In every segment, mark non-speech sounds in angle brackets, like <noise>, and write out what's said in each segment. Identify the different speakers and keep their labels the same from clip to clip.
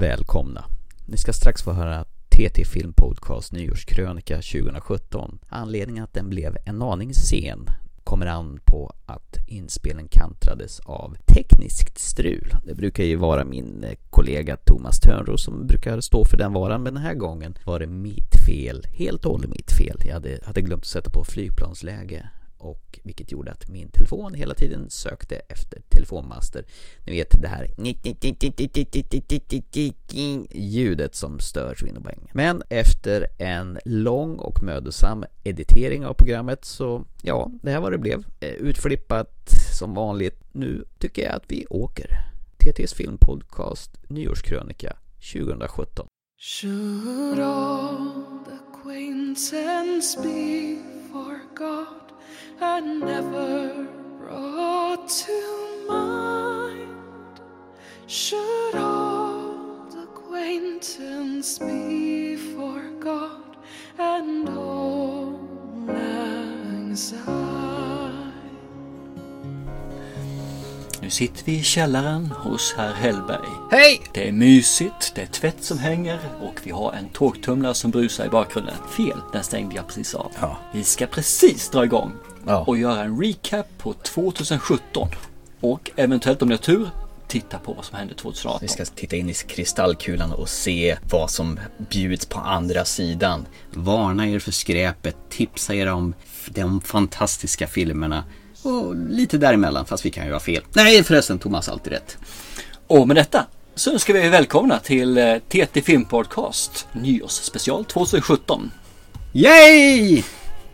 Speaker 1: Välkomna. Ni ska strax få höra TT Film Podcast nyårskrönika 2017. Anledningen att den blev en aning sen kommer an på att inspelningen kantrades av tekniskt strul. Det brukar ju vara min eh, kollega Thomas Törnros som brukar stå för den varan, men den här gången var det mitt fel, helt och hållet mitt fel. Jag hade, hade glömt att sätta på flygplansläge och vilket gjorde att min telefon hela tiden sökte efter telefonmaster. Ni vet det här ljudet som stör så in och bäng. Men efter en lång och mödosam editering av programmet så ja, det här var det blev. Eh, Utflippat som vanligt. Nu tycker jag att vi åker. TT's filmpodcast Nyårskrönika 2017.
Speaker 2: Should old acquaintance be forgot and never brought to mind? Should old acquaintance be forgot and old anxiety?
Speaker 3: Nu sitter vi i källaren hos herr Hellberg.
Speaker 4: Hej!
Speaker 3: Det är mysigt, det är tvätt som hänger och vi har en torktumlare som brusar i bakgrunden. Fel, den stängde jag precis av.
Speaker 4: Ja.
Speaker 3: Vi ska precis dra igång
Speaker 4: Ja.
Speaker 3: och göra en recap på 2017 och eventuellt om ni har tur titta på vad som hände 2018.
Speaker 4: Vi ska titta in i kristallkulan och se vad som bjuds på andra sidan. Varna er för skräpet, tipsa er om f- de fantastiska filmerna och lite däremellan, fast vi kan ju ha fel. Nej förresten, Thomas har alltid rätt.
Speaker 3: Och med detta så önskar vi er välkomna till eh, TT Film Podcast Nyårsspecial 2017.
Speaker 4: Yay!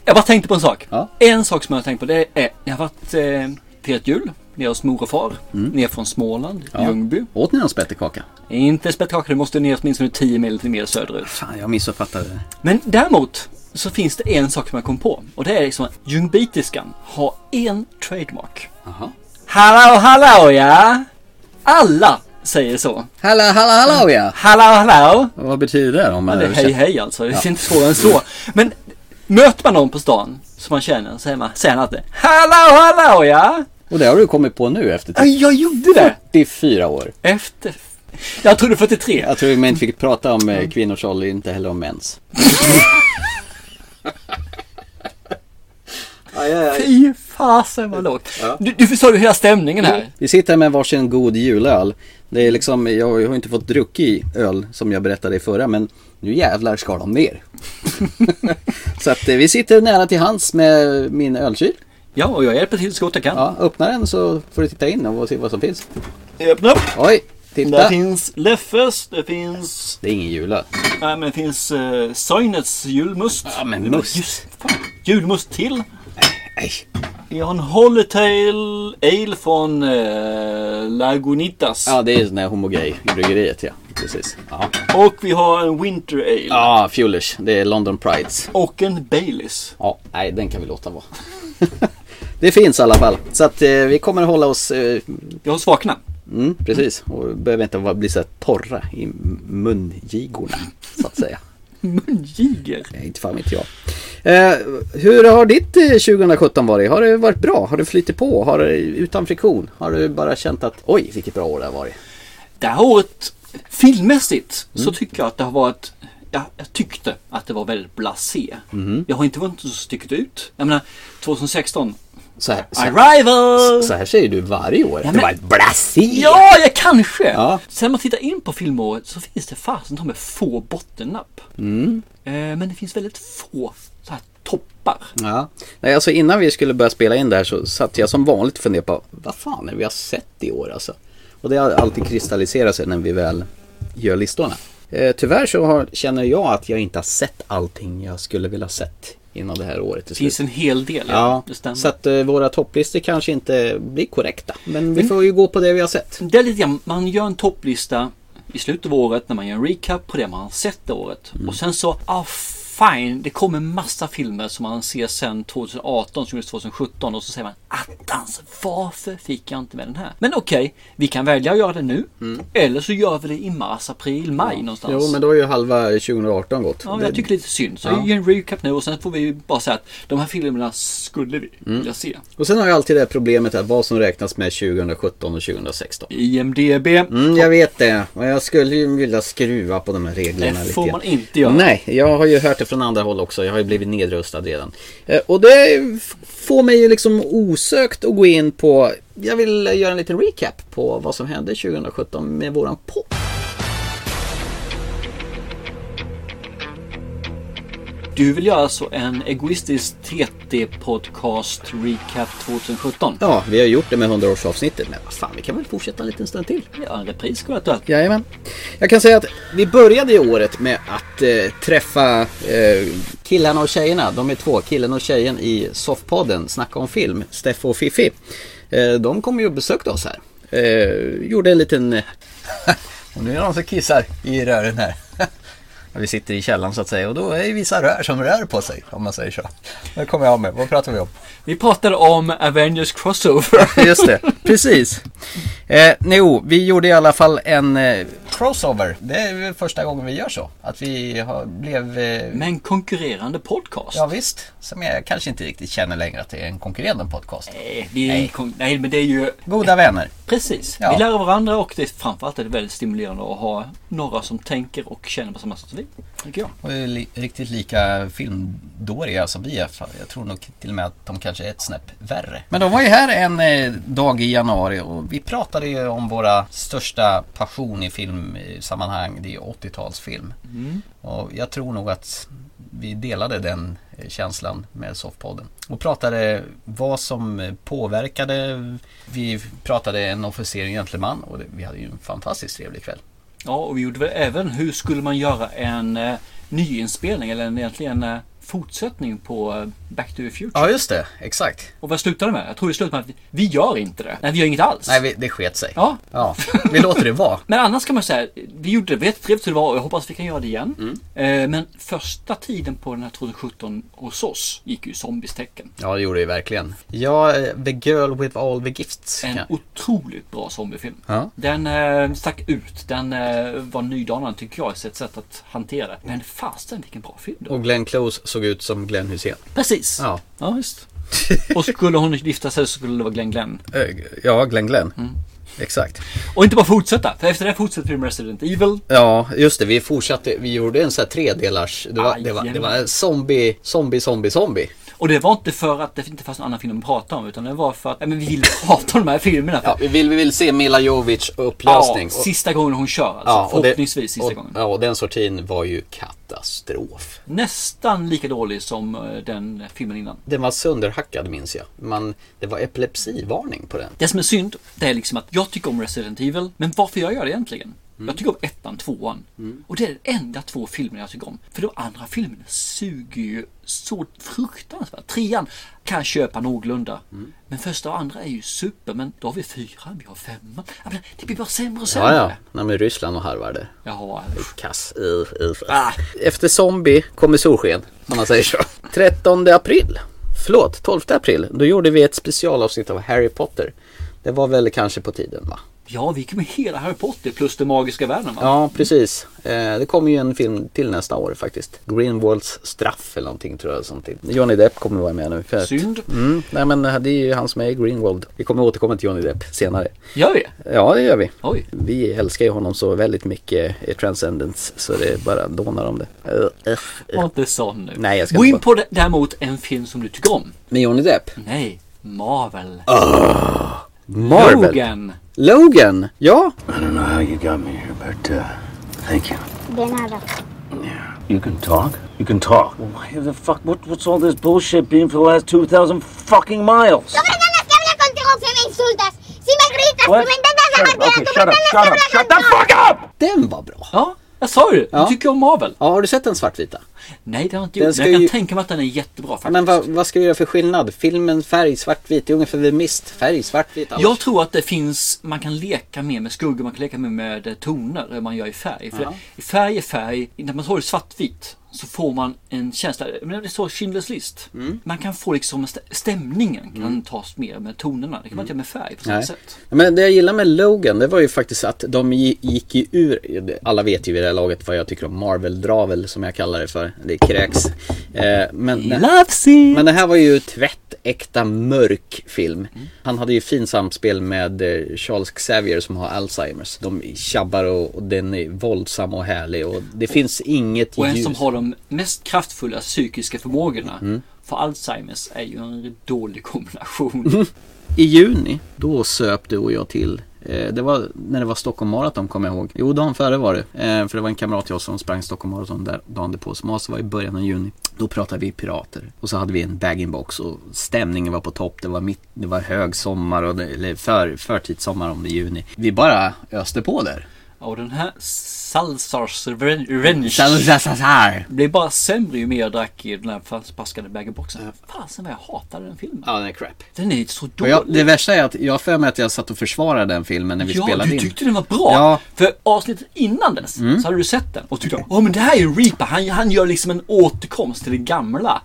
Speaker 3: Jag bara tänkte på en sak.
Speaker 4: Ja.
Speaker 3: En sak som jag har tänkt på det är, jag har varit eh, firat jul nere hos mor och far.
Speaker 4: Mm.
Speaker 3: Ner från Småland, Ljungby.
Speaker 4: Åt ni någon spettekaka?
Speaker 3: Inte spettkaka, det måste ner åtminstone 10 mil till mer söderut.
Speaker 4: Fan, jag missuppfattade det.
Speaker 3: Men däremot så finns det en sak som jag kom på. Och det är liksom att ljungbitiskan har en trademark.
Speaker 4: Jaha.
Speaker 3: Hallå, hallå ja! Alla säger så.
Speaker 4: Hallå, hallå, hallå ja!
Speaker 3: Hallå, hallå!
Speaker 4: Vad betyder det om man
Speaker 3: Ja, det är hej
Speaker 4: översätter?
Speaker 3: hej alltså, det är inte svårare än så. Men möter man någon på stan som man känner så är man, säger han alltid Hallå hallå ja!
Speaker 4: Och det har du kommit på nu efter
Speaker 3: Ja, jag gjorde det!
Speaker 4: 44 år.
Speaker 3: Efter... Jag trodde 43.
Speaker 4: Jag tror man inte fick prata om eh, kvinnors ålder, inte heller om mäns.
Speaker 3: Fy fasen vad lågt. Du, du förstår ju hela stämningen här.
Speaker 4: Vi sitter med varsin god julöl. Det är liksom, jag har ju inte fått druck i öl som jag berättade i förra men nu jävlar ska de ner. <laughs> så att eh, vi sitter nära till hands med min ölkyl.
Speaker 3: Ja, och jag hjälper till så gott jag kan.
Speaker 4: Ja, öppna den så får du titta in och se vad som finns.
Speaker 3: Öppna upp!
Speaker 4: Oj, titta!
Speaker 3: finns Leffes, det finns...
Speaker 4: Det är ingen julöl.
Speaker 3: Nej, men det finns eh, Soinets julmust.
Speaker 4: Ja, men must.
Speaker 3: Just, fan, julmust till.
Speaker 4: Nej.
Speaker 3: Vi har en Holytail Ale från eh, Lagunitas.
Speaker 4: Ja, det är sån här homogay bryggeriet ja. Precis. Ja,
Speaker 3: Och vi har en Winter Ale.
Speaker 4: ja Fulish. Det är London Prides.
Speaker 3: Och en Baileys.
Speaker 4: Ja, nej den kan vi låta vara. <laughs> det finns i alla fall. Så att eh, vi kommer hålla oss eh,
Speaker 3: Jag har svakna.
Speaker 4: Mm, precis, och behöver inte vara- bli så här torra i mungigorna så att säga. <laughs>
Speaker 3: Mungiger.
Speaker 4: Nej, inte fan vet jag. Eh, hur har ditt eh, 2017 varit? Har det varit bra? Har det flyttat på? Har det, utan friktion? Har du bara känt att oj vilket bra år det har varit?
Speaker 3: Det här året, filmmässigt, så
Speaker 4: Mm.
Speaker 3: tycker jag att det har varit Ja, jag tyckte att det var väldigt blasé.
Speaker 4: Mm.
Speaker 3: Jag har inte varit så stickigt ut. Jag menar, 2016,
Speaker 4: Så här, så här,
Speaker 3: Arrival!
Speaker 4: så här säger du varje år.
Speaker 3: men-
Speaker 4: Det var ett blasé!
Speaker 3: Ja, jag kanske!
Speaker 4: Ja.
Speaker 3: Sen när man tittar in på filmåret så finns det fasen ta med få bottennapp.
Speaker 4: Mm.
Speaker 3: Eh, men det finns väldigt få så här toppar.
Speaker 4: Ja. Nej, alltså innan vi skulle börja spela in där så satt jag som vanligt och funderade på vad fan är det vi har sett i år alltså. Och det har alltid kristalliserat sig när vi väl gör listorna. Eh, tyvärr så har, känner jag att jag inte har sett allting jag skulle vilja ha sett innan det här året är
Speaker 3: Det finns
Speaker 4: slut.
Speaker 3: en hel del,
Speaker 4: Ja,
Speaker 3: det stämmer.
Speaker 4: så att eh, våra topplistor kanske inte blir korrekta. Men vi
Speaker 3: Mm.
Speaker 4: får ju gå på det vi har sett.
Speaker 3: Det är lite grann, man gör en
Speaker 4: Mm.
Speaker 3: topplista i slutet av året när man gör en recap på det man har sett det året. Och sen så, ah fine, det kommer massa filmer som man ser sen 2018 som gjordes 2017 och så säger man attans, varför fick jag inte med den här? Men okej, vi kan välja att göra det nu eller så gör vi det i mars, april, maj någonstans.
Speaker 4: Mm. Jo, men då är ju halva 2018 gått.
Speaker 3: Ja,
Speaker 4: Det-
Speaker 3: jag tycker det är lite synd. Så
Speaker 4: Ja.
Speaker 3: vi gör en recap nu och sen får vi bara säga att de här filmerna skulle vi
Speaker 4: Mm.
Speaker 3: vilja se.
Speaker 4: Och sen har jag alltid det här problemet här, vad som räknas med 2017 och 2016.
Speaker 3: IMDB.
Speaker 4: Mm, jag vet det. Och jag skulle ju vilja skruva på de här reglerna
Speaker 3: Det
Speaker 4: lite
Speaker 3: får
Speaker 4: grann.
Speaker 3: man inte göra.
Speaker 4: Nej, jag har ju hört det från andra håll också. Jag har ju blivit nedröstad redan. Eh, Och det f- får mig ju liksom osökt att gå in på... Jag vill göra en liten recap på vad som hände 2017 med våran podd.
Speaker 3: Du vill göra alltså en egoistisk TT-podcast recap 2017.
Speaker 4: Ja, vi har gjort det med 100-årsavsnittet, men vad fan, vi kan väl fortsätta en liten stund till?
Speaker 3: Ja, en repris skulle vara aktuellt.
Speaker 4: Jajamän. Jag kan säga att vi började i året med att eh, träffa eh, killarna och tjejerna. De är två, killen och tjejen i Soffpodden, Snacka om film, Steffo och Fifi. Eh, de kom ju och besökte oss här. Eh, gjorde en liten... <laughs> och nu är det någon som kissar i rören här. <laughs> Vi sitter i källaren så att säga och då är det vissa rör som rör på sig om man säger så. Det kommer jag av med. Vad pratar vi om?
Speaker 3: Vi pratade om Avengers Crossover. <laughs>
Speaker 4: Just det, precis. Eh, jo, vi gjorde i alla fall en eh, crossover. Det är väl första gången vi gör så. Att vi har, blev... Eh,
Speaker 3: Med en konkurrerande podcast.
Speaker 4: ja, visst, som jag kanske inte riktigt känner längre att det är en konkurrerande podcast.
Speaker 3: Nej, det är
Speaker 4: Nej.
Speaker 3: Nej. Nej, men det är ju...
Speaker 4: Goda vänner.
Speaker 3: Precis.
Speaker 4: Ja.
Speaker 3: Vi lär av varandra och det är framförallt är det väldigt stimulerande att ha några som tänker och känner på samma sätt som vi. Tycker jag.
Speaker 4: Och är li- riktigt lika filmdåriga som vi är. Fan, Jag tror nog till och med att de kanske är ett snäpp värre. Men de var ju här en eh, dag i januari och vi pratade ju om våra största passion i filmsammanhang. Det är ju 80-talsfilm. Och jag tror nog att vi delade den eh, känslan med Softpodden. Och pratade vad som eh, påverkade. Vi pratade en officer och en gentleman och det- vi hade ju en fantastiskt trevlig kväll.
Speaker 3: Ja, och vi gjorde väl även hur skulle man göra en eh, nyinspelning eller en, egentligen eh, fortsättning på eh, Back to the Future.
Speaker 4: Ja just det, exakt.
Speaker 3: Och vad slutade det med? Jag tror det slutade med att vi, vi gör inte det. Nej, vi gör inget alls.
Speaker 4: Nej, vi- det sket sig.
Speaker 3: Ja.
Speaker 4: Ja, vi låter det vara.
Speaker 3: Men annars kan man säga, vi gjorde det, vi vet trevligt hur det var och jag hoppas vi kan göra det igen.
Speaker 4: Mm.
Speaker 3: Eh, men första tiden på den här 2017 hos oss gick ju i zombies tecken.
Speaker 4: <laughs> Ja, det gjorde det verkligen. Ja, eh, The Girl with All the Gifts.
Speaker 3: En
Speaker 4: Ja.
Speaker 3: otroligt bra zombiefilm.
Speaker 4: Ja.
Speaker 3: Den eh, stack ut, den eh, var nydanande tycker jag, i ett sätt att hantera det. Men fasen vilken bra film då.
Speaker 4: Och Glenn Close såg ut som Glenn Hussein.
Speaker 3: Precis!
Speaker 4: Ja,
Speaker 3: Ja, just. <laughs> Och skulle hon gifta sig så skulle det vara Glenn Glenn.
Speaker 4: Eh, ja Glenn Glenn. Exakt.
Speaker 3: Och inte bara fortsätta, för efter det här fortsätter vi med Resident Evil.
Speaker 4: Ja, just det. Vi fortsatte. Vi gjorde en sån här tredelars. Det var, det var, det
Speaker 3: Jajamän.
Speaker 4: var en zombie, zombie, zombie, zombie.
Speaker 3: Och det var inte för att det inte fanns någon annan film att prata om, utan det var för att nej, men vi ville <laughs> prata om de här filmerna. För,
Speaker 4: Ja, vi vill, vi vill se Mila Jovic
Speaker 3: ja,
Speaker 4: upplösning. Och-
Speaker 3: sista gången hon kör alltså.
Speaker 4: ja, och det-
Speaker 3: Förhoppningsvis sista
Speaker 4: och,
Speaker 3: gången.
Speaker 4: Ja, och den sortin var ju katastrof.
Speaker 3: Nästan lika dålig som eh, den filmen innan.
Speaker 4: Den var sönderhackad minns jag. Man, det var epilepsivarning på den.
Speaker 3: Det som är synd, det är liksom att jag tycker om Resident Evil, men varför jag gör det egentligen?
Speaker 4: Mm.
Speaker 3: Jag tycker om ettan, tvåan. Och det är de enda två filmerna jag tycker om. För de andra filmerna suger ju så fruktansvärt. Trean kan jag köpa någorlunda.
Speaker 4: Mm.
Speaker 3: Men första och andra är ju super, men då har vi fyran, vi har femman. Ja, men Det blir bara sämre och sämre.
Speaker 4: Ja, ja. Nej, men Ryssland och harvade.
Speaker 3: Jaha,
Speaker 4: Kass. Uh, uh. Ah. Efter zombie kommer solsken, om man säger så. 13 april, förlåt, 12 april, då gjorde vi ett specialavsnitt av Harry Potter. Det var väl kanske på tiden va?
Speaker 3: ja, vi gick med hela Harry Potter plus den magiska världen va?
Speaker 4: Ja, precis. Eh, det kommer ju en film till nästa år faktiskt. Greenwalds straff eller någonting tror jag. Sånt. Johnny Depp kommer vara med nu. För att,
Speaker 3: Synd.
Speaker 4: mm, nej men det är ju han som är i Greenwald. Vi kommer återkomma till Johnny Depp senare.
Speaker 3: Gör vi det?
Speaker 4: Ja, det gör vi.
Speaker 3: Oj.
Speaker 4: Vi älskar ju honom så väldigt mycket i Transcendence så det bara dånar om det. Eh, eh, eh.
Speaker 3: Var inte sån nu.
Speaker 4: Nej, jag ska
Speaker 3: Gå
Speaker 4: inte
Speaker 3: in på d- däremot en film som du tycker om.
Speaker 4: Med Johnny Depp?
Speaker 3: Nej, Marvel.
Speaker 4: Marvel? Logan.
Speaker 3: Logan.
Speaker 4: Ja,
Speaker 5: I don't know how you got me here, but uh, thank you.
Speaker 6: De nada.
Speaker 5: You can talk. You can talk. Well, why the fuck? What, what's all this bullshit being for the last two thousand fucking miles?
Speaker 6: Tú me entiendes que hablo contigo si me insultas, si me gritas,
Speaker 5: What?
Speaker 6: si me intentas
Speaker 5: Shut
Speaker 6: llamar bien,
Speaker 5: up. Okay,
Speaker 6: tú me
Speaker 5: shut up.
Speaker 6: entiendes que hablo
Speaker 5: Shut up. Shut the
Speaker 6: contigo.
Speaker 5: fuck up!
Speaker 4: den var bra.
Speaker 3: Ja, jag sa ju det.
Speaker 4: Ja.
Speaker 3: Du tycker om Marvel.
Speaker 4: Ja, har du sett den svartvita?
Speaker 3: Nej, det har jag inte
Speaker 4: Den
Speaker 3: gjort.
Speaker 4: ska
Speaker 3: Men jag kan
Speaker 4: ju-
Speaker 3: tänka mig att den är jättebra faktiskt.
Speaker 4: Men vad, vad ska vi göra för skillnad? Filmen färg svartvit, det är ungefär vid mist. Färg svartvit. annars.
Speaker 3: Jag tror att det finns, man kan leka mer eh, med skuggor, man kan leka mer med toner än man gör i färg. För i färg är färg, när man tar det svartvitt så får man en känsla, men det står Schindler's list.
Speaker 4: Mm.
Speaker 3: Man kan få liksom stä- stämningen kan tas mer med tonerna. Det kan man inte göra med färg på samma
Speaker 4: Mm. Nej.
Speaker 3: sätt.
Speaker 4: Men det jag gillar med Logan, det var ju faktiskt att de gi- gick ju ur, alla vet ju vid det här laget vad jag tycker om Marvel-dravel som jag kallar det för. Det kräks. Eh, men,
Speaker 3: Love scene!
Speaker 4: men det här var ju tvättäkta mörk film. Han hade ju fint samspel med eh, Charles Xavier som har Alzheimers. De tjabbar och, och den är våldsam och härlig och det finns inget
Speaker 3: Och en
Speaker 4: ljus. Mm.
Speaker 3: som har de mest kraftfulla psykiska förmågorna. För Alzheimers är ju en dålig kombination.
Speaker 4: Mm. I juni, då söp du och jag till. Eh, Det var när det var Stockholm Marathon kommer jag ihåg. Jo, dagen före var det. Eh, För det var en kamrat till oss som sprang Stockholm Marathon där dagen därpå. Som alltså var i början av juni. Då pratade vi pirater. Och så hade vi en bag-in-box och stämningen var på topp. Det var, mitt, det var hög sommar, och det, eller för, förtidssommar om det är juni. Vi bara öste på där.
Speaker 3: Ja, Och den här Salsars Revenge
Speaker 4: Salsasasar.
Speaker 3: blev bara sämre ju mer jag drack i den här förpaskade bag-in-boxen. Fasen vad jag hatade den filmen.
Speaker 4: Ja, den är crap.
Speaker 3: Den är ju så
Speaker 4: Och
Speaker 3: dålig.
Speaker 4: jag, det värsta är att jag har för mig att jag satt och försvarade den filmen när vi
Speaker 3: Ja,
Speaker 4: spelade
Speaker 3: du
Speaker 4: in.
Speaker 3: tyckte den var bra.
Speaker 4: Ja. Mm.
Speaker 3: För avsnittet innan dess så hade du sett den och tyckte åh men det här är ju Reaper, han, han gör liksom en återkomst till det gamla.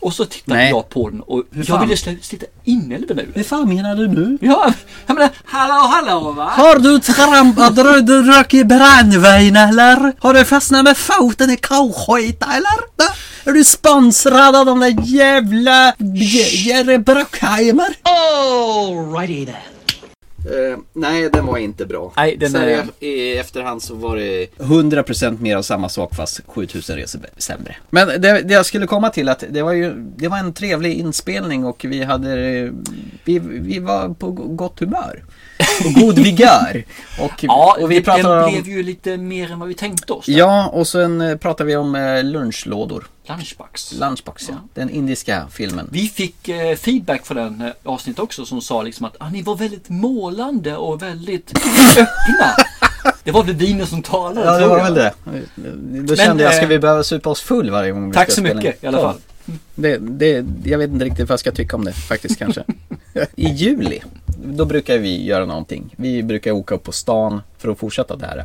Speaker 3: Och så tittade
Speaker 4: Mm. Nej.
Speaker 3: jag på den och jag
Speaker 4: fan?
Speaker 3: ville sl- slita inälvorna ur den.
Speaker 4: fan menar du nu?
Speaker 3: Ja, jag menar, hallå hallå va?
Speaker 4: Har du trampat rödrök i brandvägen eller? Har du fastnat med foten i cowskita eller? Va? Är du sponsrad av de där jävla J- Jerry Bruckheimer?
Speaker 2: Alrighty then.
Speaker 4: Eh, nej, den var inte bra.
Speaker 3: Nej, den
Speaker 4: så
Speaker 3: är-
Speaker 4: i- I efterhand så var det 100% mer av samma sak fast 7000 resor b- sämre. Men det, det jag skulle komma till att det var ju det var en trevlig inspelning och vi hade eh, vi, vi var på go- gott humör. Och god vigör. Och,
Speaker 3: <laughs> Ja,
Speaker 4: och vi pratade
Speaker 3: den
Speaker 4: om...
Speaker 3: blev ju lite mer än vad vi tänkte oss.
Speaker 4: Ja, och sen eh, pratar vi om eh, lunchlådor.
Speaker 3: Lunchbox.
Speaker 4: Lunchbox, ja. Den indiska filmen.
Speaker 3: Vi fick eh, feedback för den eh, avsnittet också som sa liksom att ah, ni var väldigt målande och väldigt
Speaker 4: <laughs>
Speaker 3: öppna. Det var väl vinen som talade tror jag.
Speaker 4: det. Då kände jag, ska
Speaker 3: eh,
Speaker 4: vi behöva supa oss full varje gång vi
Speaker 3: Tack
Speaker 4: Eh, ska
Speaker 3: så
Speaker 4: spela in?
Speaker 3: mycket i alla fall.
Speaker 4: Det, det, jag vet inte riktigt vad jag ska tycka om det faktiskt <laughs> kanske. I juli, då brukar vi göra någonting. Vi brukar åka upp på stan för att fortsätta det här. eh,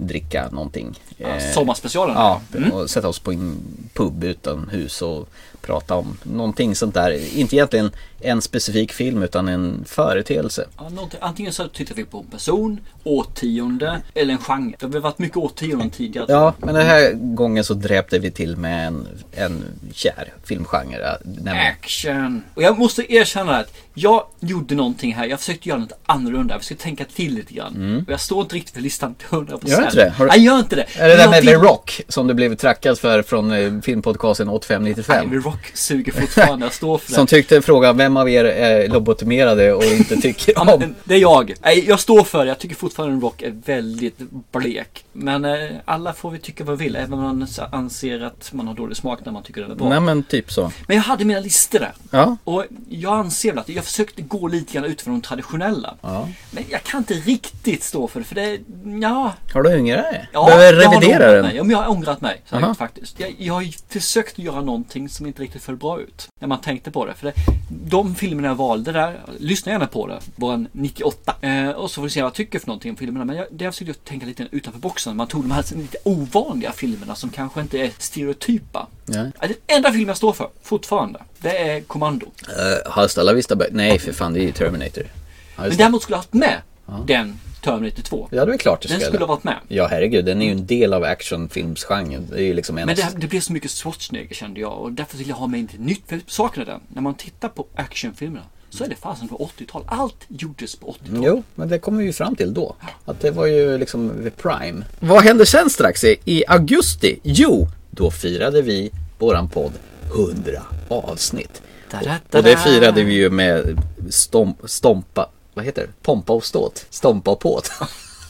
Speaker 4: Dricka någonting. Eh,
Speaker 3: Sommarspecialen.
Speaker 4: Ja,
Speaker 3: Mm.
Speaker 4: och sätta oss på en pub utomhus och prata om någonting sånt där. Inte egentligen en specifik film utan en företeelse.
Speaker 3: Ja, någonting- Antingen så tittar vi på en person, årtionde eller en genre. Det har väl varit mycket årtionden tidigare.
Speaker 4: Ja, men den här gången så dräpte vi till med en, en kär filmgenre.
Speaker 3: Äh.
Speaker 4: nämligen-
Speaker 3: Action! Och jag måste erkänna att jag gjorde någonting här. Jag försökte göra något annorlunda. Jag försökte tänka till lite grann. Och jag står inte riktigt för listan till 100%.
Speaker 4: Mm. Gör du inte det? Har du-
Speaker 3: Nej, gör inte det.
Speaker 4: Är det där med
Speaker 3: Någonting-
Speaker 4: The Rock som du blev trackad för från eh, filmpodcasten 8595?
Speaker 3: Nej, The Rock
Speaker 4: <laughs>
Speaker 3: suger fortfarande. Jag står för det.
Speaker 4: Som typ tyckte frågan vem av er är lobotomerade och inte tycker
Speaker 3: <laughs> Ja,
Speaker 4: om?
Speaker 3: men, det är jag. Nej, jag står för det. Jag tycker fortfarande Rock är väldigt blek. Men eh, alla får vi tycka vad vi vill. Även om man anser att man har dålig smak när man tycker den är bra.
Speaker 4: Nej men typ så.
Speaker 3: Men jag hade mina listor där.
Speaker 4: Ja.
Speaker 3: Och jag anser väl att jag försökte gå lite grann ut från de traditionella.
Speaker 4: Ja.
Speaker 3: Men jag kan inte riktigt stå för det. För det, ja.
Speaker 4: Har du ångrat
Speaker 3: ja
Speaker 4: Behöver
Speaker 3: jag har
Speaker 4: revidera
Speaker 3: ångrat
Speaker 4: den?
Speaker 3: Mig. Ja, men jag har ångrat mig säkert,
Speaker 4: Aha.
Speaker 3: faktiskt. Jag, jag har ju försökt göra någonting som inte riktigt föll bra ut. När man tänkte på det. För det, de filmerna jag valde där, lyssna gärna på det, var en 98. Eh, och så får vi se vad jag tycker för någonting om filmerna. Men jag, det jag försökte tänka lite utanför boxen. Man tog de här lite ovanliga filmerna som kanske inte är stereotypa.
Speaker 4: Nej.
Speaker 3: Ja, Den enda film jag står för, fortfarande, det är Kommando.
Speaker 4: Uh, Hasta la vista ba- Nej för fan det är ju Terminator. Ja,
Speaker 3: Men
Speaker 4: just det.
Speaker 3: däremot skulle jag haft med den Terminator 2.
Speaker 4: ja det är klart det
Speaker 3: Den
Speaker 4: skulle.
Speaker 3: skulle ha varit med.
Speaker 4: Ja herregud, den är ju en del av actionfilmsgenren. Det är ju liksom en
Speaker 3: Men
Speaker 4: av-
Speaker 3: det, det blev så mycket Schwarzenegger kände jag och därför ville jag ha med inte nytt. För jag saknade den. När man tittar på actionfilmerna så är det fasen på 80-tal. Allt gjordes på 80-tal.
Speaker 4: Jo, men det kommer vi ju fram till då. Att det var ju liksom the prime. Vad hände sen strax i, i augusti? Jo, då firade vi våran podd 100 avsnitt.
Speaker 3: Da-da-da-da.
Speaker 4: Och det firade vi ju med stom, stompa, vad heter det? Pompa och ståt. Stompa och påt. <laughs>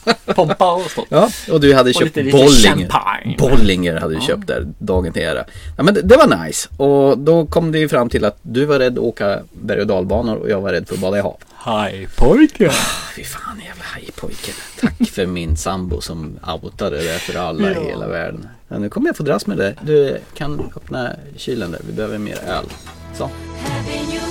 Speaker 4: Mm.
Speaker 3: Pompa och sånt.
Speaker 4: Ja, och du hade
Speaker 3: Och
Speaker 4: köpt
Speaker 3: lite- lite
Speaker 4: Bollinger.
Speaker 3: champagne.
Speaker 4: Bollinger hade du köpt där dagen till ära. Ja, men det, det var nice. Och då kom det ju fram till att du var rädd att åka berg och dalbanor och jag var rädd för att bada i hav. Ah,
Speaker 3: Hej pojkar!
Speaker 4: Fy fan jävla hajpojke. Tack för min sambo som outade det för alla i hela världen. Ja, nu kommer jag få dras med det. Du kan öppna kylen där. Vi behöver mer öl. Så.
Speaker 7: Happy New Year,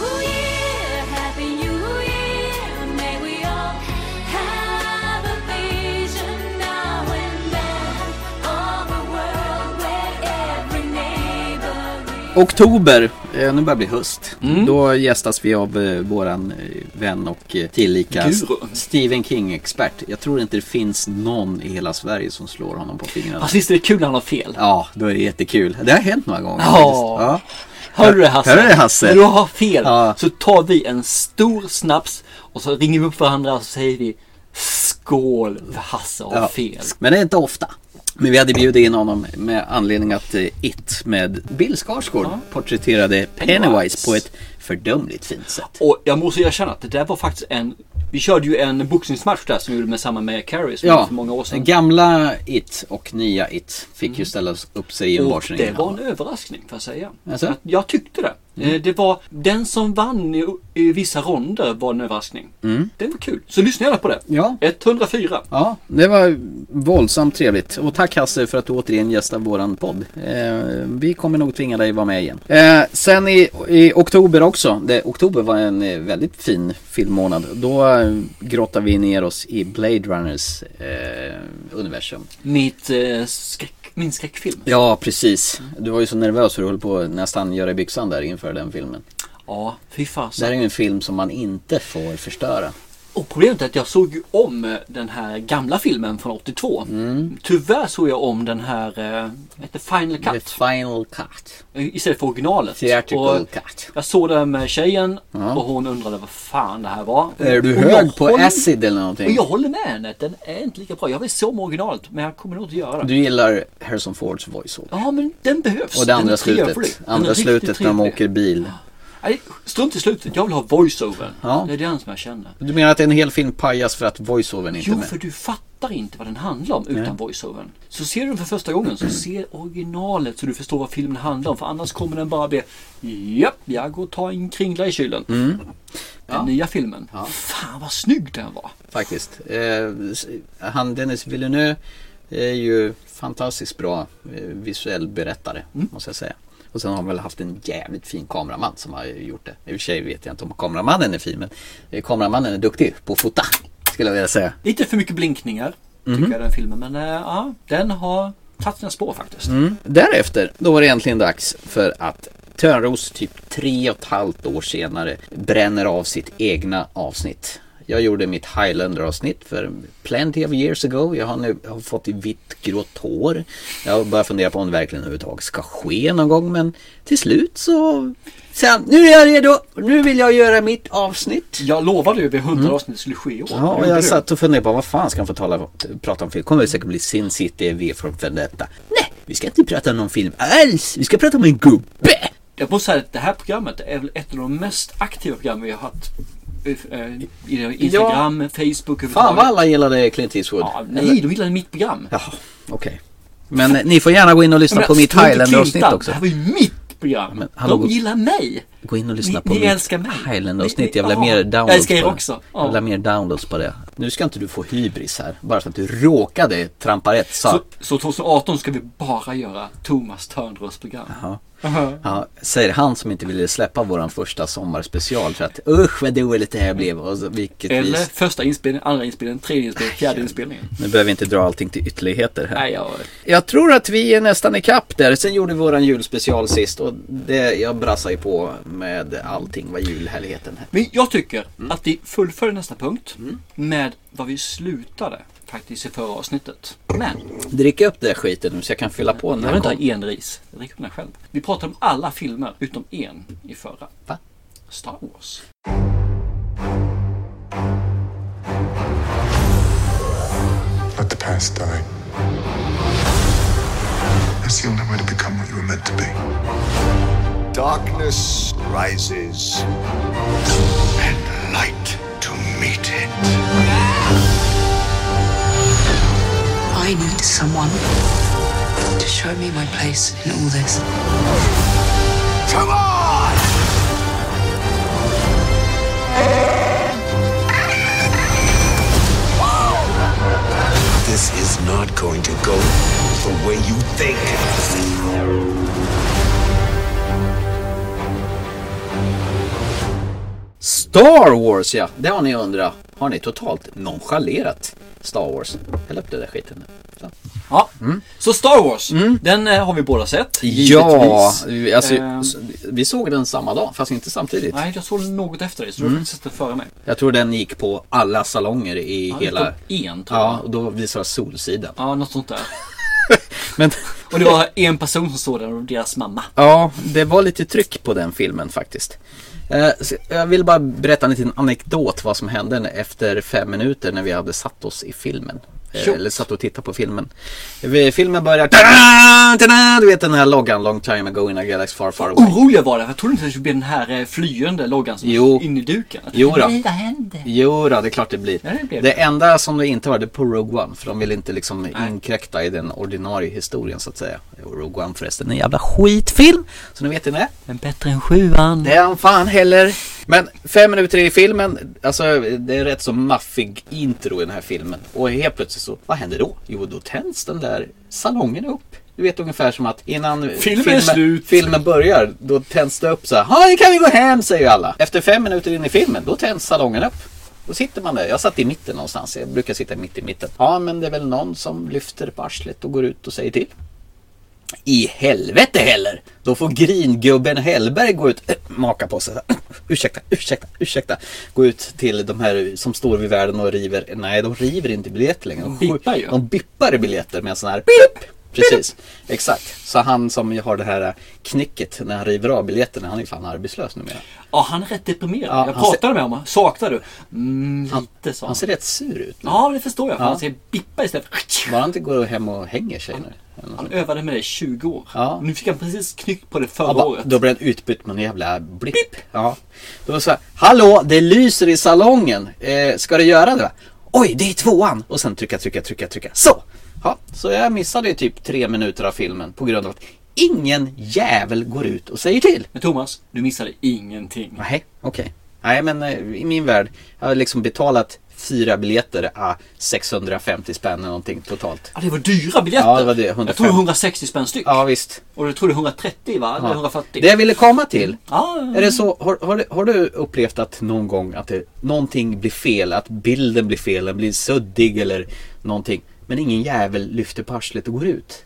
Speaker 7: Happy New Year. May we all have a vision now and then of a world where every
Speaker 4: Oktober, eh, nu börjar det bli höst.
Speaker 3: Mm.
Speaker 4: Då gästas vi av eh, våran eh, vän och eh, tillika
Speaker 3: Guru.
Speaker 4: Stephen King-expert. Jag tror inte det finns någon i hela Sverige som slår honom på fingrarna.
Speaker 3: Fast Alltså, visst är det kul när han har fel?
Speaker 4: Ja, då är det jättekul. Det har hänt några gånger
Speaker 3: Ja.
Speaker 4: faktiskt.
Speaker 3: Hör du det Hasse?
Speaker 4: Hör du det, Hasse?
Speaker 3: När du har fel
Speaker 4: Ja.
Speaker 3: så tar vi en stor snaps och så ringer vi upp varandra och så säger vi Skål för Hasse har
Speaker 4: Ja.
Speaker 3: fel.
Speaker 4: Men det är inte ofta. Men vi hade bjudit in honom med anledning att eh, It med Bill Skarsgård porträtterade Pennywise
Speaker 3: Pennywise.
Speaker 4: på ett fördömligt fint sätt.
Speaker 3: Och jag måste erkänna att det där var faktiskt en Vi körde ju en boxningsmatch där som vi gjorde med samma med Carrie som vi gjorde
Speaker 4: Ja,
Speaker 3: för många år sedan. Mm.
Speaker 4: gamla It och nya It fick ju ställa upp sig i en
Speaker 3: Och
Speaker 4: varsin
Speaker 3: det
Speaker 4: egen
Speaker 3: var en
Speaker 4: hand.
Speaker 3: överraskning får jag säga.
Speaker 4: Alltså?
Speaker 3: Jag, jag tyckte det.
Speaker 4: Mm.
Speaker 3: Eh, Det var den som vann i, i vissa ronder var en överraskning. Det var kul. Så lyssna gärna på det.
Speaker 4: Mm. Ja.
Speaker 3: 104.
Speaker 4: Ja, det var våldsamt trevligt. Och tack Hasse för att du återigen gästar våran podd. Eh, vi kommer nog tvinga dig vara med igen. Eh, sen i, i oktober också. Det, oktober var en eh, väldigt fin filmmånad. Då eh, grottar vi ner oss i Blade Runners eh, universum.
Speaker 3: Mitt, eh, skräck, min skräckfilm.
Speaker 4: Ja, precis. Du var ju så nervös för du höll på att nästan göra i byxan där inför den filmen.
Speaker 3: Ja, fy
Speaker 4: Det här
Speaker 3: fasen.
Speaker 4: är ju en film som man inte får förstöra.
Speaker 3: Och problemet är att jag såg ju om eh, den här gamla filmen från 82.
Speaker 4: Mm.
Speaker 3: Tyvärr såg jag om den här, eh, heter Final
Speaker 4: The
Speaker 3: Cut.
Speaker 4: final cut.
Speaker 3: Istället för originalet.
Speaker 4: Theatrical
Speaker 3: Och
Speaker 4: cut.
Speaker 3: jag såg den med tjejen
Speaker 4: Ja.
Speaker 3: och hon undrade vad fan det här var.
Speaker 4: Är du
Speaker 3: Och
Speaker 4: hög
Speaker 3: jag
Speaker 4: på
Speaker 3: håller-
Speaker 4: acid eller
Speaker 3: Och
Speaker 4: någonting?
Speaker 3: jag håller med henne, den är inte lika bra. Jag vill se om originalet men jag kommer nog inte göra det.
Speaker 4: Du gillar Harrison Fords voiceover.
Speaker 3: Ja men den behövs.
Speaker 4: Och det
Speaker 3: Den är
Speaker 4: andra
Speaker 3: trevlig.
Speaker 4: slutet.
Speaker 3: Den är
Speaker 4: Andra
Speaker 3: riktigt
Speaker 4: slutet när de
Speaker 3: trevlig.
Speaker 4: åker bil.
Speaker 3: Nej, strunt i slutet. Jag vill ha voiceover.
Speaker 4: Ja.
Speaker 3: Det är den som jag känner.
Speaker 4: Du menar att en hel film pajas för att voiceovern inte är
Speaker 3: Jo,
Speaker 4: med?
Speaker 3: för du fattar inte vad den handlar om utan voiceovern. Så ser du den för första gången så se originalet så du förstår vad filmen handlar om. För annars kommer den bara bli Japp, jag går och tar en kringla i kylen.
Speaker 4: Mm.
Speaker 3: Den nya filmen. Fan vad snygg den var.
Speaker 4: Faktiskt. Eh, s- han Dennis Villeneuve är ju fantastiskt bra eh, visuell berättare,
Speaker 3: Mm.
Speaker 4: måste jag säga. Och sen har han väl haft en jävligt fin kameraman som har gjort det. I och för sig vet jag inte om kameramannen är fin, men eh, kameramannen är duktig på att fota, skulle jag vilja säga.
Speaker 3: Lite för mycket blinkningar
Speaker 4: Mhm.
Speaker 3: tycker jag den filmen. Men eh, ja, den har tagit sina spår faktiskt.
Speaker 4: Mm. Därefter, då var det äntligen dags för att Törnros typ tre och ett halvt år senare bränner av sitt egna avsnitt. Jag gjorde mitt Highlander-avsnitt för plenty of years ago. Jag har nu jag har fått i vitt grått hår. Jag börjar fundera på om det verkligen överhuvudtaget ska ske någon gång men till slut så... Sen, nu är jag redo! Nu vill jag göra mitt avsnitt.
Speaker 3: Jag lovade ju vid 100 avsnitt skulle ske i år.
Speaker 4: Mm. Ja,
Speaker 3: Gjorde
Speaker 4: och jag
Speaker 3: du?
Speaker 4: satt och funderade på vad fan ska han få tala, prata om film? Kommer det säkert bli Sin City, V för Vendetta? Nej, vi ska inte prata om någon film alls. Vi ska prata om en gubbe.
Speaker 3: Jag måste säga att det här programmet är väl ett av de mest aktiva program vi har haft. eh, i- i Instagram, Facebook
Speaker 4: Fan vad
Speaker 3: överhuvudtaget.
Speaker 4: alla gillade Clint Eastwood.
Speaker 3: Ja, nej, de gillade mitt program.
Speaker 4: Jaha, okej. Men eh, ni får gärna gå in och lyssna
Speaker 3: Men
Speaker 4: på mitt
Speaker 3: strunt i
Speaker 4: Highlander-avsnitt
Speaker 3: Clintan,
Speaker 4: också.
Speaker 3: Det här var ju mitt program.
Speaker 4: Men hallå,
Speaker 3: de gillar mig.
Speaker 4: Gå in och lyssna
Speaker 3: Ni-
Speaker 4: på
Speaker 3: ni
Speaker 4: mitt
Speaker 3: älskar mig.
Speaker 4: Highlander-avsnitt.
Speaker 3: Ni-
Speaker 4: Jag vill ha
Speaker 3: ja,
Speaker 4: mer
Speaker 3: jag
Speaker 4: downloads
Speaker 3: älskar er
Speaker 4: på det.
Speaker 3: också. Ja.
Speaker 4: Jag vill ha mer downloads på det. Nu ska inte du få hybris här. Bara för att du råkade trampa rätt. Så.
Speaker 3: Så, så 2018 ska vi bara göra Thomas Törnros program.
Speaker 4: Ja, säger han som inte ville släppa våran första sommarspecial för att usch vad dåligt det här blev. Och så, vilket vi...
Speaker 3: Eller första inspelningen, andra inspelningen, tredje inspelningen, fjärde inspelningen.
Speaker 4: Nu behöver vi inte dra allting till ytterligheter här.
Speaker 3: Nej, jag...
Speaker 4: Jag tror att vi är nästan i kapp där. Sen gjorde vi våran julspecial sist och det, jag brassar ju på med allting vad julhelheten här.
Speaker 3: Men jag tycker
Speaker 4: Mm.
Speaker 3: att vi fullföljer nästa punkt med vad vi slutade faktiskt i förra avsnittet. Men
Speaker 4: Drick upp den här skiten nu så jag kan fylla på
Speaker 3: jag
Speaker 4: när
Speaker 3: vill
Speaker 4: den
Speaker 3: inte ha
Speaker 4: kommer.
Speaker 3: en ris. Jag dricker upp den här själv. Vi pratade om alla filmer utom en i förra.
Speaker 4: Va?
Speaker 3: Star Wars.
Speaker 8: Let the past die. That's the only way to become what you were meant to be.
Speaker 9: Darkness rises, and light to meet it.
Speaker 2: I need someone to show me my place in all this.
Speaker 9: Come on! This is not going to go the way you think.
Speaker 4: Star Wars ja, det har ni undrat. Har ni totalt nonchalerat? Star Wars. Häll upp den där skiten nu. Så.
Speaker 3: Ja. Så Star Wars, den eh, har vi båda sett.
Speaker 4: Mm. Ja,
Speaker 3: givetvis.
Speaker 4: alltså,
Speaker 3: Eh,
Speaker 4: vi såg den samma dag, fast inte samtidigt.
Speaker 3: Nej, jag såg något efter dig, så
Speaker 4: Mm.
Speaker 3: du har faktiskt sett den före mig.
Speaker 4: Jag tror den gick på alla salonger i
Speaker 3: Ja,
Speaker 4: hela...
Speaker 3: utom En, tror jag.
Speaker 4: Ja, och då visades Solsidan.
Speaker 3: Ja, något sånt där.
Speaker 4: Men
Speaker 3: Och det var en person som såg den och deras mamma.
Speaker 4: ja, det var lite tryck på den filmen faktiskt. Eh, så Jag vill bara berätta en liten anekdot vad som hände efter fem minuter när vi hade satt oss i filmen. Eh,
Speaker 3: Tjo.
Speaker 4: Eller satt och tittade på filmen. Vi- Filmen börjar... Ta-da, ta-da, du vet den här loggan, long time ago in a galaxy far far away.
Speaker 3: Oroliga var det, för jag trodde inte att det skulle bli den här eh, flyende loggan som
Speaker 4: Jo.
Speaker 3: in i duken. Att-
Speaker 4: Jo då.
Speaker 3: Nej, vad hände?
Speaker 4: Jo då, det är klart det blir.
Speaker 3: Ja, det blir det.
Speaker 4: det enda som det inte var, det är på Rogue One. För de vill inte liksom
Speaker 3: Nej.
Speaker 4: inkräkta i den ordinarie historien så att säga. Och Rogue One förresten, en jävla skitfilm. Så nu vet ni det.
Speaker 3: Men bättre än sjuan.
Speaker 4: Det är han fan heller. Men fem minuter i filmen, alltså det är rätt så maffig intro i den här filmen. Och helt plötsligt så, vad händer då? Jo, då tänds den där salongen upp. Du vet ungefär som att innan
Speaker 3: Filmen är slut.
Speaker 4: filmen börjar, då tänds det upp så här. "Ja, nu kan vi gå hem, säger ju alla. Efter fem minuter in i filmen, då tänds salongen upp. Då sitter man där. Jag satt i mitten någonstans. Jag brukar sitta mitt i mitten. Ja, men det är väl någon som lyfter på arslet och går ut och säger till. I helvete heller! Då får gringubben Hellberg gå ut, äh, maka på sig. <clears throat> så här, Ursäkta, ursäkta, ursäkta. Gå ut till de här som står vid världen och river. Nej, de river inte biljetter längre. De,
Speaker 3: bippar ju.
Speaker 4: de bippar i biljetter med en sån här bip. Precis, exakt. Så han som ju har det här äh, knicket när han river av biljetterna, han är ju fan arbetslös numera.
Speaker 3: Ja, han är rätt deprimerad.
Speaker 4: Ja,
Speaker 3: jag
Speaker 4: han ser-
Speaker 3: pratade med honom. Saknar du? Mm, lite, sa han.
Speaker 4: Han ser rätt sur ut. nu.
Speaker 3: Ja, det förstår jag. För
Speaker 4: Ja.
Speaker 3: han säger bippa istället för...
Speaker 4: Bara han inte går hem och hänger sig nu. Eller något
Speaker 3: Han
Speaker 4: sånt.
Speaker 3: övade med det i 20 år.
Speaker 4: Ja.
Speaker 3: Nu fick han precis knyck på det
Speaker 4: Ja,
Speaker 3: förra
Speaker 4: bara,
Speaker 3: året.
Speaker 4: då blev den utbytt med en jävla blipp. Ja. Då var det så här, hallå det lyser i salongen. Eh, ska du göra det? va?" Oj, det är tvåan. Och sen trycka, trycka, trycka, trycka. Så! Ja, så jag missade ju typ tre minuter av filmen på grund av att ingen jävel går ut och säger till.
Speaker 3: Men Thomas, du missade ingenting.
Speaker 4: Nej, okej. Nej, men eh, i min värld, jag har liksom betalat fyra biljetter, ah, 650 spänn eller någonting totalt.
Speaker 3: Ja, det var dyra biljetter.
Speaker 4: Ja, det var det,
Speaker 3: Jag tror
Speaker 4: 150.
Speaker 3: 160 spänn styck.
Speaker 4: Ja, visst.
Speaker 3: Och du tror det är 130 va? Eller
Speaker 4: Ja.
Speaker 3: 140?
Speaker 4: Det jag ville komma till
Speaker 3: Ja,
Speaker 4: Är det så, har, har, du- har du upplevt att någon gång att det, någonting blir fel, att bilden blir fel, den blir suddig eller någonting. Men ingen jävel lyfter på arslet och går ut.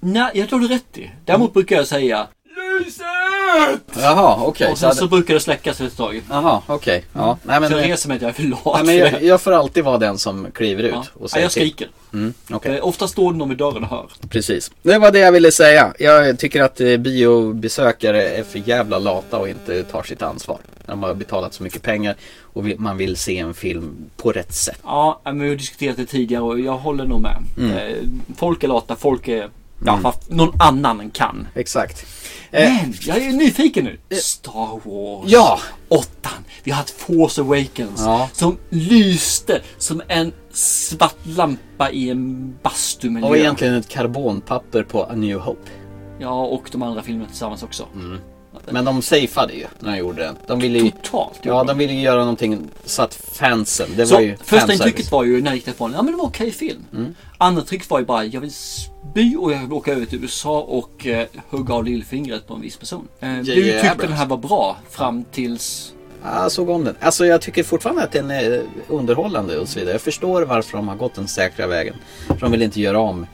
Speaker 3: Nej, jag tror du har rätt i. Däremot brukar jag säga Lyset!
Speaker 4: Jaha, okej.
Speaker 3: Och sen så brukar det släckas ett tag.
Speaker 4: Jaha, okej. Ja, nej men,
Speaker 3: Så jag
Speaker 4: nej,
Speaker 3: reser mig inte, jag är för lat
Speaker 4: men
Speaker 3: för
Speaker 4: jag,
Speaker 3: det.
Speaker 4: jag får alltid vara den som kliver ut
Speaker 3: Ja.
Speaker 4: och
Speaker 3: Ja,
Speaker 4: säger
Speaker 3: jag
Speaker 4: till.
Speaker 3: skriker.
Speaker 4: Mm, okej.
Speaker 3: Eh, Ofta står det någon vid dörren och hör.
Speaker 4: Precis. Det var det jag ville säga. Jag tycker att eh, biobesökare är för jävla lata och inte tar sitt ansvar. De har betalat så mycket pengar och vill, man vill se en film på rätt sätt.
Speaker 3: Ja, men vi har diskuterat det tidigare och jag håller nog med.
Speaker 4: Mm.
Speaker 3: Eh, Folk är lata, folk är... Ja, fast någon annan än kan.
Speaker 4: Exakt.
Speaker 3: Men jag är ju nyfiken nu. Star Wars.
Speaker 4: Eh. Ja!
Speaker 3: Åttan. Vi har haft Force Awakens.
Speaker 4: Ja.
Speaker 3: Som lyste som en svart lampa i en bastumiljö.
Speaker 4: Och egentligen ett karbonpapper på A New Hope.
Speaker 3: Ja, och de andra filmerna tillsammans också.
Speaker 4: Mm. Men de safeade ju när de gjorde den. De ville ju,
Speaker 3: Totalt.
Speaker 4: ja, de ville ju göra någonting så att fansen, det var
Speaker 3: Så
Speaker 4: ju
Speaker 3: första
Speaker 4: fanservice. Mm.
Speaker 3: intrycket var ju när jag gick därifrån, ja men det var okej film. Andra intrycket var ju bara, jag vill spy och jag vill åka över till USA och eh, hugga av lillfingret på en viss person. Eh, du
Speaker 4: J.J.
Speaker 3: tyckte
Speaker 4: Abrams.
Speaker 3: den här var bra fram tills...
Speaker 4: Ja, jag såg om den. Alltså jag tycker fortfarande att den är underhållande och så vidare. Jag förstår varför de har gått den säkra vägen. För de vill inte göra om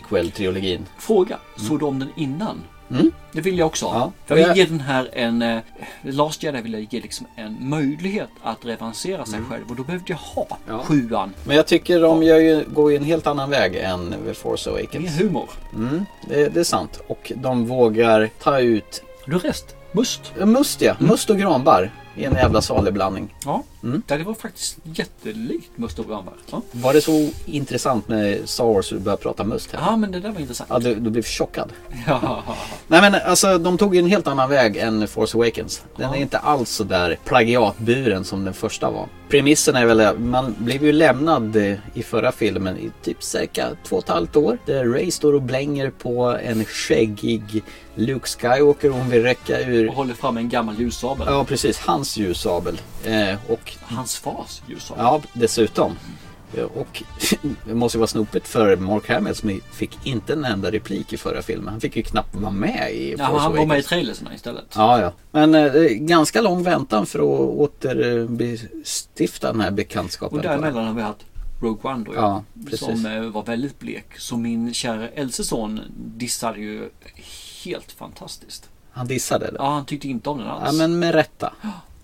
Speaker 4: prequel-trilogin.
Speaker 3: Fråga, såg du om den innan?
Speaker 4: Mm.
Speaker 3: Det vill jag också.
Speaker 4: Ja.
Speaker 3: För jag
Speaker 4: Och
Speaker 3: vill ge den här en... Eh, Last Jedi vill jag ge liksom en möjlighet att revansera sig själv och då behövde jag ha
Speaker 4: Mm. Ja.
Speaker 3: sjuan.
Speaker 4: Men jag tycker de gör ju, går ju en helt annan väg än The Force
Speaker 3: Mer
Speaker 4: Awakens.
Speaker 3: humor.
Speaker 4: Mm, det, det är sant. Och de vågar ta ut
Speaker 3: Du har rest. Must.
Speaker 4: Ja, Must ja, must och granbar i en jävla salig blandning.
Speaker 3: Ja.
Speaker 4: Mm.
Speaker 3: ja, det var faktiskt jättelikt Must och Granberg. Ja.
Speaker 4: Var det så intressant med Star Wars att du började prata must här?
Speaker 3: ja, men det där var intressant.
Speaker 4: Ja, du, du blev chockad.
Speaker 3: Ja.
Speaker 4: Nej men alltså de tog ju en helt annan väg än Force Awakens. Den
Speaker 3: Ja.
Speaker 4: är inte alls så där plagiatburen som den första var. Premissen är väl, man blev ju lämnad eh, i förra filmen i typ cirka två och ett halvt år. Där Ray står och blänger på en skäggig Luke Skywalker och hon vill räcka ur,
Speaker 3: och håller fram en gammal ljussabel.
Speaker 4: ja precis, hans ljussabel. Eh, och
Speaker 3: Hans fars ljussabel.
Speaker 4: Ja, dessutom. Och <laughs> det måste ju vara snopet för Mark Hamill som fick inte en enda replik i förra filmen. Han fick ju knappt vara med i
Speaker 3: Ja, han var med i trailerserna istället.
Speaker 4: Ja, ja. Men eh, det är ganska lång väntan för att återbestifta den här bekantskapen.
Speaker 3: och däremellan har vi haft Rogue One då
Speaker 4: Ja, precis.
Speaker 3: Som eh, var väldigt blek. Så min kära äldste son dissade ju helt fantastiskt.
Speaker 4: Han dissade det.
Speaker 3: Ja, han tyckte inte om den alls.
Speaker 4: Ja, men med rätta.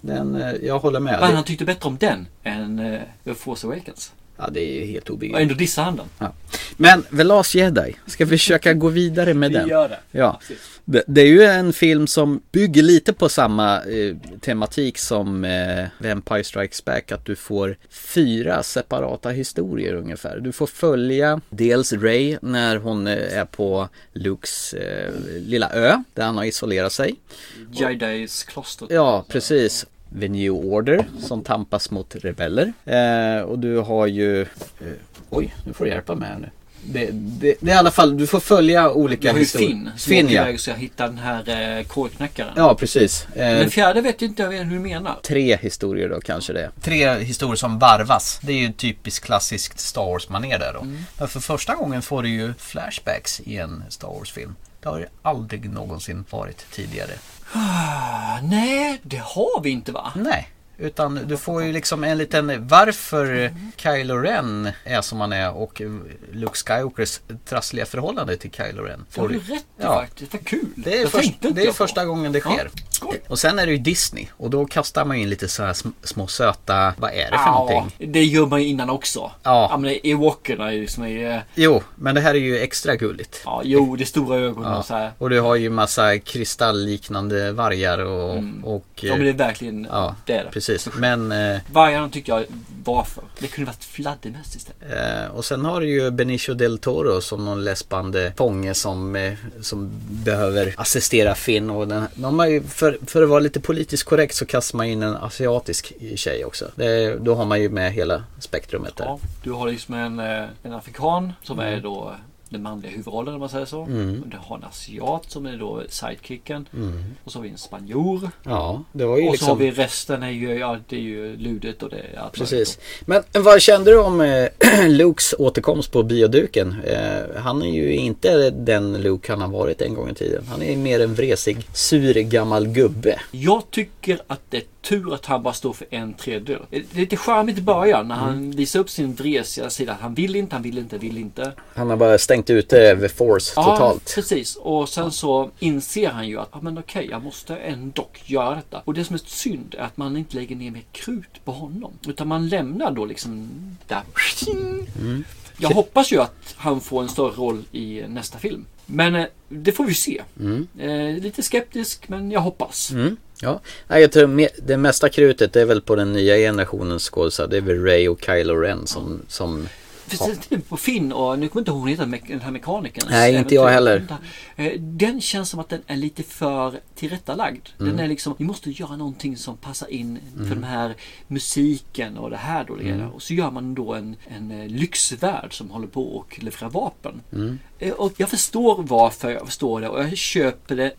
Speaker 4: Den, eh, jag håller med.
Speaker 3: Men
Speaker 4: Det,
Speaker 3: han tyckte bättre om den än eh, The Force Awakens.
Speaker 4: ja, det är ju helt
Speaker 3: Och
Speaker 4: obegripligt.
Speaker 3: ändå dissade han den.
Speaker 4: Ja. Men The Last Jedi, ska vi försöka gå vidare med den?
Speaker 3: det.
Speaker 4: Ja. Det, det är ju en film som bygger lite på samma eh, tematik som eh, Vampire Strikes Back, att du får fyra separata historier ungefär. Du får följa dels Ray när hon eh, är på Lukes eh, lilla ö, där han har isolerat sig.
Speaker 3: Jedis kloster.
Speaker 4: Ja, precis. The New Order som tampas mot rebeller. Eh, och du har ju... Eh, oj, nu får du hjälpa mig här nu. Det, det, det är i alla fall, du får följa
Speaker 3: Det
Speaker 4: olika
Speaker 3: var ju
Speaker 4: historier.
Speaker 3: Finn som
Speaker 4: Finn,
Speaker 3: åkte
Speaker 4: ja.
Speaker 3: iväg och ska hitta den här eh, kålknäckaren.
Speaker 4: Ja, precis. Eh,
Speaker 3: Den fjärde vet jag inte hur du menar.
Speaker 4: tre historier då kanske det är. Tre historier som varvas. Det är ju typiskt klassiskt Star Wars-manér där då. Men för första gången får du ju flashbacks i en Star Wars-film. Det har det aldrig någonsin varit tidigare.
Speaker 3: Ah, nej, det har vi inte va?
Speaker 4: Nej, utan du får ju liksom en liten varför Kylo Ren är som han är och Luke Skywalkers trassliga förhållande till Kylo Ren.
Speaker 3: Det
Speaker 4: Får
Speaker 3: har
Speaker 4: du-
Speaker 3: du rätt i
Speaker 4: Ja.
Speaker 3: faktiskt. Vad kul.
Speaker 4: Det är,
Speaker 3: jag
Speaker 4: först,
Speaker 3: tänkte inte
Speaker 4: det är
Speaker 3: jag på.
Speaker 4: första gången det
Speaker 3: Ja,
Speaker 4: sker.
Speaker 3: skoj.
Speaker 4: Och sen är det ju Disney och då kastar man ju in lite så här sm- små söta, vad är det för
Speaker 3: Ja,
Speaker 4: någonting?
Speaker 3: det gör man ju innan också.
Speaker 4: Ja.
Speaker 3: ja men ewokerna är ju som är... eh,
Speaker 4: Jo, men det här är ju extra gulligt.
Speaker 3: Ja, jo, det är stora ögonen och så här.
Speaker 4: Och du har ju massa kristallliknande vargar och... och
Speaker 3: Mm.
Speaker 4: eh,
Speaker 3: Ja, men det är verkligen...
Speaker 4: ja,
Speaker 3: det är det.
Speaker 4: precis. Men eh,
Speaker 3: Vargarna tyckte jag, varför? Det kunde varit fladdermöss istället.
Speaker 4: Eh, och sen har du ju Benicio del Toro som någon läspande fånge som, eh, som behöver assistera Finn. Och den, de har ju, för, för att vara lite politiskt korrekt så kastar man in en asiatisk tjej också. Det, då har man ju med hela spektrumet där.
Speaker 3: Ja, du har liksom en, eh, en afrikan som
Speaker 4: Mm.
Speaker 3: är då den manliga huvudrollen om man säger så. Och du har en asiat som är då sidekicken. Och så har vi en spanjor.
Speaker 4: Ja, Mm. det var ju
Speaker 3: Och så har
Speaker 4: liksom...
Speaker 3: vi resten är ju, ja det är ju ludet och det är allt
Speaker 4: Precis.
Speaker 3: möjligt.
Speaker 4: Men vad kände du om eh, <clears throat> Lukes återkomst på bioduken? Eh, han är ju inte den Luke han har varit en gång i tiden. Han är mer en vresig, sur gammal gubbe.
Speaker 3: Jag tycker att det är tur att han bara står för en tredjedel. Det är lite charmigt i början när han visar upp sin vresiga sida. Han vill inte, han vill inte, vill inte.
Speaker 4: Han har bara stängt ute The Force totalt.
Speaker 3: Ja, precis. Och sen så inser han ju att, ja men okej, jag måste ändå göra detta. Och det som är synd är att man inte lägger ner mer krut på honom. Utan man lämnar då liksom där. Jag hoppas ju att han får en större roll i nästa film. Men eh, det får vi se. Eh, lite skeptisk, men jag hoppas.
Speaker 4: Mm. Ja, Nej, jag tror me- det mesta krutet är väl på den nya generationens skådisar. Det är väl Ray och Kylo Ren som... som
Speaker 3: Finns det inte på Finn och nu kommer inte hon heta me- den här mekanikern.
Speaker 4: Nej, inte jag heller.
Speaker 3: Den känns som att den är lite för tillrättalagd. Den
Speaker 4: Mm.
Speaker 3: är liksom, vi måste göra någonting som passar in för den här musiken och det här då. Mm. Och så gör man då en, en eh, lyxvärld som håller på och levererar vapen.
Speaker 4: Mm.
Speaker 3: Eh, Och jag förstår varför jag förstår det och jag köper det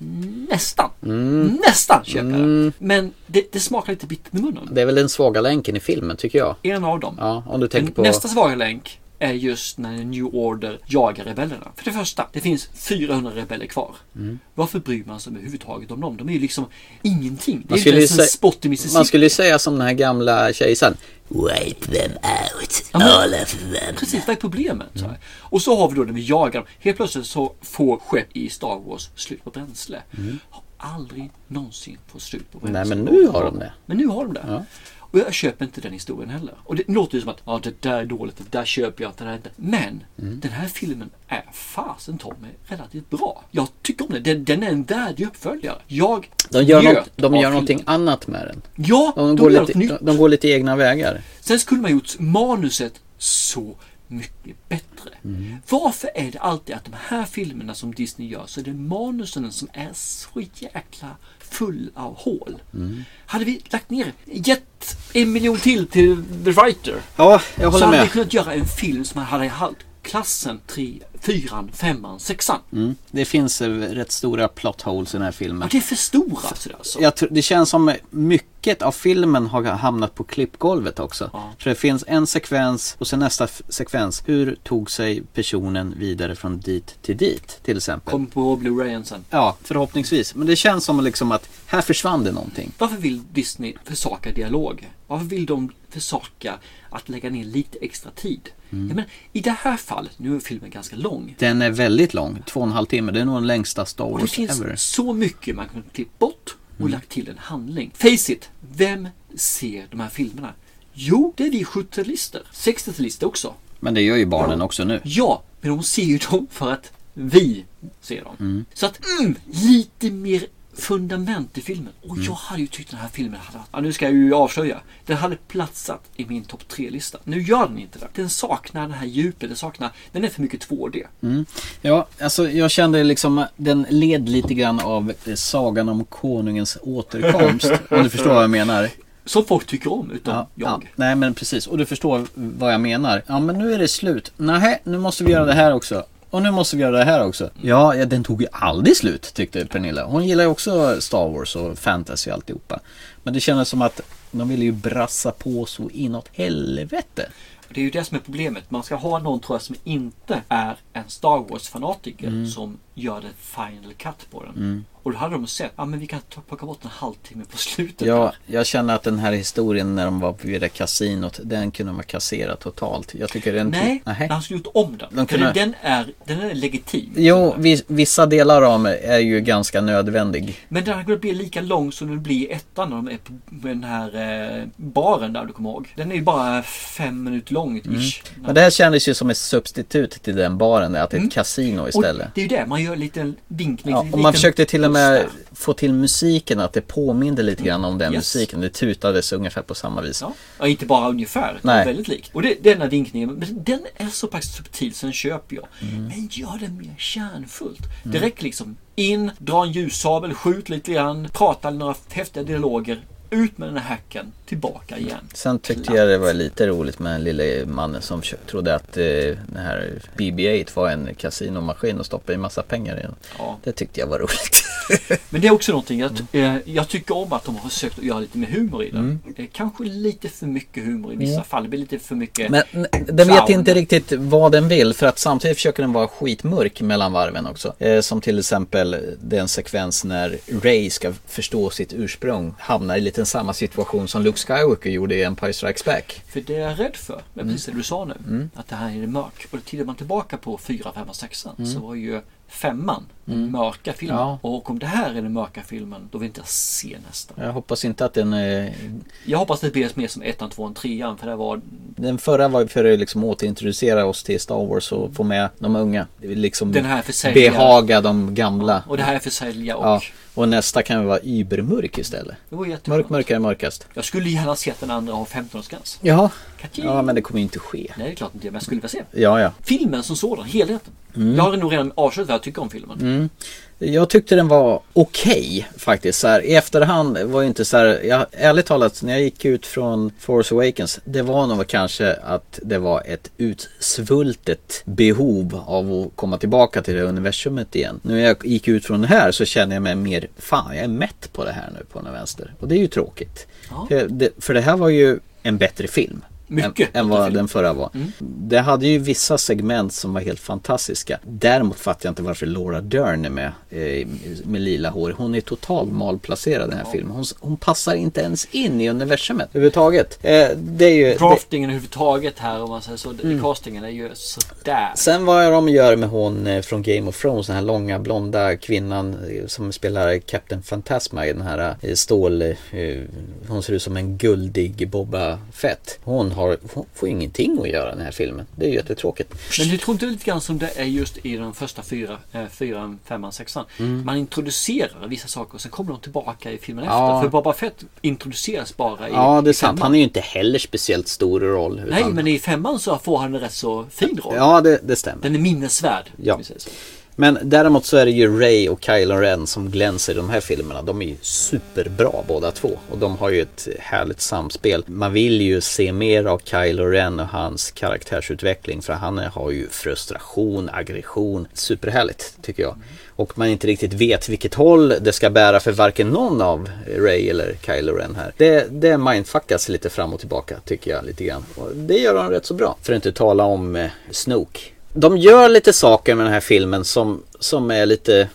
Speaker 3: nästan.
Speaker 4: Mm.
Speaker 3: Nästan köper jag det. Men det, det smakar lite bittert i munnen.
Speaker 4: det är väl den svaga länken i filmen tycker jag.
Speaker 3: En av dem.
Speaker 4: Ja, om du tänker
Speaker 3: Men
Speaker 4: på...
Speaker 3: Nästa svaga länk är just när New Order jagar rebellerna. För det första, det finns 400 rebeller kvar.
Speaker 4: Mm.
Speaker 3: Varför bryr man sig överhuvudtaget om dem? De är ju liksom ingenting. Det är ju inte
Speaker 4: ju
Speaker 3: ens en
Speaker 4: sä-
Speaker 3: spott i Mississippi.
Speaker 4: man skulle ju säga som den här gamla kejsaren. Wipe them out,
Speaker 3: men-
Speaker 4: all of them.
Speaker 3: Precis, vad är problemet? Så här.
Speaker 4: Mm.
Speaker 3: Och så har vi då när vi jagar dem. Helt plötsligt så får skepp i Star Wars slut på bränsle. Har aldrig någonsin fått slut på bränsle.
Speaker 4: Mm. Nej, men nu har de det.
Speaker 3: Men nu har de det. Och jag köper inte den historien heller. Och det låter ju som att ja, det där är dåligt, det där köper jag inte, det där är inte. Men
Speaker 4: Mm.
Speaker 3: den här filmen är fasen ta mig relativt bra. Jag tycker om den. Den, den är en värdig uppföljare. Jag
Speaker 4: De gör,
Speaker 3: njöt
Speaker 4: något, de
Speaker 3: av
Speaker 4: gör någonting
Speaker 3: filmen.
Speaker 4: annat med den.
Speaker 3: Ja,
Speaker 4: De, går
Speaker 3: gör
Speaker 4: lite,
Speaker 3: något nytt.
Speaker 4: de, de går lite egna vägar.
Speaker 3: Sen skulle man gjort manuset så mycket bättre.
Speaker 4: Mm.
Speaker 3: Varför är det alltid att de här filmerna som Disney gör så är det manusen som är så jäkla full av hål.
Speaker 4: Mm.
Speaker 3: Hade vi lagt ner, gett en miljon till till The Writer
Speaker 4: Ja, jag
Speaker 3: så
Speaker 4: håller
Speaker 3: hade vi
Speaker 4: med.
Speaker 3: kunnat göra en film som hade haft klassen tre fyran, femman, sexan.
Speaker 4: Mm. Det finns eh, rätt stora plot holes i den här filmen.
Speaker 3: Ja, det är för stora sådär alltså.
Speaker 4: Jag tror, det känns som mycket av filmen har hamnat på klippgolvet också. För det finns en sekvens och sen nästa f- sekvens. Hur tog sig personen vidare från dit till dit till exempel?
Speaker 3: Kom på Blu-rayen sen.
Speaker 4: Ja, förhoppningsvis. Men det känns som liksom att här försvann det någonting.
Speaker 3: Varför vill Disney försaka dialog? Varför vill de försaka att lägga ner lite extra tid? Jag menar, I det här fallet, nu är filmen ganska lång.
Speaker 4: Den är väldigt lång, två och en halv timme. Det är nog den längsta Star
Speaker 3: Och det
Speaker 4: Wars
Speaker 3: finns
Speaker 4: ever.
Speaker 3: så mycket man kunde klippt bort och lagt till en handling. Face it, vem ser de här filmerna? Jo, det är vi 70-talister. 60-talister också.
Speaker 4: Men det gör ju barnen också nu.
Speaker 3: Ja, men de ser ju dem för att vi ser dem. Så att, mm, lite mer fundament i filmen. Och jag hade ju tyckt den här filmen hade varit- ja, nu ska jag ju avslöja. Den hade platsat i min topp 3-lista. Nu gör den inte det. Den saknar det här djupet, den saknar, den är för mycket 2D.
Speaker 4: Ja, alltså jag kände liksom den led lite grann av eh, sagan om konungens återkomst. om du förstår vad jag menar.
Speaker 3: Som folk tycker om, utom jag.
Speaker 4: Nej men precis, och du förstår vad jag menar. Ja men nu är det slut. Nej, nu måste vi göra det här också. Och nu måste vi göra det här också. Ja, ja den tog ju aldrig slut tyckte Pernilla. Hon gillar ju också Star Wars och fantasy och alltihopa. Men det kändes som att de ville ju brassa på så inåt helvete.
Speaker 3: Det är ju det som är problemet. Man ska ha någon tror jag som inte är en Star Wars-fanatiker som gör det final cut på den. Och då hade de sett, ja men vi kan ta- plocka bort en halvtimme på slutet.
Speaker 4: Ja,
Speaker 3: där.
Speaker 4: jag känner att den här historien när de var vid det kasinot, den kunde de ha kasserat totalt. Jag tycker den...
Speaker 3: Nej,
Speaker 4: Nähä.
Speaker 3: han skulle gjort om den.
Speaker 4: De
Speaker 3: För
Speaker 4: kunde-
Speaker 3: den, är, den är legitim.
Speaker 4: Jo, vi- vissa delar av mig är ju ganska nödvändig.
Speaker 3: Men den hade kunnat bli lika lång som den blir i ettan när de är på den här eh, baren där du kommer ihåg. Den är ju bara fem minuter lång
Speaker 4: Mm.
Speaker 3: ish.
Speaker 4: Men det här kändes ju som ett substitut till den baren, att det är ett kasino
Speaker 3: Mm. Och
Speaker 4: istället.
Speaker 3: det är ju det, man gör en liten vinkning.
Speaker 4: Ja,
Speaker 3: en
Speaker 4: och man
Speaker 3: liten
Speaker 4: försökte till och
Speaker 3: puss
Speaker 4: med
Speaker 3: där.
Speaker 4: få till musiken att det påminde lite grann om den
Speaker 3: Mm. Yes.
Speaker 4: musiken. Det tutades ungefär på samma vis.
Speaker 3: Ja. ja, inte bara ungefär. utan
Speaker 4: Nej.
Speaker 3: Väldigt likt. Och det, denna vinkningen, men den är så pass subtil så den köper jag.
Speaker 4: Mm.
Speaker 3: Men gör den mer kärnfullt. Direkt liksom in, dra en ljussabel, skjut lite grann, prata några häftiga dialoger. Ut med den här hacken, tillbaka igen.
Speaker 4: Mm. Sen tyckte jag det var lite roligt med den lille mannen som kö- trodde att eh, den här BB-8 var en kasinomaskin och stoppade i massa pengar i den.
Speaker 3: Ja.
Speaker 4: Det tyckte jag var roligt. <laughs>
Speaker 3: Men det är också någonting, jag,
Speaker 4: Mm.
Speaker 3: eh, jag tycker om att de har försökt att göra lite mer humor i den. Eh, kanske lite för mycket humor i vissa fall. Det blir lite för mycket...
Speaker 4: Men den vet
Speaker 3: Clown.
Speaker 4: inte riktigt vad den vill för att samtidigt försöker den vara skitmörk mellan varven också. Eh, som till exempel den sekvens när Ray ska förstå sitt ursprung hamnar i lite samma situation som Luke Skywalker gjorde i Empire Strikes Back.
Speaker 3: För det är jag rädd för, men
Speaker 4: Mm.
Speaker 3: precis det du sa nu, att det här är mörk. Och tittar man tillbaka på 4, 5 och 6 så var ju femman den mörka filmen.
Speaker 4: Mm. Ja.
Speaker 3: Och om det här är den mörka filmen, då vill inte jag se nästa.
Speaker 4: Jag hoppas inte att den... Eh,
Speaker 3: Jag hoppas det blir mer som ettan, tvåan, trean, för det var...
Speaker 4: den förra var ju för att liksom återintroducera oss till Star Wars och få med de unga. Det vill Liksom
Speaker 3: Den här försälja-
Speaker 4: behaga de gamla.
Speaker 3: Och det här är försälja och...
Speaker 4: Ja, och nästa kan ju vara übermörk istället.
Speaker 3: Det var jättebra.
Speaker 4: Mörk, mörkare, mörkast.
Speaker 3: Jag skulle gärna se att den andra har 15-årsgräns.
Speaker 4: Jaha.
Speaker 3: Kaching.
Speaker 4: Ja, men det kommer ju inte ske.
Speaker 3: Nej, det är klart inte, men jag skulle vilja se.
Speaker 4: Ja, ja.
Speaker 3: Filmen som sådan, helheten.
Speaker 4: Mm.
Speaker 3: Jag har nog redan avslöjat vad jag tycker om filmen.
Speaker 4: Jag tyckte den var okej faktiskt. Så här, I efterhand var ju inte så här, jag, ärligt talat när jag gick ut från Force Awakens, det var nog kanske att det var ett utsvultet behov av att komma tillbaka till det universumet igen. Nu när jag gick ut från det här så känner jag mig mer, fan jag är mätt på det här nu på något vänster. Och det är ju tråkigt.
Speaker 3: Ja.
Speaker 4: För, det, för det här var ju en bättre film.
Speaker 3: Mycket
Speaker 4: än, än
Speaker 3: bättre
Speaker 4: vad
Speaker 3: film.
Speaker 4: den förra var. Det hade ju vissa segment som var helt fantastiska. Däremot fattar jag inte varför Laura Dern är med eh, med lila hår. Hon är totalt malplacerad i den här filmen. Hon, hon passar inte ens in i universumet överhuvudtaget. Eh, det är ju, det,
Speaker 3: Draftingen överhuvudtaget här, om man säger så.
Speaker 4: Mm.
Speaker 3: Castingen är ju sådär.
Speaker 4: sen vad de gör med hon eh, från Game of Thrones, den här långa blonda kvinnan eh, som spelar Captain Fantasma i den här eh, stål... Eh, hon ser ut som en guldig Boba Fett. Hon, har, hon får ju ingenting att göra i den här filmen. Det är ju jättetråkigt.
Speaker 3: Men du tror inte lite grann som det är just i den första fyra, eh, fyran, femman, sexan?
Speaker 4: Mm.
Speaker 3: Man introducerar vissa saker och sen kommer de tillbaka i filmen
Speaker 4: Ja.
Speaker 3: efter. För Boba Fett introduceras bara i
Speaker 4: Ja, det är
Speaker 3: i
Speaker 4: sant.
Speaker 3: femman.
Speaker 4: Han är ju inte heller speciellt stor i roll. Utan...
Speaker 3: Nej, men i femman så får han en rätt så fin roll.
Speaker 4: Ja, det, det stämmer.
Speaker 3: Den är minnesvärd. om
Speaker 4: Ja.
Speaker 3: vi säger så.
Speaker 4: Men däremot så är det ju Ray och Kylo Ren som glänser i de här filmerna. De är ju superbra båda två och de har ju ett härligt samspel. Man vill ju se mer av Kylo Ren och hans karaktärsutveckling för han har ju frustration, aggression. Superhärligt tycker jag. Och man inte riktigt vet vilket håll det ska bära för varken någon av Ray eller Kylo Ren här. Det, det mindfuckas lite fram och tillbaka tycker jag lite grann. Och det gör de rätt så bra. För att inte tala om eh, Snoke. De gör lite saker med den här filmen som, som är lite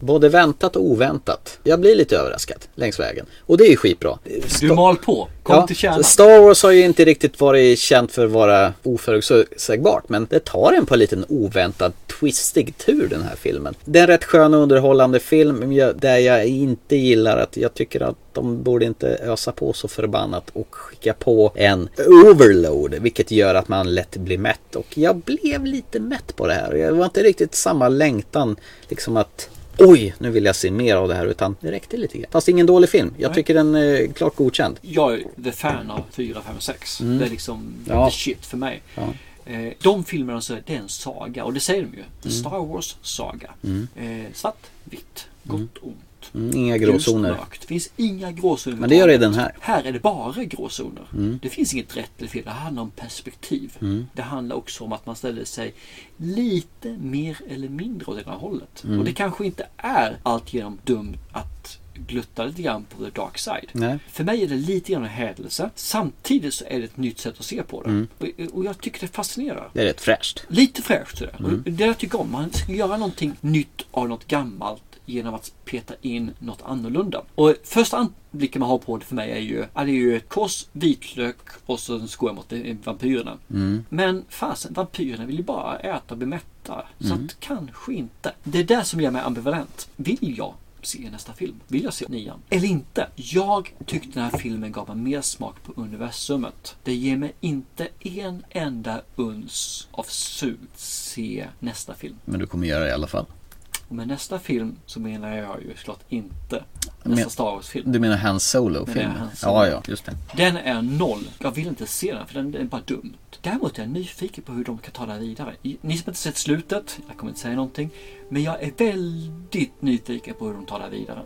Speaker 4: både väntat och oväntat. Jag blir lite överraskad längs vägen. Och det är ju skitbra.
Speaker 3: Du mal på. Kom
Speaker 4: Ja,
Speaker 3: till kärnan.
Speaker 4: Star Wars har ju inte riktigt varit känt för att vara oförutsägbart men det tar en på en liten oväntad twistig tur den här filmen. Det är en rätt skön och underhållande film men jag- där jag inte gillar att jag tycker att de borde inte ösa på så förbannat och skicka på en overload vilket gör att man lätt blir mätt och jag blev lite mätt på det här. Det var inte riktigt samma längtan liksom att Oj, nu vill jag se mer av det här utan det räckte lite grann. Fast ingen dålig film. Jag tycker den är klart godkänd.
Speaker 3: jag är the fan av 4, 5, 6. Det är liksom
Speaker 4: Mm. Ja.
Speaker 3: the shit för mig. Eh, De filmerna så är det är en saga och det säger de ju. The
Speaker 4: Mm.
Speaker 3: Star Wars saga. Eh, svart, vitt, gott, ont.
Speaker 4: Mm, Inga
Speaker 3: ljust,
Speaker 4: gråzoner.
Speaker 3: mörkt. Det finns inga gråzoner.
Speaker 4: Men det gör det i den här. Mm.
Speaker 3: Här är det bara gråzoner. Det finns inget rätt eller fel. Det handlar om perspektiv. Det handlar också om att man ställer sig lite mer eller mindre åt ena hållet.
Speaker 4: Mm.
Speaker 3: Och det kanske inte är alltigenom dumt att glutta lite grann på the dark side.
Speaker 4: Nej.
Speaker 3: För mig är det lite grann en hädelse. Samtidigt så är det ett nytt sätt att se på det.
Speaker 4: Mm.
Speaker 3: Och, och jag tycker det fascinerar.
Speaker 4: Det är rätt fräscht.
Speaker 3: Lite fräscht sådär. Mm. Det jag tycker om. Man ska göra någonting nytt av något gammalt genom att peta in något annorlunda. Och första anblicken man har på det för mig är ju, ja, det är ju ett kors, vitlök och så en skoja mot eh, vampyrerna. Men fasen, vampyrerna vill ju bara äta och bli mätta. Så att kanske inte. Det är det som gör mig ambivalent. Vill jag se nästa film? Vill jag se nian? Eller inte? Jag tyckte den här filmen gav mig mer smak på universumet. Det ger mig inte en enda uns av sug. Se nästa film.
Speaker 4: Men du kommer göra det i alla fall.
Speaker 3: Och med nästa film så menar jag ju såklart inte
Speaker 4: Men-
Speaker 3: nästa Star Wars-film.
Speaker 4: Du menar hans solofilm?
Speaker 3: Menar jag hans solo.
Speaker 4: Ja, ja, just det.
Speaker 3: Den är noll. Jag vill inte se den för den är bara dumt. Däremot är jag nyfiken på hur de kan ta det här vidare. I- Ni som inte sett slutet, jag kommer inte säga någonting. Men jag är väldigt nyfiken på hur de tar det här vidare.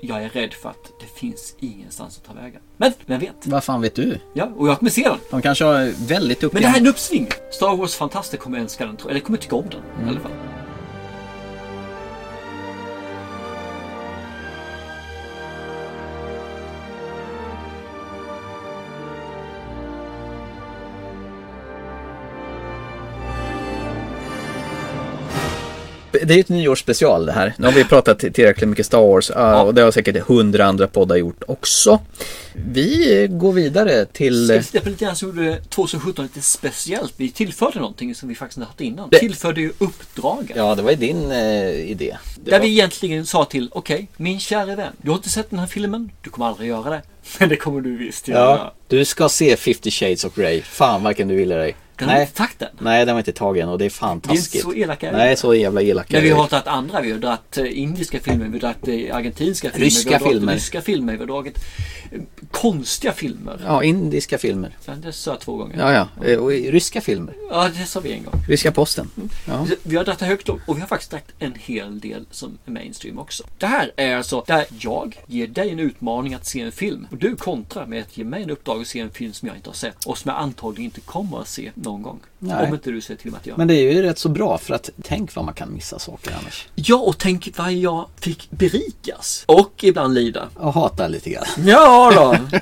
Speaker 3: Jag är rädd för att det finns ingenstans att ta vägen. Men vem vet?
Speaker 4: Vad fan vet du?
Speaker 3: Ja, och jag kommer se den.
Speaker 4: De kanske har väldigt
Speaker 3: Men det här
Speaker 4: uppgivna...
Speaker 3: är en uppsving. Star Wars-fantaster kommer älska den, tror jag. eller kommer tycka om den i alla fall.
Speaker 10: Det är ju ett nyårsspecial det här. Nu har vi pratat tillräckligt mycket Star Wars eh, och det har säkert hundra andra poddar gjort också. Vi går vidare till...
Speaker 3: Ska vi titta på lite grann så gjorde 2017 lite speciellt. Vi tillförde någonting som vi faktiskt inte haft innan.
Speaker 10: Det-
Speaker 3: Tillförde ju uppdragen.
Speaker 4: Ja, det var ju din eh, idé. Det
Speaker 3: Där
Speaker 4: var-
Speaker 3: vi egentligen sa till, okej, min kära vän, du har inte sett den här filmen, du kommer aldrig göra det. <laughs> Men det kommer du visst göra.
Speaker 4: Ja, du ska se 50 shades of Grey. Fan varken du ville dig.
Speaker 3: Den har vi inte tagit än.
Speaker 4: Nej, den var inte tagen och det är fantastiskt.
Speaker 3: Vi är inte så elaka.
Speaker 4: Nej, så jävla elaka.
Speaker 3: Men vi
Speaker 4: är
Speaker 3: har tagit andra, vi har dragit eh, indiska filmer, vi har dragit eh, argentinska filmer,
Speaker 4: Ryska
Speaker 3: vi har dragit
Speaker 4: filmer.
Speaker 3: ryska filmer, vi har dragit eh, konstiga filmer.
Speaker 4: Ja, indiska filmer.
Speaker 3: Ja. Det sa jag två gånger.
Speaker 4: Ja, ja. Eh, Och i- ryska filmer.
Speaker 3: Ja, det sa vi en gång.
Speaker 4: Ryska posten. Ja.
Speaker 3: Vi har dragit det högt upp och vi har faktiskt dragit en hel del som är mainstream också. Det här är alltså där jag ger dig en utmaning att se en film och du kontrar med att ge mig en uppdrag att se en film som jag inte har sett och som jag antagligen inte kommer att se någon gång.
Speaker 4: Nej.
Speaker 3: Om inte du säger till mig att jag...
Speaker 4: Men det är ju rätt så bra för att tänk vad man kan missa saker annars.
Speaker 3: Ja, och tänk vad jag fick berikas och ibland lida.
Speaker 4: Och hata lite grann.
Speaker 3: Ja <laughs> då!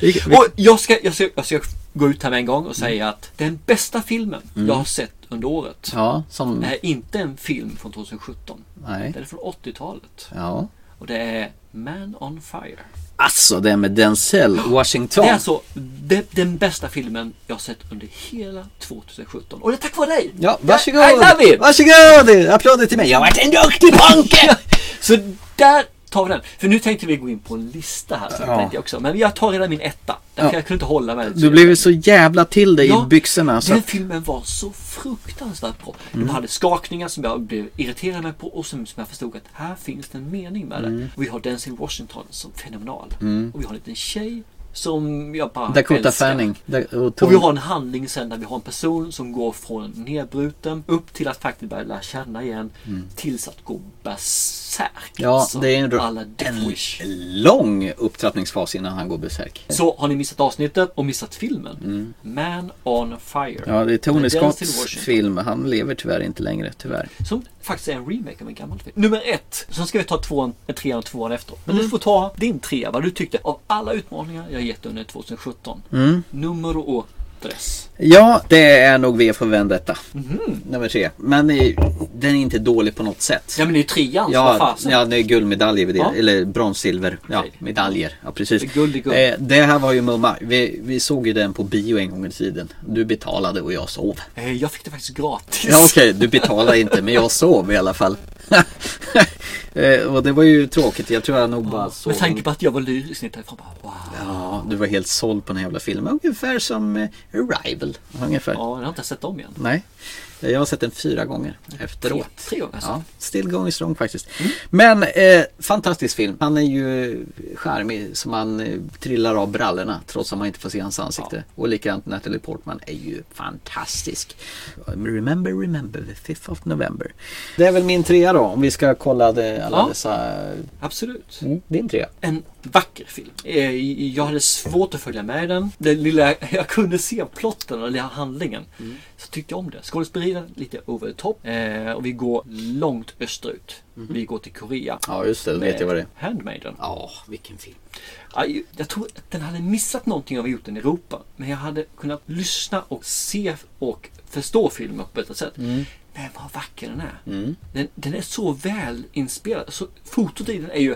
Speaker 4: Vi, vi,
Speaker 3: Och jag ska, jag, ska, jag ska gå ut här med en gång och säga att den bästa filmen jag har sett under året
Speaker 4: ja, som...
Speaker 3: är inte en film från 2017.
Speaker 4: Nej.
Speaker 3: Den är från 80-talet.
Speaker 4: Ja.
Speaker 3: Och det är Man on Fire.
Speaker 4: Alltså det med Denzel Washington.
Speaker 3: Det är alltså de, den bästa filmen jag har sett under hela 2017. Och det är tack vare dig!
Speaker 4: Ja, varsågod!
Speaker 3: I love it!
Speaker 4: Varsågod! Applåder till mig! Jag har varit en duktig panke!
Speaker 3: Så där tar vi den. För nu tänkte vi gå in på en lista här. Så
Speaker 4: Ja.
Speaker 3: tänkte jag också. Men jag tar redan min etta. Därför
Speaker 4: Ja.
Speaker 3: jag kunde inte hålla mig.
Speaker 10: Du blev ju så jävla till dig i byxorna. Så
Speaker 3: den
Speaker 10: att...
Speaker 3: filmen var så fruktansvärt bra.
Speaker 4: Mm.
Speaker 3: De hade skakningar som jag blev irriterad med på och som, som jag förstod att
Speaker 4: Mm.
Speaker 3: här finns det en mening med det. Och vi har Denzel Washington som fenomenal. Och vi har en liten tjej Som jag bara
Speaker 4: Dakota
Speaker 3: älskar.
Speaker 4: Fanning. Da- Tony-
Speaker 3: Och vi har en handling sen där vi har en person som går från nedbruten upp till att faktiskt börja lära känna igen tills att gå berserk.
Speaker 4: Mm. Ja,
Speaker 3: alltså.
Speaker 4: det är en,
Speaker 3: Alla Death
Speaker 4: en
Speaker 3: Wish.
Speaker 4: lång upptrappningsfas innan han går besärk.
Speaker 3: Så har ni missat avsnittet och missat filmen. Man on Fire.
Speaker 4: Mm. Ja, det är Tony
Speaker 3: Med Denzel
Speaker 4: Scotts
Speaker 3: Washington.
Speaker 4: film. Han lever tyvärr inte längre, tyvärr.
Speaker 3: Som faktiskt är en remake av en gammal film. Nummer ett. Sen ska vi ta tvåan, eh, trean och tvåan efter. Men
Speaker 4: Mm.
Speaker 3: du får ta din trea, vad du tyckte av alla utmaningar jag gett under 2017.
Speaker 4: Mm.
Speaker 3: Nummer och dress.
Speaker 4: Ja, det är nog V för vän detta.
Speaker 3: Mhm.
Speaker 4: Nummer tre. Men det är- den är inte dålig på något sätt.
Speaker 3: Ja men det är ju trean, så vad
Speaker 4: Ja,
Speaker 3: fasen.
Speaker 4: ja, det är guldmedaljer vid det.
Speaker 3: Ja.
Speaker 4: Eller brons, silver. Ja,
Speaker 3: Okej.
Speaker 4: medaljer. Ja, precis.
Speaker 3: Det är guld i guld.
Speaker 4: Eh, det här var ju mumma. Vi, vi såg ju den på bio en gång i tiden. Du betalade och jag sov.
Speaker 3: Eh, Jag fick det faktiskt gratis.
Speaker 4: Ja, okej, du betalade inte, men jag sov i alla fall. <laughs> Eh, och det var ju tråkigt. Jag tror jag nog bara sov.
Speaker 3: Med tanke på att jag var lyrisk när jag bara wow.
Speaker 4: Ja, du var helt såld på den här jävla filmen. Ungefär som eh, Arrival. Ungefär.
Speaker 3: Ja, jag har inte sett om igen.
Speaker 4: Nej. Eh, Jag har sett den fyra gånger efteråt.
Speaker 3: Tre, tre gånger alltså.
Speaker 4: Ja, still going strong faktiskt. Men eh, fantastisk film. Han är ju charmig som man eh, trillar av brallorna trots att man inte får se hans ansikte. Och likadant Natalie Portman är ju fantastisk. Remember, remember the 5th of November. Det är väl min trea då om vi ska kolla det, alla
Speaker 3: Ja.
Speaker 4: dessa...
Speaker 3: Absolut.
Speaker 4: Mm, din trea.
Speaker 3: En vacker film. Eh, Jag hade svårt att följa med i den. Det lilla <laughs> jag kunde se plotten och lilla handlingen.
Speaker 4: Mm.
Speaker 3: Så tyckte jag om det. Skådespeleriet lite over the top. Eh, Och vi går långt österut. Vi går till Korea.
Speaker 4: Mhm.
Speaker 3: Eh,
Speaker 4: Ja, just det. Då vet jag vad det är.
Speaker 3: Handmaiden.
Speaker 4: Ja, vilken film.
Speaker 3: Aj, Jag tror att den hade missat någonting av gjort den i Europa. Men jag hade kunnat lyssna och se och förstå filmen på ett annat sätt.
Speaker 4: Mm.
Speaker 3: Men vad vacker den är. Den, den är så väl inspelad. Så fotot i den är ju...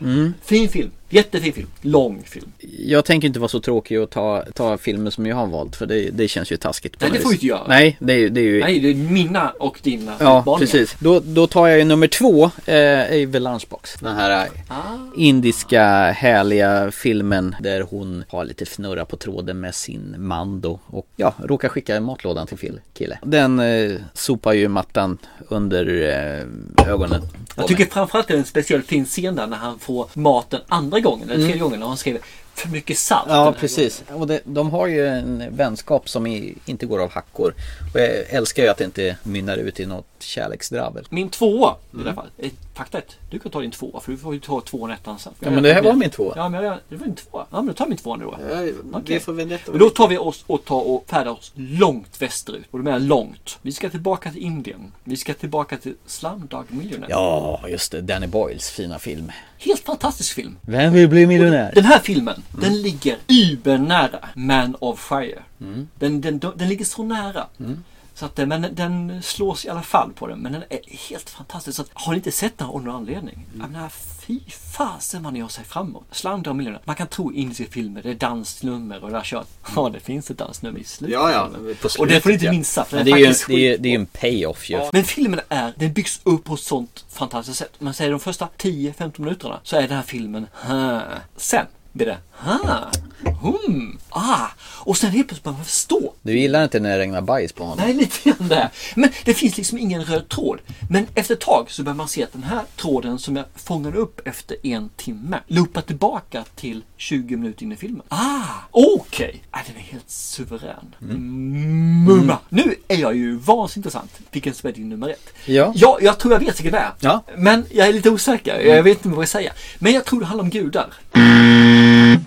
Speaker 4: Mm.
Speaker 3: Fin film. Jättefin film. Lång film.
Speaker 4: Jag tänker inte vara så tråkig och ta, ta filmer som jag har valt för det, det känns ju taskigt. på
Speaker 3: Nej,
Speaker 4: något
Speaker 3: det får
Speaker 4: vis.
Speaker 3: du inte göra.
Speaker 4: Nej, det är, ju- det är ju
Speaker 3: Nej, det är mina och dina
Speaker 4: Ja,
Speaker 3: utmaningar.
Speaker 4: precis. Då, då tar jag ju nummer två, eh, är ju The Lunchbox. Den här eh,
Speaker 3: Ah.
Speaker 4: indiska härliga filmen där hon har lite fnurra på tråden med sin man då. Och ja, råkar skicka matlådan till fel kille. Den eh, sopar ju mattan under eh, ögonen.
Speaker 3: Jag tycker framförallt det är en speciell fin scen där när han får maten andra gången, eller tredje gången, när han skriver för mycket salt. den här
Speaker 4: Mm. Ja,
Speaker 3: gången."
Speaker 4: precis. Och det, de har ju en vänskap som i, inte går av hackor. Och jag älskar ju att det inte mynnar ut i något kärleksdravel.
Speaker 3: Min tvåa
Speaker 4: Mm.
Speaker 3: i det här fallet. Eh, Fakta ett, du kan ta din tvåa för du får ju ta tvåan och ettan sen.
Speaker 4: Ja, men det här var min tvåa.
Speaker 3: Ja, men jag, det var din tvåa. Ja, men då tar min tvåa nu då. Okej.
Speaker 4: Vendetta.
Speaker 3: Men då tar vi oss och tar och färdar oss långt västerut. Och då menar jag långt. Vi ska tillbaka till Indien. Vi ska tillbaka till Slumdog Millionaire.
Speaker 4: Ja, just det. Danny Boyles fina film.
Speaker 3: Helt fantastisk film.
Speaker 4: Vem vill bli miljonär?
Speaker 3: Den här filmen, den ligger übernära Man of Fire. Den, den, den ligger så nära. Så att, den- men den slås i alla fall på den. Men den är helt fantastisk. Så att, har ni inte sett den av någon anledning?
Speaker 4: Mm.
Speaker 3: Jag menar, fy fasen vad ni har sig framåt. Slamdra och miljoner. Man kan tro indiska filmer, det är dansnummer och det här kört. <laughs> Ja, det finns ett dansnummer i slutet.
Speaker 4: Ja, ja,
Speaker 3: av
Speaker 4: på
Speaker 3: filmen. och det
Speaker 4: slutet,
Speaker 3: får ni inte
Speaker 4: ja.
Speaker 3: missa. För
Speaker 4: Men
Speaker 3: den
Speaker 4: det är ju
Speaker 3: faktiskt
Speaker 4: det är,
Speaker 3: skit-
Speaker 4: det är ju en payoff ju.
Speaker 3: Men filmen är, den byggs upp på ett sånt fantastiskt sätt. Man säger de första 10-15 minuterna så är den här filmen "Hä." Sen blir det ha, hum, ah. Och sen helt plötsligt börjar man förstå.
Speaker 4: Du gillar inte när det regnar bajs på honom?
Speaker 3: Nej, lite grann där. Men det finns liksom ingen röd tråd. Men efter ett tag så börjar man se att den här tråden som jag fångade upp efter en timme loopar tillbaka till 20 minuter in i filmen. Ah, okej. Ah, den är helt suverän.
Speaker 4: Mm.
Speaker 3: Mumma. Nu är jag ju vansinnigt intressant. Vilken som är din nummer ett.
Speaker 4: Ja.
Speaker 3: ja, jag tror jag vet vilken det är.
Speaker 4: Ja. Mm.
Speaker 3: Men jag är lite osäker. Jag vet inte vad jag säger. Men jag tror det handlar om gudar.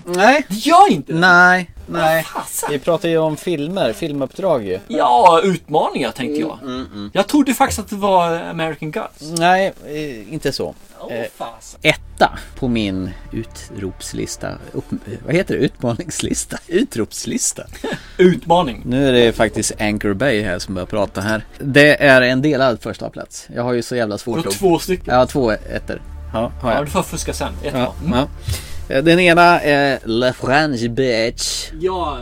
Speaker 4: Nej.
Speaker 3: Det gör inte det.
Speaker 4: Nej. Nej.
Speaker 3: Fasen.
Speaker 4: Vi pratar ju om filmer, filmuppdrag ju.
Speaker 3: Ja, utmaningar tänkte jag.
Speaker 4: Mm,
Speaker 3: Jag trodde faktiskt att det var American Gods.
Speaker 4: Nej, eh, inte så.
Speaker 3: Åh fasen.
Speaker 4: Etta på min utropslista. Upp, eh, vad heter det? Utmaningslista? Utropslista.
Speaker 3: Utmaning.
Speaker 4: Nu är det faktiskt Anchor Bay här som börjar prata här. Det är en delad första plats. Jag har ju så jävla
Speaker 3: Du
Speaker 4: svårt
Speaker 3: har
Speaker 4: att...
Speaker 3: två stycken.
Speaker 4: Ja, två ettor. Ja, har
Speaker 3: Ja,
Speaker 4: jag.
Speaker 3: du får fuska sen. Ett Mm.
Speaker 4: Ja,
Speaker 3: ja.
Speaker 4: ja. Eh, Den ena är La Frange Bitch.
Speaker 3: ja,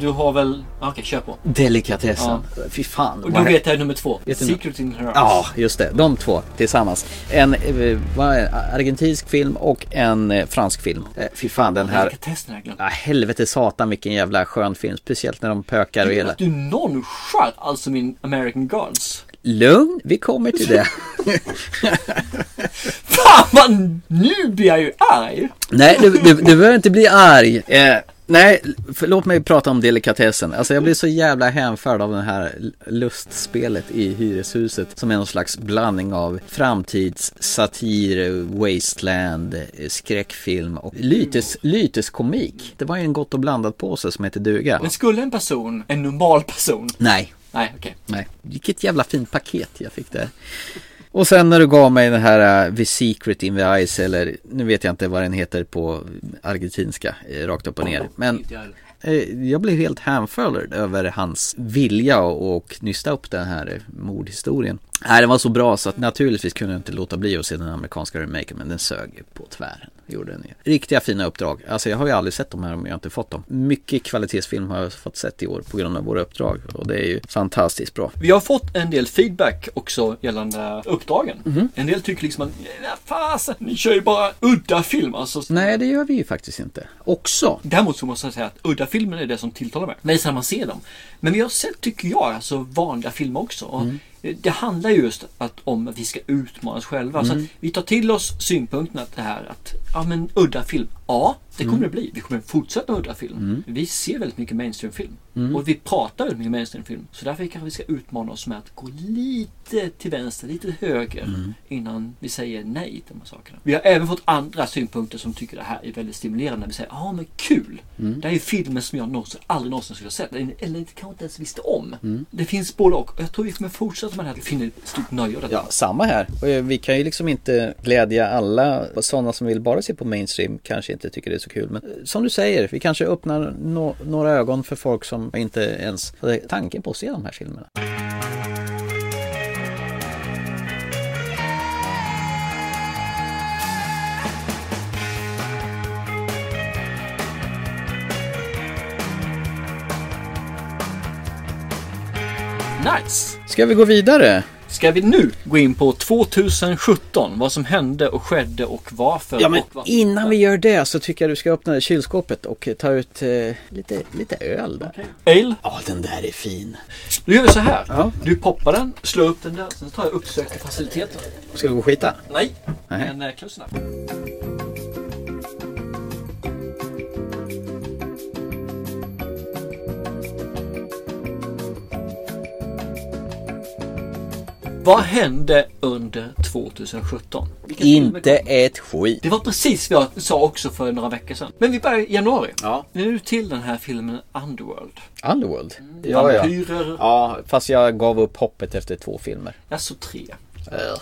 Speaker 3: du har väl... Okej, kör på.
Speaker 4: Delikatessen. Fy fan.
Speaker 3: Och då
Speaker 4: vad-
Speaker 3: vet jag nummer två.
Speaker 4: Vet du-
Speaker 3: Secret in her eyes.
Speaker 4: Ja, just det. De två tillsammans. En eh, vad är det? argentinsk film och en eh, fransk film. Eh, Fy fan den här.
Speaker 3: Vilka testen jag glömt.
Speaker 4: Ja, helvete satan vilken jävla skön film. Speciellt när de pökar och hela.
Speaker 3: Du nonchalant alltså min American Gods. <laughs>
Speaker 4: Lugn, vi kommer till det.
Speaker 3: Fan vad, nu blir jag ju arg!
Speaker 4: Nej, du, du, du behöver inte bli arg. Eh, nej, för, låt mig prata om delikatessen. Alltså jag blir så jävla hänförd av det här l- lustspelet i hyreshuset som är någon slags blandning av framtidssatir, wasteland, eh, skräckfilm och lytes, lyteskomik. Det var ju en gott och blandat påse som heter duga.
Speaker 3: Men skulle en person, en normal person,
Speaker 4: Nej,
Speaker 3: nej okej.
Speaker 4: nej. Vilket jävla fint paket jag fick där. Och sen när du gav mig den här eh, The Secret in the Ice eller nu vet jag inte vad den heter på argentinska eh, rakt upp och ner. Men eh, jag blev helt hänförd över hans vilja och, och nysta upp den här eh, mordhistorien. Nej, den var så bra så att naturligtvis kunde jag inte låta bli att se den amerikanska remaken men den sög ju på tvären. Gjorde den ju. Riktiga fina uppdrag. Alltså jag har ju aldrig sett de här om jag inte fått dem. Mycket kvalitetsfilm har jag fått sett i år på grund av våra uppdrag och det är ju fantastiskt bra.
Speaker 3: Vi har fått en del feedback också gällande uppdragen.
Speaker 4: Mhm.
Speaker 3: En del tycker liksom att, "Nej, fasen, ni kör ju bara udda film alltså.
Speaker 4: Nej, det gör vi ju faktiskt inte. Också.
Speaker 3: Däremot så måste jag säga att udda filmer är det som tilltalar mig. När man ser dem. Men vi har sett, tycker jag, alltså vanliga filmer också. Och Det handlar just att, om att vi ska utmana oss själva. Så att vi tar till oss synpunkten att det här att ja, men udda film, ja det kommer det bli. Vi kommer fortsätta med udda film. Vi ser väldigt mycket mainstreamfilm. Och vi pratar väldigt mycket mainstreamfilm. Så därför kanske vi ska utmana oss med att gå lite till vänster, lite höger
Speaker 4: Mm.
Speaker 3: innan vi säger nej till de här sakerna. Vi har även fått andra synpunkter som tycker det här är väldigt stimulerande. Vi säger, ja ah, men kul!
Speaker 4: Mm.
Speaker 3: Det här är filmer som jag någonsin, aldrig någonsin skulle ha sett. Eller eller kanske inte ens visste om.
Speaker 4: Mm.
Speaker 3: Det finns både och. Och Jag tror vi kommer fortsätta med det här. Vi finner ett stort nöje av detta.
Speaker 4: Ja, samma här. Och eh, vi kan ju liksom inte glädja alla. Sådana som vill bara se på mainstream kanske inte tycker det är så kul. Men eh, som du säger, vi kanske öppnar nå- några ögon för folk som inte ens hade tanken på att se de här filmerna.
Speaker 3: Nice!
Speaker 4: Ska vi gå vidare?
Speaker 3: Ska vi nu gå in på 2017? Vad som hände och skedde och varför?
Speaker 4: Ja, men
Speaker 3: och vad-
Speaker 4: innan vi gör det så tycker jag du ska öppna kylskåpet och eh, ta ut eh, lite, lite öl där. Ja,
Speaker 3: Ale?
Speaker 4: den där är fin.
Speaker 3: Nu gör vi så här.
Speaker 4: Ja.
Speaker 3: Du poppar den, slår upp den där, sen tar jag uppsöker faciliteten.
Speaker 4: Ska vi gå och skita?
Speaker 3: Nej,
Speaker 4: Nej.
Speaker 3: men eh, close enough. Vad hände under 2017? Vilka filmer
Speaker 4: Inte
Speaker 3: kom?
Speaker 4: ett skit.
Speaker 3: Det var precis vad jag sa också för några veckor sedan. Men vi börjar i januari.
Speaker 4: Ja.
Speaker 3: Nu till den här filmen Underworld.
Speaker 4: Underworld?
Speaker 3: Vampyrer.
Speaker 4: Ja, fast jag gav upp hoppet efter två filmer.
Speaker 3: Jag såg tre.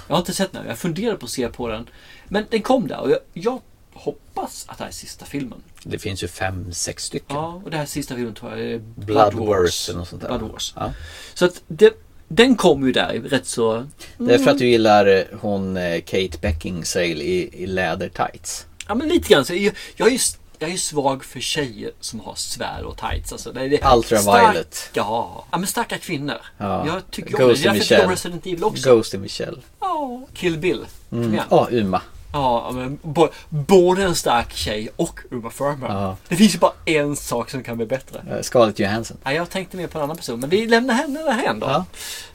Speaker 3: Jag har inte sett den. Jag funderade på att se på den. Men den kom där och jag, jag hoppas att det här är sista filmen.
Speaker 4: Det finns ju fem, sex stycken.
Speaker 3: Ja, och det här sista filmen tror jag är Blood,
Speaker 4: Wars eller något sånt där.
Speaker 3: Blood Wars.
Speaker 4: Ja.
Speaker 3: Så att det, den kom ju där i rätt så...
Speaker 4: Det är för att du gillar eh, hon eh, Kate Beckinsale i, i läder tights.
Speaker 3: Ja, men lite grann så. Jag, jag är ju... s- Jag är ju svag för tjejer som har svärd och tights. Alltså, det är det
Speaker 4: Ultraviolet.
Speaker 3: Stark, ja. ja, men starka kvinnor.
Speaker 4: Ja.
Speaker 3: Jag tycker om
Speaker 4: Ghost
Speaker 3: det. Därför
Speaker 4: in the
Speaker 3: tycker jag om
Speaker 4: Shell.
Speaker 3: Resident Evil också.
Speaker 4: Ghost in Michelle.
Speaker 3: Ja. Kill Bill. Kom igen.
Speaker 4: Ja, Uma.
Speaker 3: Ja, men bo- både en stark tjej och Uma Thurman.
Speaker 4: Ja.
Speaker 3: Det finns ju bara en sak som kan bli bättre.
Speaker 4: Eh, Scarlett Johansson.
Speaker 3: Ja, jag tänkte mer på en annan person, men vi lämnar henne därhän då.
Speaker 4: Ja.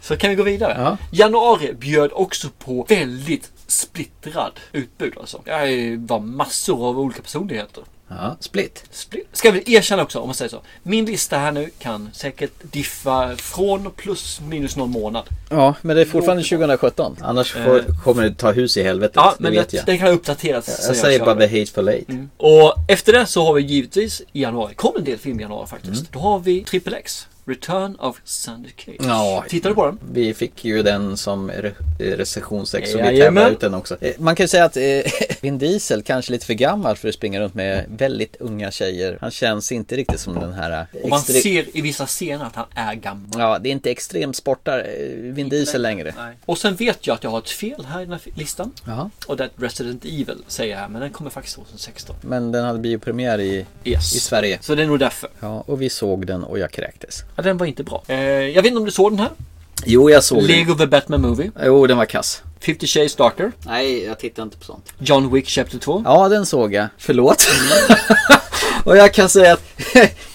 Speaker 3: Så kan vi gå vidare.
Speaker 4: Ja.
Speaker 3: Januari bjöd också på väldigt splittrad utbud alltså. Jag är- var massor av olika personligheter.
Speaker 4: Ja, Split.
Speaker 3: Split. Ska vi erkänna också, om man säger så. Min lista här nu kan säkert diffa från plus minus någon månad.
Speaker 4: Ja, men det är fortfarande 2017. Annars får, kommer det ta hus i helvetet.
Speaker 3: Eh. Ja,
Speaker 4: det
Speaker 3: men
Speaker 4: vet
Speaker 3: det,
Speaker 4: jag.
Speaker 3: den kan uppdateras.
Speaker 4: jag,
Speaker 3: sen jag
Speaker 4: säger
Speaker 3: kör
Speaker 4: bara
Speaker 3: den.
Speaker 4: The Hateful Eight.
Speaker 3: Mm. Och efter det så har vi givetvis i januari, kom en del film i januari faktiskt.
Speaker 4: Mm.
Speaker 3: Då har vi Triple X, Return of Sandy Cage.
Speaker 4: Ja.
Speaker 3: Tittar du på den?
Speaker 4: Vi fick ju den som re- recensionsex så vi
Speaker 3: Jajamän.
Speaker 4: tävlar ut den också. Eh, Man kan ju säga att eh, <laughs> Vin Diesel kanske är lite för gammal för att springa runt med väldigt unga tjejer. Han känns inte riktigt som den här... eh,
Speaker 3: Och man
Speaker 4: extre-
Speaker 3: ser i vissa scener att han är gammal.
Speaker 4: Ja, det är inte extrem sportar eh, Vin Diesel längre.
Speaker 3: Och sen vet jag att jag har ett fel här i den här listan.
Speaker 4: Jaha.
Speaker 3: Och det är Resident Evil säger jag här, men den kommer faktiskt 2016.
Speaker 4: Men den hade biopremiär i,
Speaker 3: Yes.
Speaker 4: i Sverige.
Speaker 3: Så det är nog därför.
Speaker 4: Ja, och vi såg den och jag kräktes.
Speaker 3: Ja, den var inte bra. Eh, jag vet inte om du såg den här?
Speaker 4: Jo, jag såg
Speaker 3: Lego The Batman Movie,
Speaker 4: den. Jo, den var kass.
Speaker 3: 50 Shades Darker,
Speaker 4: Nej, jag tittar inte på sånt.
Speaker 3: John Wick Chapter 2.
Speaker 4: Ja, den såg jag. Förlåt. <laughs> <laughs> och jag kan säga att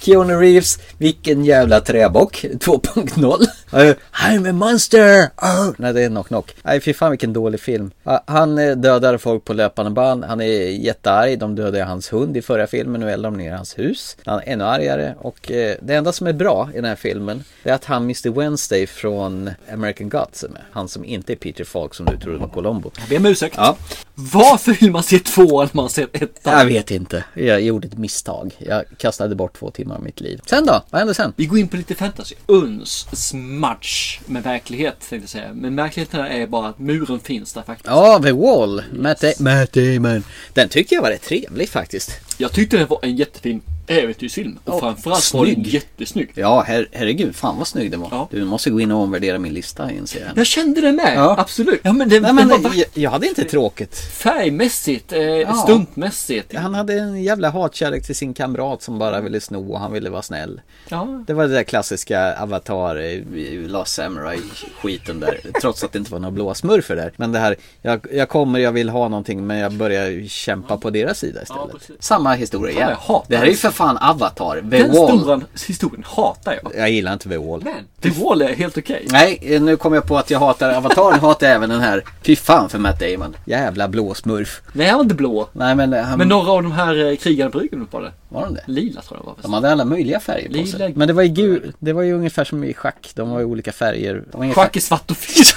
Speaker 4: Keanu Reeves, vilken jävla träbock 2.0. Eh, I'm a monster! Oh! Nej, det är Knock Knock. Nej, fy fan vilken dålig film. Ah, Han eh, dödar folk på löpande band. Han är jättearg. De dödade hans hund i förra filmen. Nu eldar de ner hans hus. Han är ännu argare. Och eh, det enda som är bra i den här filmen det är att han Mr Wednesday från American Gods är med. Han som inte är Peter Falk som du trodde var Columbo.
Speaker 3: Jag ber om ursäkt.
Speaker 4: Ja.
Speaker 3: Varför vill man se tvåan när man ser ettan?
Speaker 4: Jag vet inte. Jag gjorde ett misstag. Jag kastade bort två timmar av mitt liv. Sen då? Vad hände sen?
Speaker 3: Vi går in på lite fantasy. Uns smatch med verklighet tänkte jag säga. Men verkligheten är bara att muren finns där faktiskt.
Speaker 4: Ja, The Wall. Matt, da- Matt Damon. Den tyckte jag var rätt trevlig faktiskt.
Speaker 3: Jag tyckte det var en jättefin äventyrsfilm. Och
Speaker 4: Ja,
Speaker 3: framförallt var den
Speaker 4: snygg.
Speaker 3: jättesnygg.
Speaker 4: Ja, her herregud. Fan vad snygg den var.
Speaker 3: Ja.
Speaker 4: Du måste gå in och omvärdera min lista inser jag.
Speaker 3: Jag kände det med,
Speaker 4: Ja.
Speaker 3: absolut. <laughs> Ja, men det,
Speaker 4: Nej,
Speaker 3: det var
Speaker 4: men
Speaker 3: vackert.
Speaker 4: jag, jag hade inte tråkigt.
Speaker 3: färgmässigt, eh, stuntmässigt.
Speaker 4: Han hade en jävla hatkärlek till sin kamrat som bara ville sno och han ville vara snäll.
Speaker 3: Ja.
Speaker 4: Det var det där klassiska Avatar, eh, Last Samurai-skiten där. Trots att det inte var några blåa smurfer där. Men det här, jag, jag kommer, jag vill ha någonting men jag börjar kämpa på deras sida
Speaker 3: Ja,
Speaker 4: istället.
Speaker 3: precis.
Speaker 4: Samma historia
Speaker 3: Fan, jag
Speaker 4: igen.
Speaker 3: hatar
Speaker 4: Det här är ju
Speaker 3: det.
Speaker 4: för fan Avatar, The
Speaker 3: Den
Speaker 4: Wall.
Speaker 3: stora historien hatar jag.
Speaker 4: Jag gillar inte The Wall.
Speaker 3: Men The Wall är helt okej.
Speaker 4: Nej, eh, nu kom jag på att jag hatar Avatar, jag hatar även den här. Fy fan för Matt Damon. Jävla blåsmurf.
Speaker 3: Nej, han var inte blå.
Speaker 4: Nej men, eh, han,
Speaker 3: Men några av de här eh, krigarna på ryggen var det.
Speaker 4: var de det?
Speaker 3: Lila tror jag det var.
Speaker 4: De hade alla möjliga färger på sig.
Speaker 3: Lila-
Speaker 4: Men det var ju gul, det var ju ungefär som i schack. De var ju olika färger. De var ingen
Speaker 3: Schack är svart och vitt.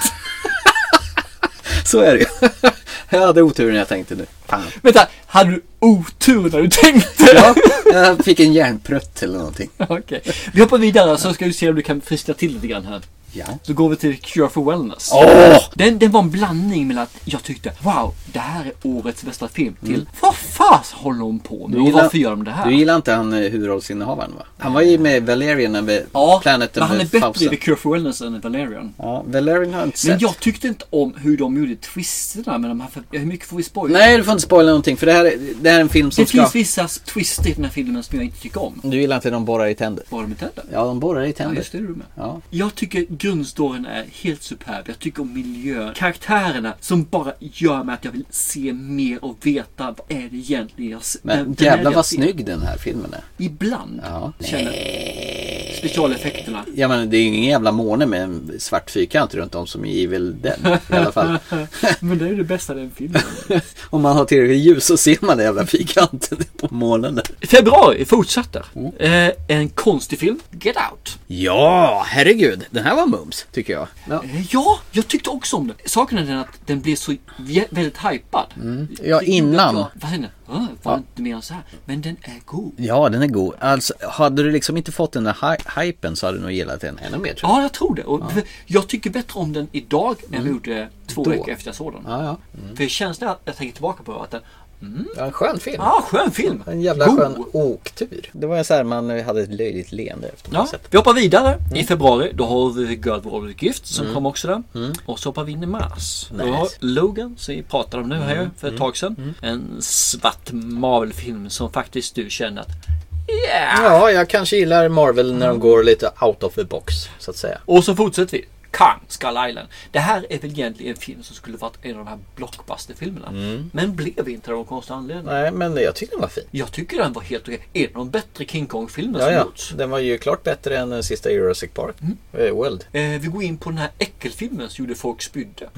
Speaker 4: Så är det ju. <laughs> Jag hade otur när jag tänkte nu. Fan.
Speaker 3: <laughs> Vänta, hade du otur när du tänkte?
Speaker 4: Ja, jag fick en järnprutt eller någonting.
Speaker 3: <laughs> Okej. Vi hoppar vidare så ska vi se om du kan friska till lite grann här.
Speaker 4: Ja.
Speaker 3: Så går vi till Cure for Wellness.
Speaker 4: Åh!
Speaker 3: Den, den var en blandning mellan att jag tyckte wow, det här är årets bästa film till vad fas håller hon på med och varför gör de det här?
Speaker 4: Mm. Du gillar inte han eh, huvudrollsinnehavaren va? Han var ju med Valerian över
Speaker 3: ja,
Speaker 4: planeten
Speaker 3: men han är
Speaker 4: med
Speaker 3: bättre i
Speaker 4: Fausten.
Speaker 3: The Cure for Wellness än i Valerian.
Speaker 4: Ja, Valerian har jag inte
Speaker 3: Men
Speaker 4: sett.
Speaker 3: jag tyckte inte om hur de gjorde twisterna med de här, för, hur mycket får vi spoila?
Speaker 4: Nej, du får inte spoila någonting för det här, är- det här är en film som
Speaker 3: det
Speaker 4: ska...
Speaker 3: finns vissa twister i den här filmen som jag inte tycker om.
Speaker 4: Du gillar inte när de borrar i tänder?
Speaker 3: Var de inte det?
Speaker 4: Ja, de borrar i
Speaker 3: Ja,
Speaker 4: tänder.
Speaker 3: just det, det är du med.
Speaker 4: Ja.
Speaker 3: Jag tycker grundstoryn är helt superb. Jag tycker om miljön, karaktärerna som bara gör mig att jag vill se mer och veta vad är det egentligen jag ser.
Speaker 4: Men
Speaker 3: vem är det
Speaker 4: jävlar
Speaker 3: jag
Speaker 4: vad
Speaker 3: ser?
Speaker 4: snygg den här filmen är.
Speaker 3: Ibland
Speaker 4: Ja.
Speaker 3: känner jag. Specialeffekterna.
Speaker 4: Ja men det är ju ingen jävla måne med en svart fyrkant runt om som i Evil Dead i alla
Speaker 3: <laughs>
Speaker 4: fall.
Speaker 3: Men det är det bästa den filmen.
Speaker 4: Om man har tillräckligt ljus så ser man den jävla fyrkanten <laughs> på månen. där.
Speaker 3: <laughs> Februari fortsätter.
Speaker 4: Mm.
Speaker 3: Eh, en konstig film. Get Out.
Speaker 4: Ja, herregud. Den här var mums tycker jag. Ja.
Speaker 3: Eh, ja, jag tyckte också om den. Saken är den att den blev så jä- väldigt hypad.
Speaker 4: Mm. Ja,
Speaker 3: Det gjorde att
Speaker 4: innan.
Speaker 3: jag- Vad hände? Ah, var inte mer än så här. Men den är god.
Speaker 4: Ja, den är god. Alltså, hade du liksom inte fått den där hy- hypen så hade du nog gillat den ännu mer tror jag.
Speaker 3: Ja, jag tror det. Och Jag tycker bättre om den idag än jag gjorde två
Speaker 4: Mm. Då.
Speaker 3: veckor efter jag såg den.
Speaker 4: Ja, ja.
Speaker 3: För känslan jag tänker tillbaka på var att den,
Speaker 4: ja en skön film.
Speaker 3: ah, skön film!
Speaker 4: En jävla
Speaker 3: God.
Speaker 4: skön åktur. Det var ju så här man hade ett löjligt leende efter man
Speaker 3: Ja,
Speaker 4: sett.
Speaker 3: vi hoppar vidare.
Speaker 4: Mm.
Speaker 3: I februari då har vi Girl with All Gift som kom också där. Och så hoppar vi in i mars. Då
Speaker 4: Mm. Nice. Mm.
Speaker 3: har Logan som vi pratade om nu här för ett tag sedan. En svart Marvel-film som faktiskt du känner att yeah!
Speaker 4: Ja, jag kanske gillar Marvel när de går lite out of the box så att säga.
Speaker 3: Och så fortsätter vi. Kang, Skull Island. Det här är väl egentligen en film som skulle varit en av de här blockbusterfilmerna.
Speaker 4: Mm.
Speaker 3: Men blev inte det av någon konstig anledning.
Speaker 4: Nej, men jag tyckte den var fin.
Speaker 3: Jag tycker den var helt okej. En av de bättre King Kong-filmer
Speaker 4: Ja,
Speaker 3: som
Speaker 4: ja.
Speaker 3: gjorts.
Speaker 4: Den var ju klart bättre än den sista Jurassic Park. Eh, World.
Speaker 3: Eh, vi går in på den här äckelfilmen som gjorde folk spydde.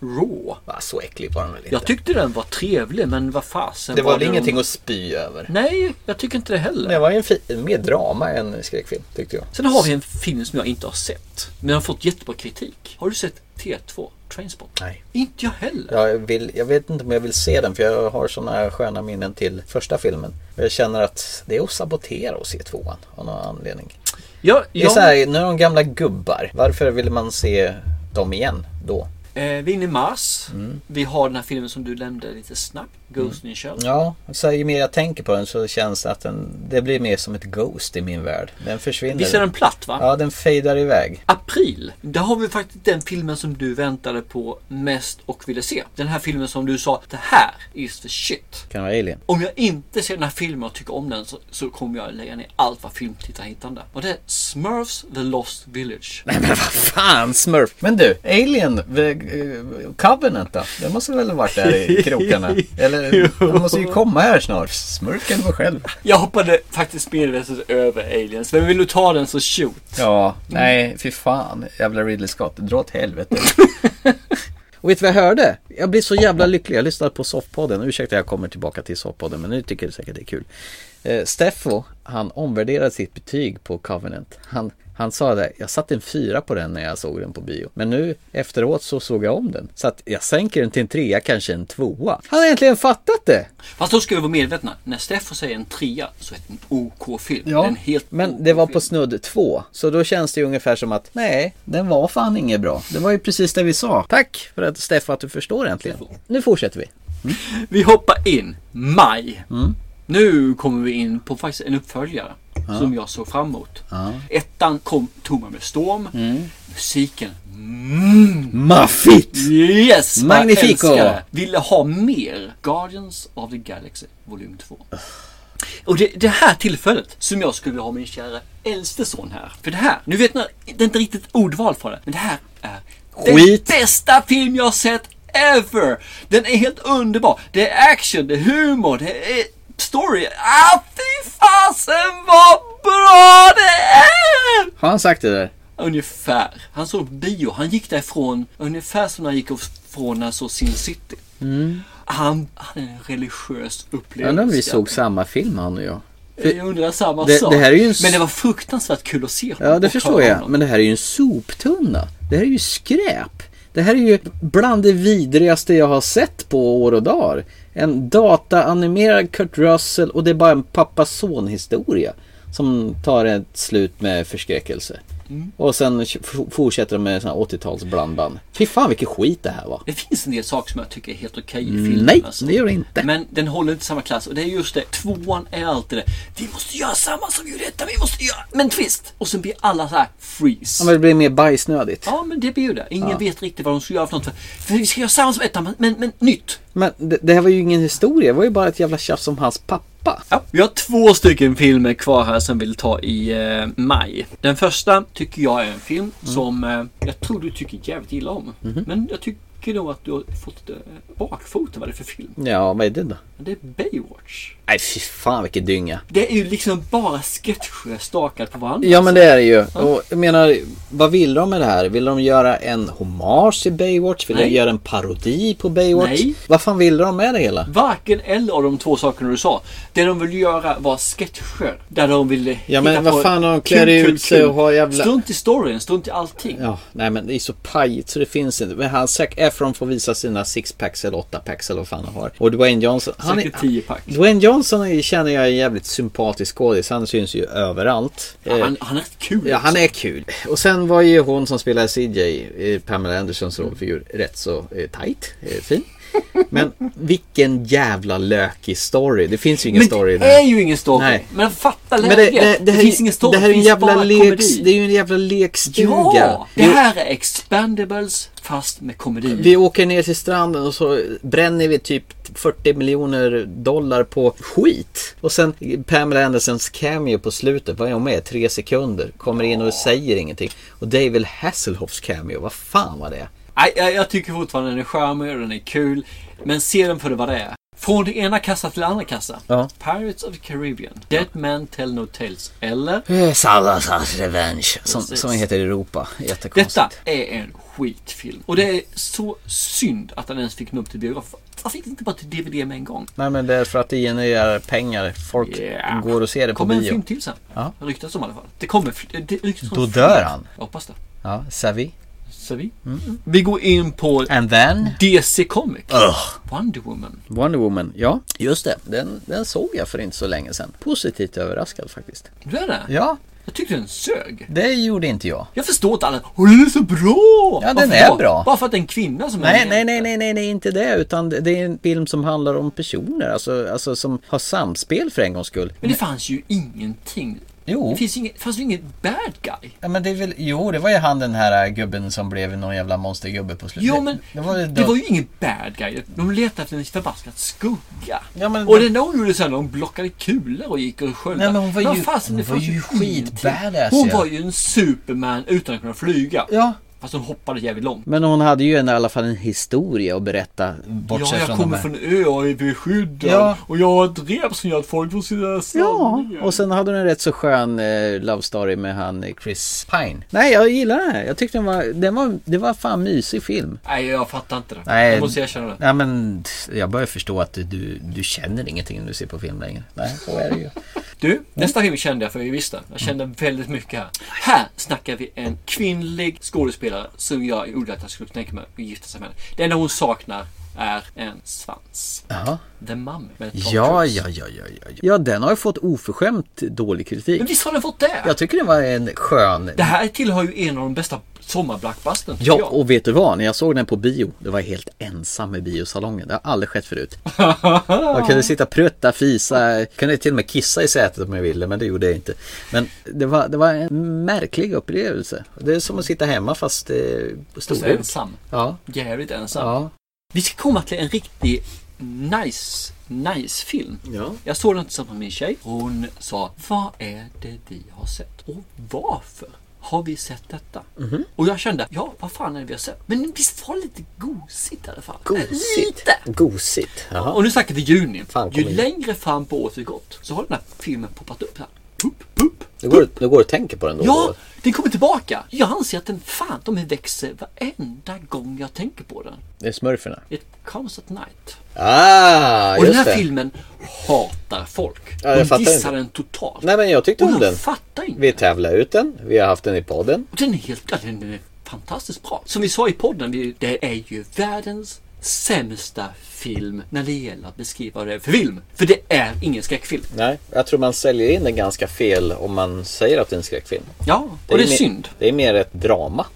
Speaker 3: Raw.
Speaker 4: Va, Ah, så äcklig var den väl inte?
Speaker 3: Jag tyckte den var trevlig men vad fasen
Speaker 4: det var väl
Speaker 3: det
Speaker 4: ingenting
Speaker 3: de-
Speaker 4: att spy över.
Speaker 3: Nej, jag tycker inte det heller.
Speaker 4: Det var ju en fi- mer drama än skräckfilm tyckte jag.
Speaker 3: Sen har vi en film som jag inte har sett. Men jag har fått jättebra kritik. Har du sett T2? Trainspot?
Speaker 4: Nej.
Speaker 3: Inte jag heller.
Speaker 4: Jag, vill, jag vet inte om jag vill se den för jag har sådana sköna minnen till första filmen. Och Jag känner att det är att sabotera att se tvåan av någon anledning.
Speaker 3: Jag,
Speaker 4: Det är
Speaker 3: jag,
Speaker 4: så här, nu är de gamla gubbar. Varför ville man se dem igen då?
Speaker 3: eh, vi är inne i mars.
Speaker 4: Mm.
Speaker 3: Vi har den här filmen som du nämnde lite snabbt. Ghost in the Shell.
Speaker 4: Ja, så här, ju mer jag tänker på den så känns det att den, det blir mer som ett ghost i min värld. Den försvinner.
Speaker 3: Visst är den platt va?
Speaker 4: Ja, den fejdar iväg.
Speaker 3: April, där har vi faktiskt den filmen som du väntade på mest och ville se. Den här filmen som du sa, det här is the shit.
Speaker 4: Kan vara alien.
Speaker 3: Om jag inte ser den här filmen och tycker om den så, så kommer jag lägga ner allt vad filmtittarhittande.
Speaker 4: <laughs>
Speaker 3: Och det är Smurfs The Lost Village.
Speaker 4: Nej men vad fan Smurf! Men du, Alien, eh, Covenant då? Den måste väl ha varit där i krokarna? Eller, den måste ju komma här snart. Smurken var själv.
Speaker 3: Jag hoppade faktiskt medvetet över Aliens. Men vill du ta den så shoot.
Speaker 4: Ja, nej, fy fan. Jävla Ridley Scott, dra åt helvete. <laughs> Och vet du vad jag hörde? Jag blir så jävla lycklig. Jag lyssnade på Soffpodden. Ursäkta jag kommer tillbaka till Soffpodden men nu tycker jag säkert det är kul. Eh, Steffo, han omvärderade sitt betyg på Covenant. Han, han sa det, jag satte en fyra på den när jag såg den på bio. Men nu efteråt så såg jag om den. Så att jag sänker den till en trea, kanske en tvåa. Han har äntligen fattat det!
Speaker 3: Fast då ska vi vara medvetna. När Steffo säger en trea så är det en OK-film.
Speaker 4: Ja,
Speaker 3: en helt
Speaker 4: men det var på snudd två. Så då känns det ju ungefär som att nej, den var fan inget bra. Det var ju precis det vi sa. Tack för att Steffo att du förstår äntligen. Nu fortsätter vi.
Speaker 3: Vi hoppar in maj. Nu kommer vi in på faktiskt en uppföljare
Speaker 4: Ja.
Speaker 3: som jag såg fram emot. Ettan kom tomma med storm. Musiken. Mm.
Speaker 4: Maffigt!
Speaker 3: Yes! vad jag
Speaker 4: Magnifico!
Speaker 3: älskar det. Ville ha mer Guardians of the Galaxy volym 2. Och det, det här tillfället som jag skulle vilja ha min kära äldste son här. För det här, nu vet ni, det är inte riktigt ordval för det, men det här är
Speaker 4: Skit.
Speaker 3: den bästa film jag sett ever! Den är helt underbar. Det är action, det är humor, det är story. Ah, fy fasen vad bra det är!
Speaker 4: Har han sagt det där?
Speaker 3: Ungefär. Han såg på bio. Han gick därifrån ungefär som när han gick från när han såg Sin City. Han hade en religiös
Speaker 4: Jag
Speaker 3: upplevelse.
Speaker 4: undrar om Mm. vi såg samma film han och jag.
Speaker 3: Jag undrar samma
Speaker 4: Det-
Speaker 3: sak.
Speaker 4: det här är ju en s-
Speaker 3: Men det var fruktansvärt kul att se honom
Speaker 4: Ja, det
Speaker 3: och
Speaker 4: förstår
Speaker 3: höra
Speaker 4: jag.
Speaker 3: honom.
Speaker 4: Men det här är ju en soptunna. Det här är ju skräp. Det här är ju bland det vidrigaste jag har sett på år och dagar. En dataanimerad Kurt Russell och det är bara en pappa-son-historia. Som tar ett slut med förskräckelse.
Speaker 3: Mm.
Speaker 4: Och sen f- fortsätter de med såna här 80-tals blandband. Fy fan vilken skit det här var.
Speaker 3: Det finns en del saker som jag tycker är helt okej i filmen.
Speaker 4: Mm, Nej,
Speaker 3: alltså.
Speaker 4: det gör det inte.
Speaker 3: Men den håller inte samma klass och det är just det. Tvåan är alltid det. Vi måste göra samma som gjorde detta. Vi måste göra... Men twist! Och sen blir alla så här freeze.
Speaker 4: Ja, men det blir mer bajsnödigt.
Speaker 3: Ja men det blir ju det. Ingen vet riktigt vad de ska göra för något. För, för vi ska göra samma som ettan men, men, men nytt.
Speaker 4: Men det, det här var ju ingen historia. Det var ju bara ett jävla tjafs om hans pappa.
Speaker 3: Ja, vi har två stycken filmer kvar här som vi vill ta i eh, maj. Den första tycker jag är en film
Speaker 4: Mm.
Speaker 3: som eh, jag tror du tycker jävligt illa om.
Speaker 4: Mhm.
Speaker 3: Men jag tycker nog att du har fått eh, bakfoten vad det är för film.
Speaker 4: Ja, vad är det då?
Speaker 3: Det är Baywatch.
Speaker 4: Nej, fy fan vilken dynga.
Speaker 3: Det är ju liksom bara sketcher stakade på varandra. alltså.
Speaker 4: Ja men det är det ju. Och jag menar, vad vill de med det här? Vill de göra en hommage till Baywatch? Vill
Speaker 3: Nej.
Speaker 4: de göra en parodi på Baywatch?
Speaker 3: Nej.
Speaker 4: Vad fan vill de med det hela?
Speaker 3: Varken eller av de två sakerna du sa. Det de ville göra var sketcher. Där de ville
Speaker 4: Ja, men
Speaker 3: hitta
Speaker 4: vad
Speaker 3: på
Speaker 4: fan, de
Speaker 3: kul,
Speaker 4: klär
Speaker 3: kul,
Speaker 4: ut sig
Speaker 3: kul.
Speaker 4: och har jävla-
Speaker 3: Strunt i storyn, strunt i allting.
Speaker 4: Ja, nej men det är så pajigt så det finns inte. Men han, Zac Efron får visa sina sixpacks eller åttapacks eller vad fan han har. Och Dwayne Johnson. Han är,
Speaker 3: Säkert 10 pack.
Speaker 4: Dwayne Johnson är, känner jag är en jävligt sympatisk skådis. Han syns ju överallt. Eh,
Speaker 3: Han, han är rätt kul.
Speaker 4: Ja, han är kul. Och sen var ju hon som spelar CJ, eh, Pamela Andersons rollfigur, rätt så eh, tight, eh, fin. Men vilken jävla lökig story. Det finns ju ingen
Speaker 3: men
Speaker 4: story i
Speaker 3: det
Speaker 4: den här.
Speaker 3: är ju ingen story.
Speaker 4: Nej.
Speaker 3: Men fatta
Speaker 4: Men det,
Speaker 3: läget.
Speaker 4: det,
Speaker 3: Det,
Speaker 4: det, här,
Speaker 3: finns ingen story.
Speaker 4: det här är en
Speaker 3: finns
Speaker 4: jävla
Speaker 3: bara
Speaker 4: leks,
Speaker 3: komedi.
Speaker 4: det är ju en jävla lekstuga.
Speaker 3: Ja! Det
Speaker 4: Jo,
Speaker 3: här är expandables fast med komedi.
Speaker 4: Vi åker ner till stranden och så bränner vi typ 40 miljoner dollar på skit. Och sen Pamela Andersons cameo på slutet, vad är hon med? Tre sekunder. Kommer in och säger ingenting. Och David Hasselhoffs cameo, vad fan var det?
Speaker 3: Nej, jag, jag tycker fortfarande den är charmig och den är kul. Men se den för vad det är. Från det ena kassa till det andra kassa.
Speaker 4: Ja.
Speaker 3: Pirates of the Caribbean. Dead Man Tell No Tales. Eller?
Speaker 4: Salazar's Eh, Revenge, som,
Speaker 3: Precis.
Speaker 4: som heter Europa. Jättekonstigt.
Speaker 3: Detta är en skitfilm. Och det är så synd att den ens fick nå upp till biografer. Varför gick det inte bara till DVD med en gång?
Speaker 4: Nej men det är för att det genererar pengar. Folk
Speaker 3: Yeah.
Speaker 4: går och ser det på
Speaker 3: kommer en
Speaker 4: bio.
Speaker 3: film till sen.
Speaker 4: Ja.
Speaker 3: Det ryktas om i alla fall. Det kommer. Det ryktas om
Speaker 4: Då
Speaker 3: fler.
Speaker 4: dör han.
Speaker 3: Jag hoppas det.
Speaker 4: Ja, Savi.
Speaker 3: Så vi.
Speaker 4: Mm.
Speaker 3: vi går in på
Speaker 4: And then?
Speaker 3: DC Comic.
Speaker 4: Ugh.
Speaker 3: Wonder Woman.
Speaker 4: Wonder Woman, ja. Just det, den, den såg jag för inte så länge sedan. Positivt överraskad faktiskt.
Speaker 3: Du är det?
Speaker 4: Ja,
Speaker 3: Jag tyckte den sög.
Speaker 4: det gjorde inte jag.
Speaker 3: Jag förstår inte alla. Åh, den är så bra!
Speaker 4: Ja, den
Speaker 3: Varför
Speaker 4: är
Speaker 3: då?
Speaker 4: bra.
Speaker 3: Bara för att det är en kvinna som
Speaker 4: Nej,
Speaker 3: är
Speaker 4: nej, nej, nej, nej, nej, inte det. Utan det det är en film som handlar om personer. Alltså, alltså som har samspel för en gångs skull.
Speaker 3: Men det fanns ju ingenting.
Speaker 4: Jo.
Speaker 3: Det finns ju inget, fanns ju inget bad guy.
Speaker 4: Ja, men det är väl, jo, det var ju han den här äh, gubben som blev någon jävla monstergubbe på slutet.
Speaker 3: Jo, men
Speaker 4: det var, ju-
Speaker 3: ju ingen bad guy. De letade efter en förbaskad skugga.
Speaker 4: Ja, men-
Speaker 3: och det enda hon gjorde sen, hon blockade kulor och gick och sköljde.
Speaker 4: Nej, men hon var
Speaker 3: Vad
Speaker 4: ju-
Speaker 3: fasen, det
Speaker 4: hon var
Speaker 3: fanns
Speaker 4: ju
Speaker 3: ingenting.
Speaker 4: skitbadass,
Speaker 3: Hon
Speaker 4: ja.
Speaker 3: var ju en superman utan att kunna flyga.
Speaker 4: Ja,
Speaker 3: Fast hon hoppade jävligt långt.
Speaker 4: Men hon hade ju en, i alla fall en historia att berätta.
Speaker 3: ja,
Speaker 4: Bortsett
Speaker 3: jag
Speaker 4: från de
Speaker 3: kommer
Speaker 4: här.
Speaker 3: från en ö och är beskyddad.
Speaker 4: Ja.
Speaker 3: Och jag har ett rep som gör att folk får sina
Speaker 4: Ja,
Speaker 3: sanningar.
Speaker 4: och sen hade hon en rätt så skön eh, love story med han eh, Chris Pine. Nej, jag gillar den här. Jag tyckte den var, den var, det var fan mysig film.
Speaker 3: Nej, jag fattar inte det.
Speaker 4: Nej.
Speaker 3: Jag måste erkänna det.
Speaker 4: Nej men jag börjar förstå att du, du känner ingenting när du ser på film längre. Nej, så är det
Speaker 3: <laughs>
Speaker 4: ju.
Speaker 3: Du, nästa film kände jag för jag visste. Jag kände väldigt mycket här. Här snackar vi en kvinnlig skådespelare som jag gjorde att jag skulle tänka mig att gifta sig med. Det enda hon saknar är en svans.
Speaker 4: Jaha.
Speaker 3: The Mummy med Tom
Speaker 4: Ja,
Speaker 3: Cruise.
Speaker 4: ja, ja, ja, ja. Ja, den har ju fått oförskämt dålig kritik.
Speaker 3: Men visst har den fått det?
Speaker 4: Jag tycker den var en skön...
Speaker 3: Det här tillhör ju en av de bästa sommarblackbusten. tycker
Speaker 4: Ja,
Speaker 3: jag.
Speaker 4: och vet du vad? När jag såg den på bio, då var jag helt ensam i biosalongen. Det har aldrig skett
Speaker 3: <laughs>
Speaker 4: förut. Jag kunde sitta och prutta, fisa, kunde till och med kissa i sätet om jag ville, men det gjorde jag inte. Men det var, det var en märklig upplevelse. Det är som att sitta hemma fast eh, på
Speaker 3: Så
Speaker 4: storhus.
Speaker 3: ensam.
Speaker 4: Ja.
Speaker 3: Jävligt ensam.
Speaker 4: Ja.
Speaker 3: Vi ska komma till en riktig nice, nice film.
Speaker 4: Ja.
Speaker 3: Jag såg den tillsammans med min tjej. Hon sa, vad är det vi har sett? Och varför har vi sett detta?
Speaker 4: Mhm.
Speaker 3: Och jag kände, ja vad fan är det vi har sett? Men visst var det lite gosigt i alla fall?
Speaker 4: Gosigt.
Speaker 3: Lite!
Speaker 4: Gosigt. Jaha.
Speaker 3: Och nu snackar vi juni.
Speaker 4: Fan, kom
Speaker 3: Ju
Speaker 4: igen.
Speaker 3: längre fram på året vi gått så har den här filmen poppat upp. Här.
Speaker 4: Du går, du går och tänker på den då?
Speaker 3: Ja, den kommer tillbaka. Jag anser att den fan de växer varenda gång jag tänker på den.
Speaker 4: Det är smurferna.
Speaker 3: It comes at night.
Speaker 4: Ah,
Speaker 3: Och den
Speaker 4: just
Speaker 3: här
Speaker 4: det.
Speaker 3: filmen hatar folk.
Speaker 4: Ja, jag
Speaker 3: De
Speaker 4: fattar
Speaker 3: dissar
Speaker 4: inte.
Speaker 3: den totalt.
Speaker 4: Nej, men jag tyckte
Speaker 3: och
Speaker 4: om
Speaker 3: jag
Speaker 4: den.
Speaker 3: fattar inte.
Speaker 4: Vi tävlar ut den, vi har haft den i podden.
Speaker 3: Och den är helt, ja, den är fantastiskt bra. Som vi sa i podden, vi, det är ju världens sämsta film när det gäller att beskriva vad det är för film. För det är ingen skräckfilm.
Speaker 4: Nej, jag tror man säljer in den ganska fel om man säger att det är en skräckfilm.
Speaker 3: Ja, och det är
Speaker 4: mer- <laughs>
Speaker 3: synd.
Speaker 4: Det är mer ett drama.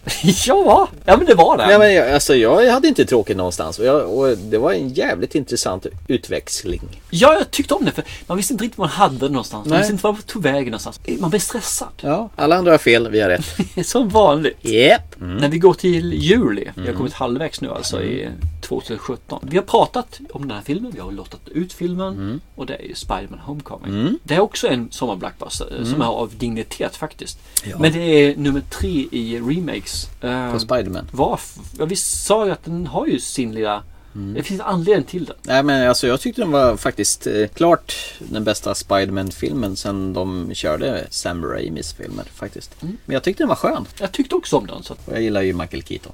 Speaker 3: ja, ja men det var det.
Speaker 4: Nej, men jag, alltså, jag hade inte tråkigt någonstans och, jag, och det var en jävligt intressant utväxling.
Speaker 3: Ja, jag tyckte om det för man visste inte riktigt vad man hade någonstans. Man
Speaker 4: Nej.
Speaker 3: visste inte vad man tog vägen någonstans. Man blev stressad.
Speaker 4: Ja, alla andra har fel, vi har rätt.
Speaker 3: <laughs>
Speaker 4: Mm.
Speaker 3: Som vanligt.
Speaker 4: <laughs> Japp!
Speaker 3: När vi går till juli, vi har kommit halvvägs nu alltså i 2017. Vi har pratat om den här filmen, vi har lottat ut filmen och det är ju Spiderman Homecoming. Det är också en sommarblackbuster eh, som är av dignitet faktiskt. Men det är nummer tre i remakes. Eh,
Speaker 4: På Spiderman.
Speaker 3: varf- ja, vi sa ju att den har ju sin lilla... Det finns en anledning till den.
Speaker 4: Nej men alltså jag tyckte den var faktiskt eh, klart den bästa Spiderman-filmen sen de körde Sam Raimis filmer faktiskt. Men jag tyckte den var skön.
Speaker 3: Jag tyckte också om den. Så att...
Speaker 4: Och jag gillar ju Michael <laughs> Keaton.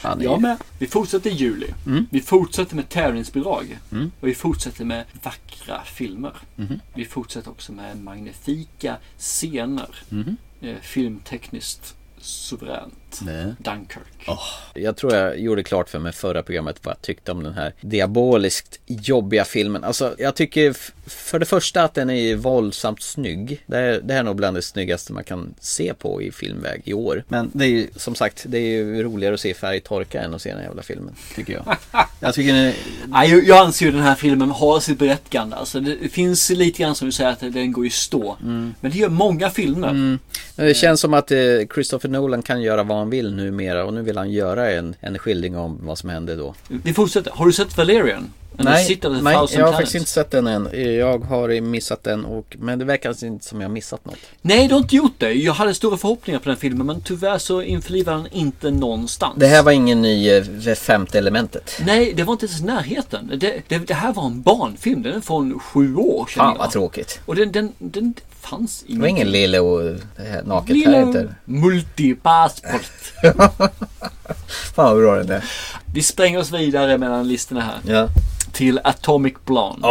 Speaker 4: Han är
Speaker 3: Jag
Speaker 4: ju... Mm.
Speaker 3: med. Vi fortsätter i juli. Vi fortsätter med tävlingsbidrag. Och vi fortsätter med vackra filmer.
Speaker 4: Mm-hmm.
Speaker 3: Vi fortsätter också med magnifika scener.
Speaker 4: Mm-hmm.
Speaker 3: Eh, filmtekniskt suveränt.
Speaker 4: Nej.
Speaker 3: Dunkirk.
Speaker 4: Jag tror jag gjorde klart för mig förra programmet vad jag tyckte om den här diaboliskt jobbiga filmen. Alltså jag tycker f- för det första att den är våldsamt snygg. Det här, det här är nog bland det snyggaste man kan se på i filmväg i år. Men det är ju som sagt, det är ju roligare att se färg torka än att se den jävla filmen. Tycker jag. <laughs> Jag tycker den är...
Speaker 3: Nej, jag- jag anser ju den här filmen har sitt berättigande. Alltså, det finns lite grann som du säger att den går i stå.
Speaker 4: Mm.
Speaker 3: Men det gör många filmer.
Speaker 4: Det känns som att eh, Christopher Nolan kan göra vad han vill numera och nu vill han göra en, en skildring om vad som hände då.
Speaker 3: Vi fortsätter. Har du sett Valerian? And the City of the
Speaker 4: nej
Speaker 3: Thousand
Speaker 4: jag har
Speaker 3: Planets?
Speaker 4: faktiskt inte sett den än. Jag har missat den och, men det verkar alltså inte som jag har missat något.
Speaker 3: Nej, du har inte gjort det. Jag hade stora förhoppningar på den filmen men tyvärr så införlivar den inte någonstans.
Speaker 4: Det här var ingen ny eh, femte elementet.
Speaker 3: Nej, det var inte ens i närheten. Det, det, det här var en barnfilm. Den är från sju år känner
Speaker 4: Fan
Speaker 3: jag.
Speaker 4: vad tråkigt.
Speaker 3: Och den, den, den fanns
Speaker 4: Det var ingen Lille och eh, naket här inte.
Speaker 3: multipassport.
Speaker 4: Fan vad bra den är.
Speaker 3: Vi spränger oss vidare mellan listorna här.
Speaker 4: Ja.
Speaker 3: Till Atomic Blonde.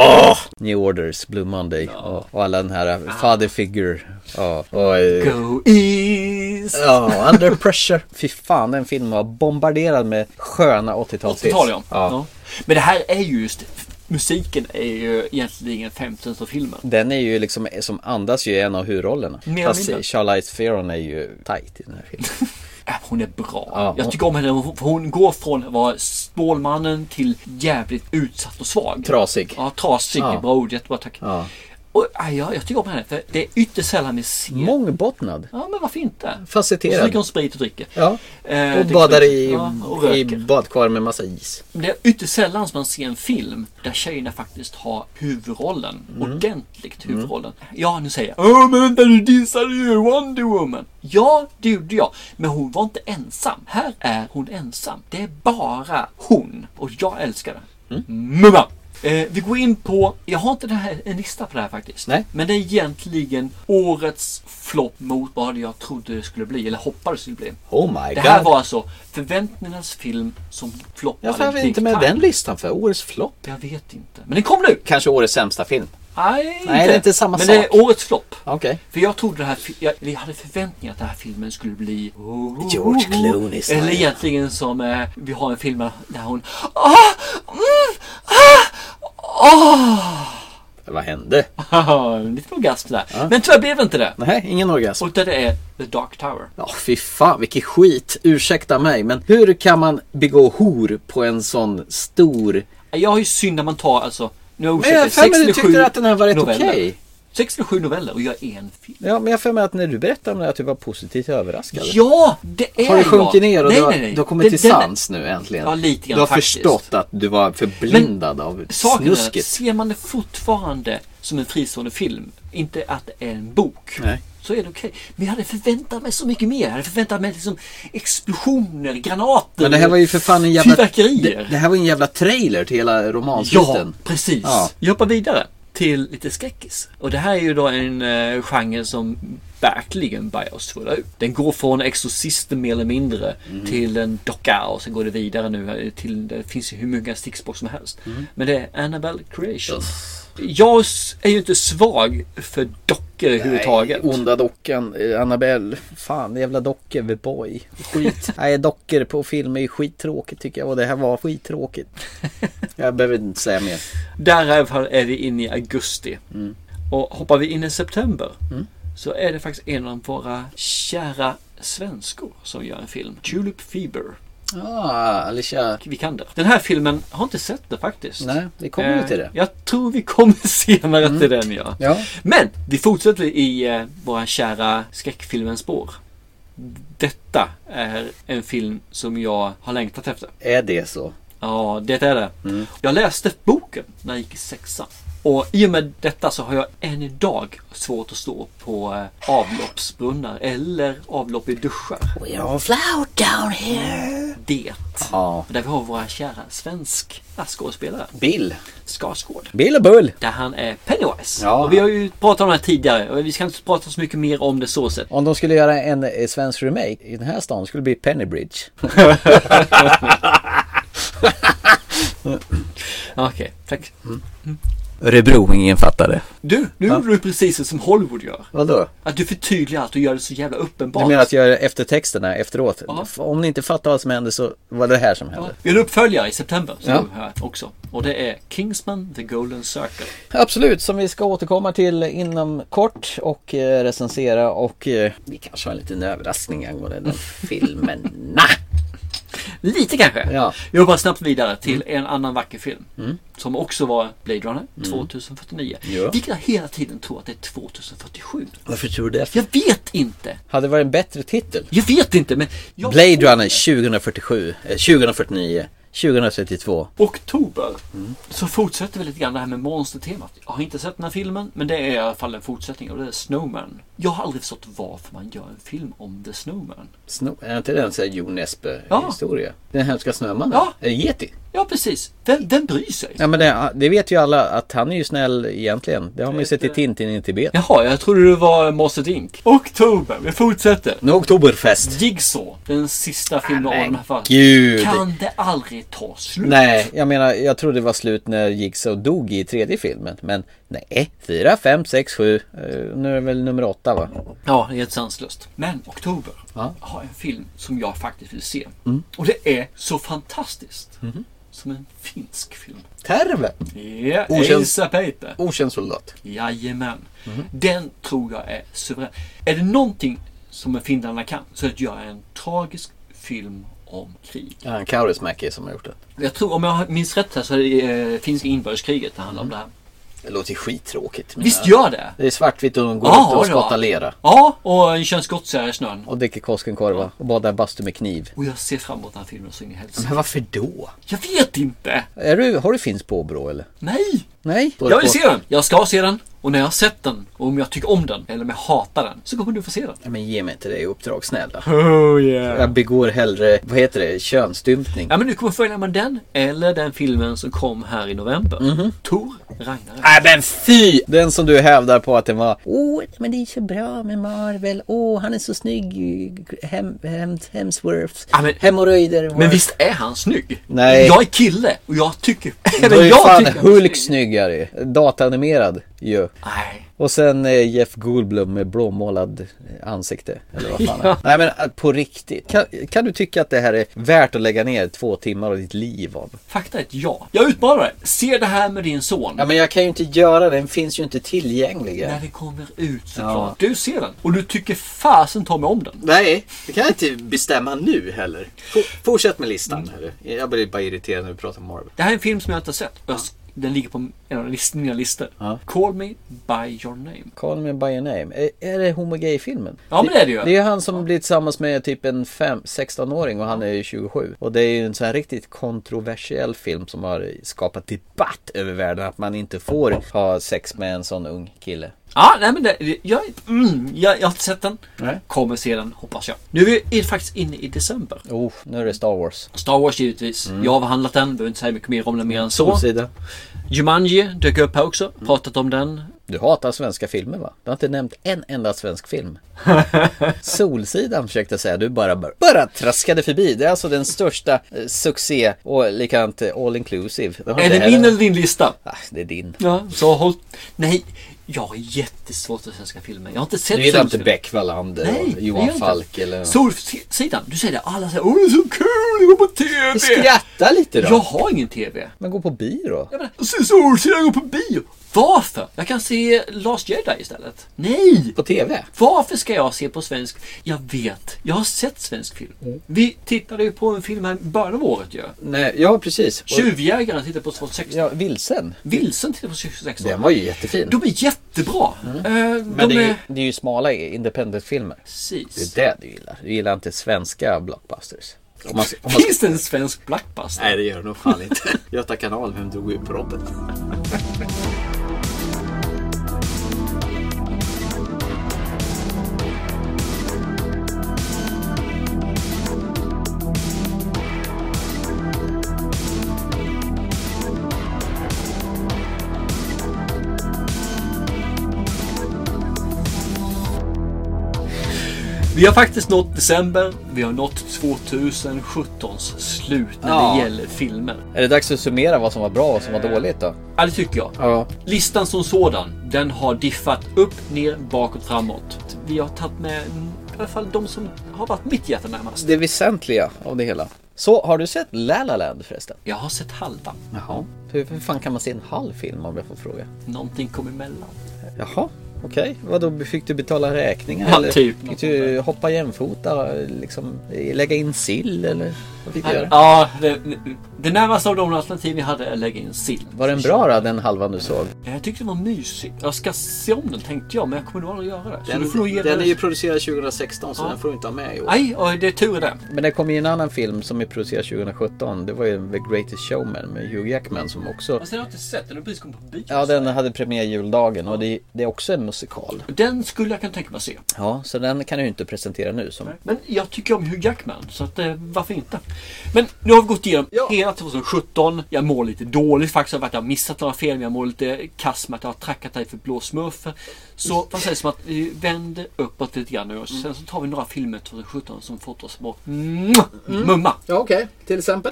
Speaker 4: New Orders, Blue Monday ja. och alla den här eh, Father Figure. Ja. Och, eh,
Speaker 3: Go East.
Speaker 4: Ja, Under Pressure. <laughs> Fy fan, den filmen var bombarderad med sköna 80-talshits.
Speaker 3: 80-tal ja.
Speaker 4: ja.
Speaker 3: ja. Men det här är ju just... Musiken är ju egentligen 15 av filmen.
Speaker 4: Den är ju liksom, som andas ju en av huvudrollerna.
Speaker 3: Mer eller
Speaker 4: Fast
Speaker 3: mindre.
Speaker 4: Charlize Theron är ju tight i den här filmen.
Speaker 3: Äh, Hon är bra.
Speaker 4: Ja,
Speaker 3: jag
Speaker 4: hon-
Speaker 3: tycker om henne. Hon, hon går från att vara Stålmannen till jävligt utsatt och svag.
Speaker 4: Trasig.
Speaker 3: Ja, trasig.
Speaker 4: Ja.
Speaker 3: Bra ord. Jättebra tack.
Speaker 4: Ja.
Speaker 3: Och, aj, ja, jag tycker om henne för det är ytterst sällan vi ser.
Speaker 4: Mångbottnad.
Speaker 3: Ja, men varför inte?
Speaker 4: Facetterad.
Speaker 3: Och så dricker hon sprit och dricker.
Speaker 4: Ja.
Speaker 3: Eh,
Speaker 4: och
Speaker 3: dricker
Speaker 4: badar
Speaker 3: sprit.
Speaker 4: i,
Speaker 3: Ja, och röker.
Speaker 4: i badkar med massa is.
Speaker 3: Det är ytterst sällan som man ser en film där tjejerna faktiskt har huvudrollen. Ordentligt huvudrollen. Ja, nu säger jag. Åh, men vänta du dissade ju Wonder Woman. Ja, det gjorde jag. Men hon var inte ensam. Här är hon ensam. Det är bara hon. Och jag älskar det. Mumma! Eh, vi går in på, jag har inte den här, en lista på det här faktiskt.
Speaker 4: Nej.
Speaker 3: Men det är egentligen årets flopp mot vad jag trodde det skulle bli, eller hoppades det skulle bli.
Speaker 4: Oh my
Speaker 3: Det här
Speaker 4: god.
Speaker 3: var alltså förväntningarnas film som floppade
Speaker 4: Jag har
Speaker 3: big
Speaker 4: inte med
Speaker 3: time.
Speaker 4: den listan för årets flopp.
Speaker 3: Jag vet inte. Men den kom nu!
Speaker 4: Kanske årets sämsta film.
Speaker 3: Nej,
Speaker 4: Nej, det är inte samma
Speaker 3: Men
Speaker 4: sak.
Speaker 3: det är årets flopp.
Speaker 4: Okej.
Speaker 3: För jag trodde det här, fi- jag, jag hade förväntningar att den här filmen skulle bli...
Speaker 4: George Clooney style.
Speaker 3: Eller egentligen som eh, vi har en film där hon... Ah! Mm! Ah!
Speaker 4: Vad hände? <laughs>
Speaker 3: Ah! Lite orgasm där. Men tyvärr blev det inte det.
Speaker 4: Nej, ingen orgasm.
Speaker 3: Och det är The Dark Tower.
Speaker 4: Ja, fy fan vilken skit. Ursäkta mig, men hur kan man begå hor på en sån stor...
Speaker 3: Jag har ju synd när man tar alltså... Nu har jag
Speaker 4: Men jag har
Speaker 3: osäker,
Speaker 4: för mig du
Speaker 3: 67
Speaker 4: tyckte att den här var rätt okej.
Speaker 3: noveller. 67 noveller och jag är en film.
Speaker 4: Ja, men jag har för mig att när du berättade om det här att du var positivt överraskad.
Speaker 3: Ja, det är
Speaker 4: Har du sjunkit
Speaker 3: jag.
Speaker 4: ner och
Speaker 3: nej,
Speaker 4: du, har,
Speaker 3: nej, nej.
Speaker 4: du har
Speaker 3: Det-
Speaker 4: kommit till
Speaker 3: den-
Speaker 4: sans nu äntligen?
Speaker 3: Ja, lite grann
Speaker 4: Du har
Speaker 3: faktiskt.
Speaker 4: förstått att du var förblindad av
Speaker 3: Saken är, att
Speaker 4: snusket.
Speaker 3: ser man det fortfarande som en fristående film, inte att det är en bok,
Speaker 4: Nej.
Speaker 3: så är det okej. Men jag hade förväntat mig så mycket mer. Jag hade förväntat mig liksom explosioner, granater,
Speaker 4: Men det här var ju för fan en jävla...
Speaker 3: fyrverkerier.
Speaker 4: Det, det här var ju en jävla trailer till hela
Speaker 3: ja,
Speaker 4: romansviten.
Speaker 3: precis.
Speaker 4: Ja.
Speaker 3: Jag hoppar vidare till lite skräckis. Och det här är ju då en eh, genre som verkligen börjar oss fulla ut. Den går från Exorcisten mer eller mindre till en docka och sen går det vidare nu eh, till, det finns ju hur många stickspår som helst. Men det är Annabelle Creations. Jag s- är ju inte svag för dockor överhuvudtaget.
Speaker 4: Onda dockan, eh, Annabelle. Fan, jävla dockor, the boy. Skit. <laughs> Nej, dockor på film är ju skittråkigt tycker jag. Och det här var skittråkigt. <laughs> jag behöver inte säga mer.
Speaker 3: Därav är vi inne i augusti.
Speaker 4: Mm.
Speaker 3: Och hoppar vi in i september så är det faktiskt en av våra kära svenskor som gör en film. Tulip Fever.
Speaker 4: Ah, Alicia.
Speaker 3: Vi kan det. Den här filmen har inte sett det faktiskt.
Speaker 4: Nej, vi kommer ju
Speaker 3: Eh,
Speaker 4: till det. Mm.
Speaker 3: Jag tror vi kommer <laughs> senare till den ja.
Speaker 4: Ja.
Speaker 3: Men vi fortsätter i eh, våra kära skräckfilmens spår. Detta är en film som jag har längtat efter.
Speaker 4: Är det så?
Speaker 3: Ja, det är det.
Speaker 4: Mm.
Speaker 3: Jag läste boken när jag gick i sexan. Och i och med detta så har jag än idag svårt att stå på eh, avloppsbrunnar eller avlopp i duschar.
Speaker 4: We all float down here.
Speaker 3: Det.
Speaker 4: Ja.
Speaker 3: Där vi har våra kära svenska skådespelare.
Speaker 4: Bill.
Speaker 3: Skarsgård.
Speaker 4: Bill och Bull.
Speaker 3: Där han är Pennywise.
Speaker 4: Ja.
Speaker 3: Och vi har ju pratat om det här tidigare och vi ska inte prata så mycket mer om det så sett.
Speaker 4: Om de skulle göra en eh, svensk remake i den här stan skulle det bli Pennybridge.
Speaker 3: Okej, tack.
Speaker 4: Örebroingen fattade.
Speaker 3: Du, nu gjorde du precis som Hollywood gör.
Speaker 4: Vadå?
Speaker 3: Att du förtydligar allt och gör det så jävla uppenbart.
Speaker 4: Du menar att jag gör eftertexterna efteråt?
Speaker 3: Ja.
Speaker 4: Om ni inte fattar vad som hände så var det här som hände.
Speaker 3: Vi har en uppföljare i september som
Speaker 4: Ja.
Speaker 3: ja. här också. Och det är Kingsman The Golden Circle.
Speaker 4: Absolut, som vi ska återkomma till inom kort och eh, recensera och eh, vi kanske har en liten överraskning angående <laughs> den filmen.
Speaker 3: Lite kanske.
Speaker 4: Ja.
Speaker 3: Jag hoppar snabbt vidare till
Speaker 4: Mm.
Speaker 3: en annan vacker film. Som också var Blade Runner 2049.
Speaker 4: Ja.
Speaker 3: Vilket jag hela tiden tror att det är 2047.
Speaker 4: Varför tror du det?
Speaker 3: Jag vet inte.
Speaker 4: Hade det varit en bättre titel?
Speaker 3: Jag vet inte men... Jag
Speaker 4: Blade Runner 2047, eh, 2049, 2032.
Speaker 3: oktober
Speaker 4: Mm.
Speaker 3: så fortsätter vi lite grann det här med monstertemat. Jag har inte sett den här filmen men det är i alla fall en fortsättning och det är Snowman. Jag har aldrig förstått varför man gör en film om The Snowman.
Speaker 4: Sno, är inte det en sån här Jo
Speaker 3: Ja.
Speaker 4: Nesbø-historia? Den hemska snömannen?
Speaker 3: Ja.
Speaker 4: Är det Yeti?
Speaker 3: Ja precis, vem, vem bryr sig?
Speaker 4: Ja men det, det vet ju alla att han är ju snäll egentligen. Det har man ju sett i Tintin i Tibet.
Speaker 3: Jaha, jag trodde det var Monster Inc. Oktober, vi fortsätter.
Speaker 4: Nu Oktoberfest.
Speaker 3: Jigsaw, den sista filmen av de här fallen.
Speaker 4: Gud.
Speaker 3: Kan det aldrig ta slut?
Speaker 4: Nej, jag menar jag trodde det var slut när Jigsaw dog i tredje filmen. Men nej, fyra, fem, sex, sju. Eh, Nu är det väl nummer åtta va?
Speaker 3: Ja, det är helt sanslöst. Men Oktober
Speaker 4: Ja. Mm.
Speaker 3: har en film som jag faktiskt vill se. Och det är så fantastiskt.
Speaker 4: Mhm.
Speaker 3: Som en finsk film.
Speaker 4: Terve!
Speaker 3: Ja,
Speaker 4: Okänd- Mhm.
Speaker 3: Eisa Peite.
Speaker 4: Okänd soldat.
Speaker 3: Jajamän. Den tror jag är suverän. Är det någonting som finländarna kan så är det att göra en tragisk film om krig.
Speaker 4: Ja, en Kaurismäki som har gjort det.
Speaker 3: Jag tror, om jag minns rätt här så är det eh, finska inbördeskriget det handlar om det här.
Speaker 4: Det låter ju skittråkigt. men-
Speaker 3: Visst gör det?
Speaker 4: Det är svartvitt och de går
Speaker 3: Ja,
Speaker 4: ut och
Speaker 3: ja.
Speaker 4: skottar lera.
Speaker 3: Ja, och kör en skottsare i snön.
Speaker 4: Och dricker Koskenkorva och badar i bastu med kniv.
Speaker 3: Och jag ser fram emot den här filmen så in i helsike.
Speaker 4: Men varför då?
Speaker 3: Jag vet inte!
Speaker 4: Är du, har du finns påbrå eller?
Speaker 3: Nej!
Speaker 4: Nej?
Speaker 3: Jag vill se den! Jag ska se den. Och när jag har sett den, och om jag tycker om den, eller om jag hatar den, så kommer du få se den.
Speaker 4: Nej, Men ge mig inte det i uppdrag snälla.
Speaker 3: Oh yeah!
Speaker 4: Jag begår hellre, vad heter det, könsstympning.
Speaker 3: Ja men du kommer följa med den, eller den filmen som kom här i november. Tor Ragnarök.
Speaker 4: Mhm. Nej men fy! Den som du hävdar på att den var Åh, men det är så bra med Marvel. Åh, han är så snygg. Hem, hem, Hemsworth.
Speaker 3: Ja, men-
Speaker 4: Hemorrojder.
Speaker 3: Men visst är han snygg?
Speaker 4: Nej.
Speaker 3: Jag är kille och jag tycker...
Speaker 4: <laughs> Då
Speaker 3: Eller
Speaker 4: är
Speaker 3: jag
Speaker 4: fan
Speaker 3: tycker han är
Speaker 4: Hulk
Speaker 3: snygg.
Speaker 4: snyggare. Dataanimerad ju.
Speaker 3: Nej.
Speaker 4: Och sen eh, Jeff Goldblum med blåmålad eh, ansikte. Eller vad fan
Speaker 3: Ja.
Speaker 4: <laughs> ja. Nej men eh, på riktigt. Kan, kan du tycka att det här är värt att lägga ner två timmar av ditt liv av?
Speaker 3: Fakta är ett ja. Jag utmanar dig. Se det här med din son.
Speaker 4: Ja men jag kan ju inte göra det. Den finns ju inte tillgänglig.
Speaker 3: När det kommer ut såklart. Du ser den och du tycker fasen ta mig om den.
Speaker 11: Nej, det kan jag inte bestämma nu heller. F- fortsätt med listan.
Speaker 4: Mm.
Speaker 11: Eller? Jag blir bara irriterad när vi pratar om Marvel.
Speaker 3: Det här är en film som jag inte har sett. Och jag, s- den ligger på en av list, mina listor. Call me by your name.
Speaker 4: Call me by your name. Är, är det homogay-filmen?
Speaker 3: Ja, men det är det ju.
Speaker 4: Det är han som blir tillsammans med typ en fem- 16-åring och han är ju 27. Och det är ju en sån här riktigt kontroversiell film som har skapat debatt över världen. Att man inte får ha sex med en sån ung kille.
Speaker 3: Ja, Ah, nej men det, det- jag, mm, jag, jag har inte sett den.
Speaker 4: Nej.
Speaker 3: Kommer se den, hoppas jag. Nu är vi är faktiskt inne i december.
Speaker 4: Oh, nu är det Star Wars.
Speaker 3: Star Wars givetvis. Jag har avhandlat den, behöver inte säga mycket mer om den mer än så.
Speaker 4: Solsida.
Speaker 3: Jumanji dök upp här också, pratat om den.
Speaker 4: Du hatar svenska filmer va? Du har inte nämnt en enda svensk film.
Speaker 3: <laughs>
Speaker 4: Solsidan försökte jag säga, du bara, bara traskade förbi. Det är alltså den största eh, succé och likadant eh, all inclusive. har
Speaker 3: Är
Speaker 4: inte
Speaker 3: det
Speaker 4: heller-
Speaker 3: min eller din lista?
Speaker 4: Ah, det är din.
Speaker 3: Ja, så håll... Nej, jag har jättesvårt för svenska filmer. Jag har inte sett
Speaker 4: Du gillar inte
Speaker 3: solsidan.
Speaker 4: Beck Wallander
Speaker 3: Nej,
Speaker 4: och
Speaker 3: det gör jag
Speaker 4: Johan
Speaker 3: inte.
Speaker 4: Falk eller...
Speaker 3: Solsidan, du säger det. Alla säger åh det är så kul, jag går på TV.
Speaker 4: Skratta lite då!
Speaker 3: Jag har ingen TV.
Speaker 4: Men gå på bio
Speaker 3: Jag menar, jag ser Solsidan gå på bio. Varför? Jag kan se Last Jedi istället. Nej!
Speaker 4: På TV?
Speaker 3: Varför ska jag se på svensk? Jag vet, jag har sett svensk film.
Speaker 4: Mm.
Speaker 3: Vi tittade ju på en film här i början av året ju.
Speaker 4: Nej, ja precis. Och,
Speaker 3: Tjuvjägaren tittade på 2016.
Speaker 4: ja, vilsen.
Speaker 3: Vilsen tittade på 2016.
Speaker 4: Den var ju jättefin.
Speaker 3: De är jättebra.
Speaker 4: Mm.
Speaker 3: Eh,
Speaker 4: Men
Speaker 3: de
Speaker 4: det är, ju,
Speaker 3: är...
Speaker 4: det är ju smala independent-filmer.
Speaker 3: Precis.
Speaker 4: Det är det du gillar. Du gillar inte svenska blockbusters.
Speaker 11: Om man, ska- om man, ska-
Speaker 3: Finns det en svensk blackbuster?
Speaker 11: nej, det gör det nog fan inte. <laughs> Göta kanal, vem drog ut proppen?
Speaker 3: Vi har faktiskt nått december. Vi har nått 2017s slut när
Speaker 4: Ja.
Speaker 3: det gäller filmer.
Speaker 4: Är det dags att summera vad som var bra och vad som var dåligt då?
Speaker 3: Ja, det tycker jag.
Speaker 4: Ja.
Speaker 3: Listan som sådan, den har diffat upp, ner, bakåt, framåt. Vi har tagit med mm, i alla fall de som har varit mitt hjärta närmast.
Speaker 4: Det väsentliga av det hela. Så, har du sett La La Land förresten?
Speaker 3: Jag har sett halva.
Speaker 4: Jaha. Hur, hur fan kan man se en halv film om jag får fråga?
Speaker 3: Någonting kom emellan.
Speaker 4: Jaha, okej. Vadå, fick du betala räkningar?
Speaker 3: Ja,
Speaker 4: eller
Speaker 3: typ.
Speaker 4: Fick du hoppa jämfota, liksom, lägga in sill eller? Vad fick du göra?
Speaker 3: Ja, det, det närmaste av de alternativ vi hade är att lägga in sill.
Speaker 4: Var den bra då, den halvan du såg?
Speaker 3: Jag tyckte den var mysig. Jag ska se om den tänkte jag, men jag kommer nog aldrig göra det. Så du får nog
Speaker 11: Den,
Speaker 3: ge
Speaker 11: den
Speaker 3: det-
Speaker 11: är ju producerad 2016 så
Speaker 3: Ja.
Speaker 11: den får du inte ha med i år.
Speaker 3: Nej, oj, det är tur det.
Speaker 4: Men det kom ju en annan film som är producerad 2017. Det var ju The Greatest Showman med Hugh Jackman som också...
Speaker 3: Fast den har jag inte sett, den har precis kommit på bio.
Speaker 4: Ja, den hade premiär juldagen och det, det är också en musikal.
Speaker 3: Den skulle jag kunna tänka mig att se.
Speaker 4: Ja, så den kan du ju inte presentera nu som...
Speaker 3: Men jag tycker om Hugh Jackman, så att, eh, varför inte? Men nu har vi gått igenom hela 2017. Jag mår lite dåligt faktiskt av att jag har missat några film. Jag mår lite kass med att jag har trackat dig för blå smurfer. Så
Speaker 11: Mm.
Speaker 3: vad sägs om att vi vänder uppåt lite grann nu och sen så tar vi några filmer 2017 som fått oss att må mwah, mumma.
Speaker 11: Mm. Ja, okej. Till exempel?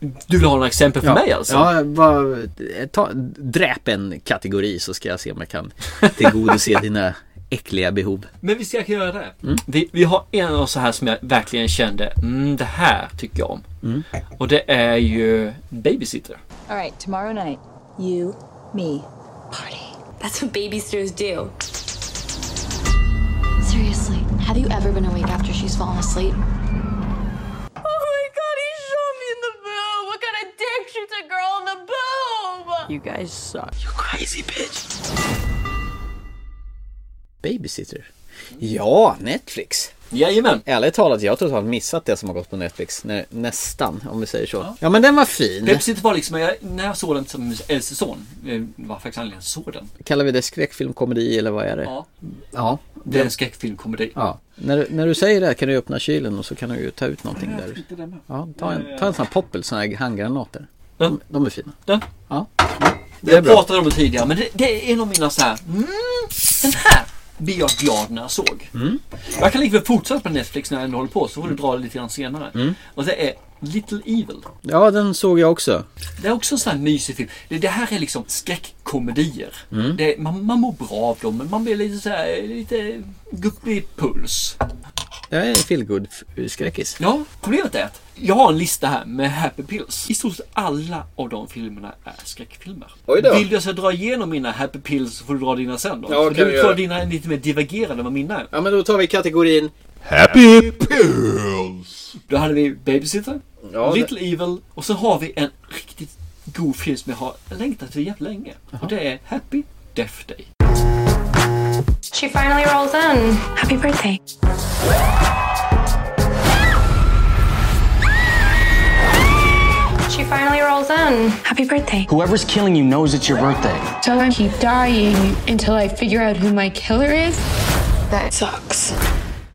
Speaker 3: Du vill ha några exempel för mig alltså?
Speaker 4: Ja, vad, ta, dräp en kategori så ska jag se om jag kan
Speaker 3: <laughs>
Speaker 4: tillgodose dina äckliga behov.
Speaker 3: Men vi ska kunna göra det.
Speaker 4: Mm.
Speaker 3: Vi, vi har en av så här som jag verkligen kände, mm, det här tycker jag om.
Speaker 4: Mm.
Speaker 3: Och det är ju Babysitter.
Speaker 12: All right, tomorrow night, you, me,
Speaker 7: That's what babysitters do. Seriously, have you ever been awake after she's fallen asleep? Oh my god, he shot me in the boob! What kind of dick shoots a girl in the boob?
Speaker 13: You guys suck.
Speaker 2: You crazy bitch.
Speaker 4: Babysitter. Ja, Netflix.
Speaker 3: Jajamän.
Speaker 4: Ärligt talat, jag har totalt missat det som har gått på Netflix. Nä, nästan, om vi säger så. Ja, men den var fin.
Speaker 3: Babysitter var liksom, jag, när jag såg den som äldste son, eh, var faktiskt anledningen att jag såg den.
Speaker 4: Kallar vi det skräckfilmkomedi eller vad är det?
Speaker 3: Ja.
Speaker 4: Ja.
Speaker 3: Det är en skräckfilmkomedi.
Speaker 4: Ja. När, när du säger det här kan du öppna kylen och så kan du ju ta ut någonting
Speaker 3: Ja, jag
Speaker 4: där.
Speaker 3: tänkte det med.
Speaker 4: Ja, ta en, ta en sån här poppel, sån här handgranater.
Speaker 3: De,
Speaker 4: de är fina.
Speaker 3: Den?
Speaker 4: Ja. Det är
Speaker 3: Jag
Speaker 4: bra.
Speaker 3: pratade om det tidigare, men det, det är en av mina så här, mm, den här blir jag glad när jag såg.
Speaker 4: Mm.
Speaker 3: Jag kan likväl fortsätta på Netflix när jag ändå håller på, så får du dra det lite grann senare.
Speaker 4: Mm.
Speaker 3: Och det är Little Evil.
Speaker 4: Ja, den såg jag också.
Speaker 3: Det är också en sån här mysig film. Det, det här är liksom skräckkomedier.
Speaker 4: Mm.
Speaker 3: Det, man, man mår bra av dem, men man blir lite så här, lite guppig puls.
Speaker 4: Det är en feelgood skräckis
Speaker 3: Ja, problemet är att jag har en lista här med Happy Pills. I stort sett alla av de filmerna är skräckfilmer.
Speaker 4: Oj då.
Speaker 3: Vill du så dra igenom mina Happy Pills så får du dra dina sen då.
Speaker 4: Ja,
Speaker 3: För
Speaker 4: kan vi
Speaker 3: du
Speaker 4: göra.
Speaker 3: tar dina är lite mer divergerande än vad mina är.
Speaker 4: Ja, men då tar vi kategorin
Speaker 3: Happy Pills! Då hade vi Babysitter,
Speaker 4: Ja, det-
Speaker 3: Little Evil och så har vi en riktigt god film som jag har längtat till jävligt länge. Och det är Happy Death Day.
Speaker 14: She finally rolls in. Happy birthday. She finally rolls in. Happy birthday.
Speaker 15: Whoever's killing you knows it's your birthday.
Speaker 14: So I keep dying until I figure out who my killer is. That sucks.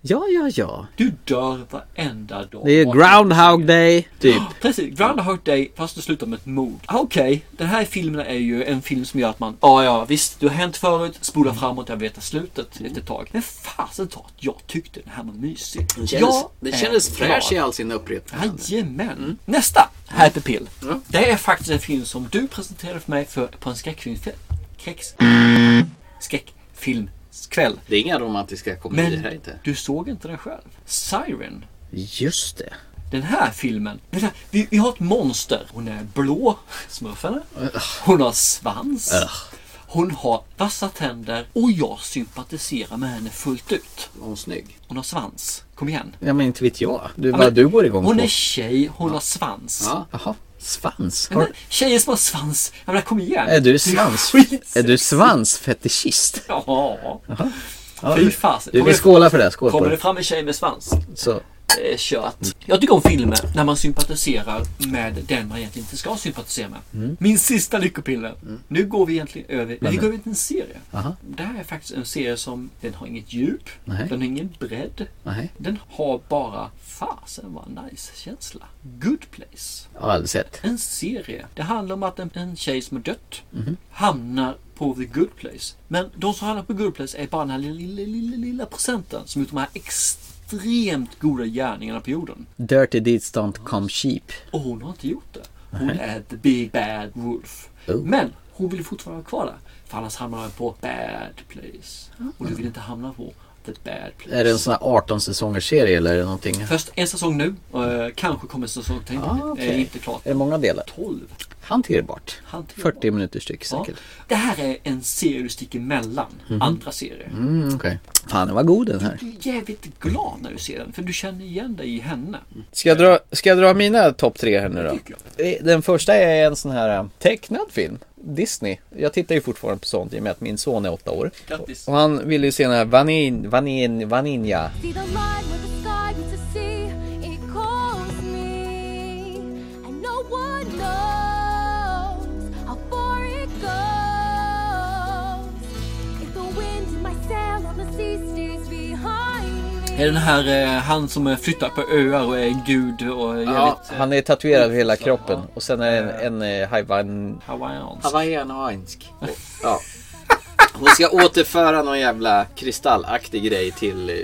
Speaker 4: Ja, ja, ja.
Speaker 3: Du dör varenda dag.
Speaker 4: Det är Groundhog Day, typ.
Speaker 3: Precis, Groundhog Day fast det slutar med ett mord. Ah, Okej, den här filmen är ju en film som gör att man, ja ja visst, det har hänt förut, spola framåt, jag vet
Speaker 4: Mm.
Speaker 3: slutet efter ett tag. Men fasen ta att jag tyckte den här var mysig.
Speaker 4: Den kändes,
Speaker 3: Jag
Speaker 4: den
Speaker 3: är
Speaker 4: kändes
Speaker 3: glad.
Speaker 4: fräsch i Mm. all sin upprepning.
Speaker 3: Jajamän. Nästa, Happy Pill. Det är faktiskt en film som du presenterade för mig för, på en skräckfilmskväll. Skräcks... Skräckfilmskväll.
Speaker 4: Det är inga romantiska komedier här
Speaker 3: Men
Speaker 4: inte.
Speaker 3: du såg inte den själv. Siren.
Speaker 4: Just det.
Speaker 3: Den här filmen. Den här, vi, vi har ett monster. Hon är blå, smurfarna. Hon har svans. Hon har vassa tänder och jag sympatiserar med henne fullt ut.
Speaker 4: Hon snygg?
Speaker 3: Hon har svans. Kom igen.
Speaker 4: Ja, men inte vet jag. Du,
Speaker 3: Ja,
Speaker 4: vad
Speaker 3: men
Speaker 4: du går igång
Speaker 3: Hon
Speaker 4: på.
Speaker 3: är tjej, hon har svans.
Speaker 4: Ja, jaha. Svans?
Speaker 3: Ja, men, tjejer som har svans, jag menar kom igen.
Speaker 4: Är du svans? Är du svansfetischist?
Speaker 3: Ja.
Speaker 4: Ja,
Speaker 3: Fy
Speaker 4: du-
Speaker 3: fasen.
Speaker 4: du, vi
Speaker 3: Kommer det-
Speaker 4: skålar för det. Skål på
Speaker 3: Kommer
Speaker 4: det.
Speaker 3: det fram en tjej med svans?
Speaker 4: Så.
Speaker 3: Det är eh, kört. Jag tycker om filmer när man sympatiserar med den man egentligen inte ska sympatisera med.
Speaker 4: Mm.
Speaker 3: Min sista lyckopiller. Nu går vi egentligen över,
Speaker 4: Men-
Speaker 3: vi går över till en serie.
Speaker 4: Aha.
Speaker 3: Det här är faktiskt en serie som, den har inget djup,
Speaker 4: Nej.
Speaker 3: den har ingen bredd.
Speaker 4: Nej.
Speaker 3: Den har bara, fasen vad nice känsla. Good place.
Speaker 4: Jag har aldrig sett.
Speaker 3: En serie. Det handlar om att en, en tjej som är dött
Speaker 4: Mhm.
Speaker 3: hamnar på the good place. Men de som hamnar på good place är bara den här lilla, lilla, lilla, lilla procenten som gjort de här extremt goda gärningarna på jorden.
Speaker 4: Dirty deeds don't come cheap.
Speaker 3: Och hon har inte gjort det. Hon
Speaker 4: Nej.
Speaker 3: är the big bad wolf.
Speaker 4: Oh.
Speaker 3: Men hon vill fortfarande vara kvar där. För annars hamnar hon på bad place. Och du vill inte hamna på the bad place.
Speaker 4: Är det en sån här 18 säsongers serie eller är det någonting?
Speaker 3: Först en säsong nu. eh, kanske kommer en säsong till.
Speaker 4: Ah, okej.
Speaker 3: Det är inte klart.
Speaker 4: Är det många delar?
Speaker 3: 12.
Speaker 4: Hanterbart.
Speaker 3: Hanterbart.
Speaker 4: 40 minuter styck säkert.
Speaker 3: Det här är en serie du sticker emellan
Speaker 4: Mhm.
Speaker 3: andra serier.
Speaker 4: Mm, okej. Fan, den var god den här.
Speaker 3: Du är jävligt glad när du ser den, för du känner igen dig i henne.
Speaker 4: Ska jag dra, ska jag dra mina topp tre här nu då? Eh, Den första är en sån här eh, tecknad film. Disney. Jag tittar ju fortfarande på sånt i och med att min son är åtta år.
Speaker 3: Grattis.
Speaker 4: Och han ville ju se den här Vanin, Vanin, Vaninja.
Speaker 7: See the line where the sky meets the sea. It calls me, and no one knows how far it goes. If the wind in my sail on the sea stays behind me.
Speaker 3: Är den här eh, han som eh, flyttar på öar och är gud och är
Speaker 4: Ja,
Speaker 3: jävligt...
Speaker 4: han är tatuerad över hela kroppen. Och sen är det en, en eh, Hawaiian...
Speaker 3: Hawaiiansk.
Speaker 4: Hawaiiansk. Ja. Hon ska återföra någon jävla kristallaktig grej till... eh,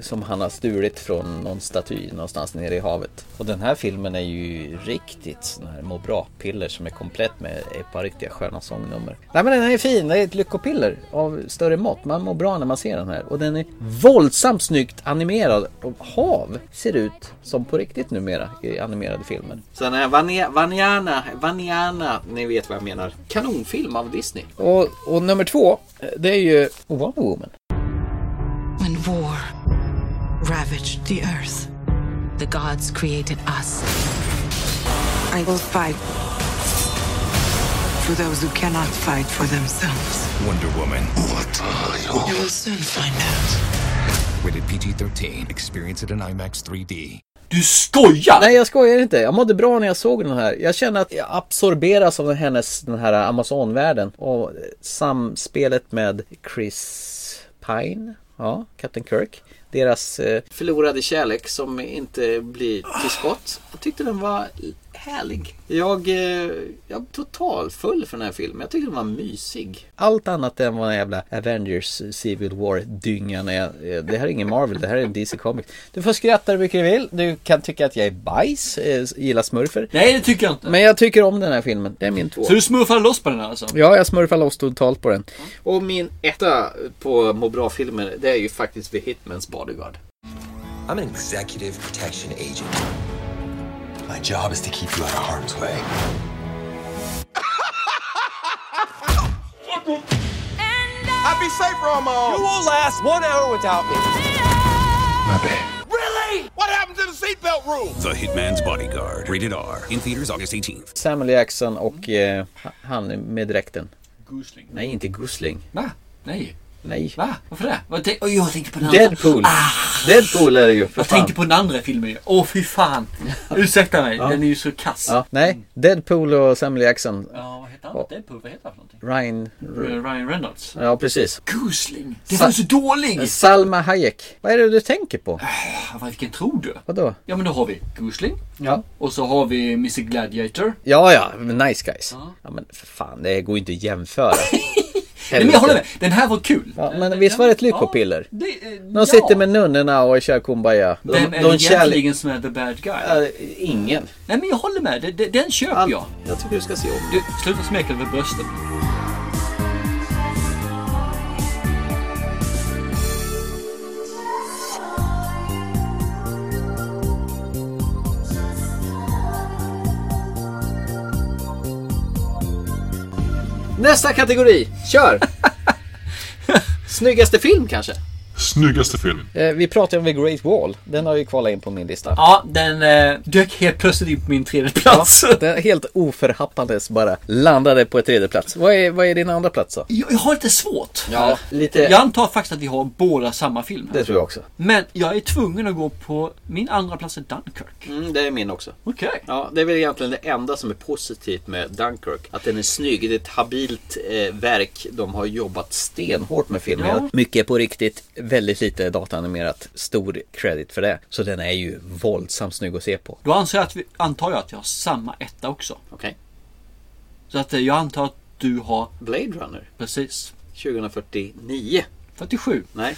Speaker 4: Som han har stulit från någon staty någonstans nere i havet. Och den här filmen är ju riktigt sån här må bra-piller som är komplett med ett par riktiga sköna sångnummer. Nej men den här är fin, det är ett lyckopiller av större mått. Man mår bra när man ser den här. Och den är våldsamt snyggt animerad. Och hav ser ut som på riktigt numera i animerade filmer. Så den här Vanjana, Vanjana, ni vet vad jag menar. Kanonfilm av Disney. Och, och nummer två, eh, det är ju Wonder Woman.
Speaker 16: When war ravaged the earth, the gods created us. I will fight for those who cannot fight for themselves.
Speaker 17: Wonder Woman. What are
Speaker 16: You will soon find out.
Speaker 17: Rated PG-13. Experience it in IMAX 3D.
Speaker 3: Du skojar!
Speaker 4: Nej jag skojar inte. Jag mådde bra när jag såg den här. Jag känner att jag absorberas av hennes, den här Amazonvärlden. Och eh, samspelet med Chris Pine, ja, Captain Kirk. Deras eh, förlorade kärlek som inte blir till skott. Jag tyckte den var härlig. Jag, eh, jag totalfull för den här filmen. Jag tyckte den var mysig. Allt annat än vad den jävla Avengers Civil War-dyngan är. Eh, Det här är ingen Marvel, det här är en DC Comics. Du får skratta hur mycket du vill. Du kan tycka att jag är bajs, eh, gillar smurfer.
Speaker 3: Nej, det tycker jag inte.
Speaker 4: Men jag tycker om den här filmen. Det är min två.
Speaker 3: Så du smurfar loss på den här alltså?
Speaker 4: Ja, jag smurfar loss totalt på den. Och min etta på må bra-filmer, det är ju faktiskt The Hitmans Bodyguard.
Speaker 17: I'm an executive protection agent. My job is to keep you out of harm's way.
Speaker 13: I'd be safer on my own. You won't last one hour without me.
Speaker 17: My bad.
Speaker 13: Really? What happened to the seatbelt rule?
Speaker 17: The Hitman's Bodyguard. Rated R. In theaters August 18th.
Speaker 4: Samuel Jackson och eh, han med dräkten.
Speaker 3: Gosling.
Speaker 4: Nej, inte Gosling.
Speaker 3: Va? Nej.
Speaker 4: Nej.
Speaker 3: Va? Varför det? Vad tänk- Oj, jag tänkte på den andra.
Speaker 4: Deadpool. Deadpool är det ju. För
Speaker 3: Jag
Speaker 4: fan.
Speaker 3: tänkte på den andra filmen ju. Åh,
Speaker 4: <laughs>
Speaker 3: fy fan. Ursäkta mig, den är ju så kass.
Speaker 4: Ja, nej, Deadpool och Samuel Jackson.
Speaker 3: Ja, vad heter han? Deadpool, vad heter han för någonting?
Speaker 4: Ryan...
Speaker 3: Eh, Ryan Reynolds.
Speaker 4: Ja, precis.
Speaker 3: Gosling! Det var så dålig!
Speaker 4: Salma Hayek. Vad är det du tänker på?
Speaker 3: Ah, vad- Vilken tror du?
Speaker 4: Vadå?
Speaker 3: Ja, men då har vi Gosling.
Speaker 4: Ja.
Speaker 3: Och så har vi Mr Gladiator.
Speaker 4: Ja, ja, men nice guys. Ja, men för fan, det går ju inte att <laughs> jämföra.
Speaker 3: Nej, men jag håller med. Den här var kul.
Speaker 4: Ja, men visst var det ett lyckopiller?
Speaker 3: Det, eh,
Speaker 4: De sitter med nunnorna och kör kumbaya. De,
Speaker 3: Vem är
Speaker 4: de
Speaker 3: det
Speaker 4: kärle-
Speaker 3: egentligen som är the bad
Speaker 4: Äh.
Speaker 3: guy?
Speaker 4: ingen.
Speaker 3: Nej, men jag håller med. Det- det- Den köper jag.
Speaker 4: Jag tycker du ska se om
Speaker 3: Du, sluta smeka över bröstet.
Speaker 4: Nästa kategori,
Speaker 3: <laughs>
Speaker 4: kör! Snyggaste film kanske?
Speaker 18: Snyggaste film.
Speaker 4: Eh, vi pratade om The Great Wall. Den har ju kvalat in på min lista.
Speaker 3: Ja, den eh, dök helt plötsligt in på min tredje plats.
Speaker 4: Den är helt oförhappandes bara landade på ett tredje plats. Vad är, vad är din andra plats då?
Speaker 3: <laughs> Jag, jag har lite svårt.
Speaker 4: Ja, lite-
Speaker 3: Jag antar faktiskt att vi har båda samma film. här.
Speaker 4: Det tror jag också.
Speaker 3: Men jag är tvungen att gå på min andra plats är Dunkirk.
Speaker 4: Mm, det är min också.
Speaker 3: Okej.
Speaker 4: Ja, det är väl egentligen det enda som är positivt med Dunkirk. Att den är snygg. Det är ett habilt eh, verk. De har jobbat stenhårt med filmen.
Speaker 3: Ja.
Speaker 4: Mycket är på riktigt. Väldigt lite dataanimerat. Stor credit för det. Så den är ju våldsamt snygg att se på.
Speaker 3: Då anser jag att vi, antar jag att jag har samma etta också.
Speaker 4: Okej.
Speaker 3: Så att eh, jag antar att du har
Speaker 4: Blade Runner
Speaker 3: precis
Speaker 4: 2049. <laughs>
Speaker 3: 47.
Speaker 4: Nej,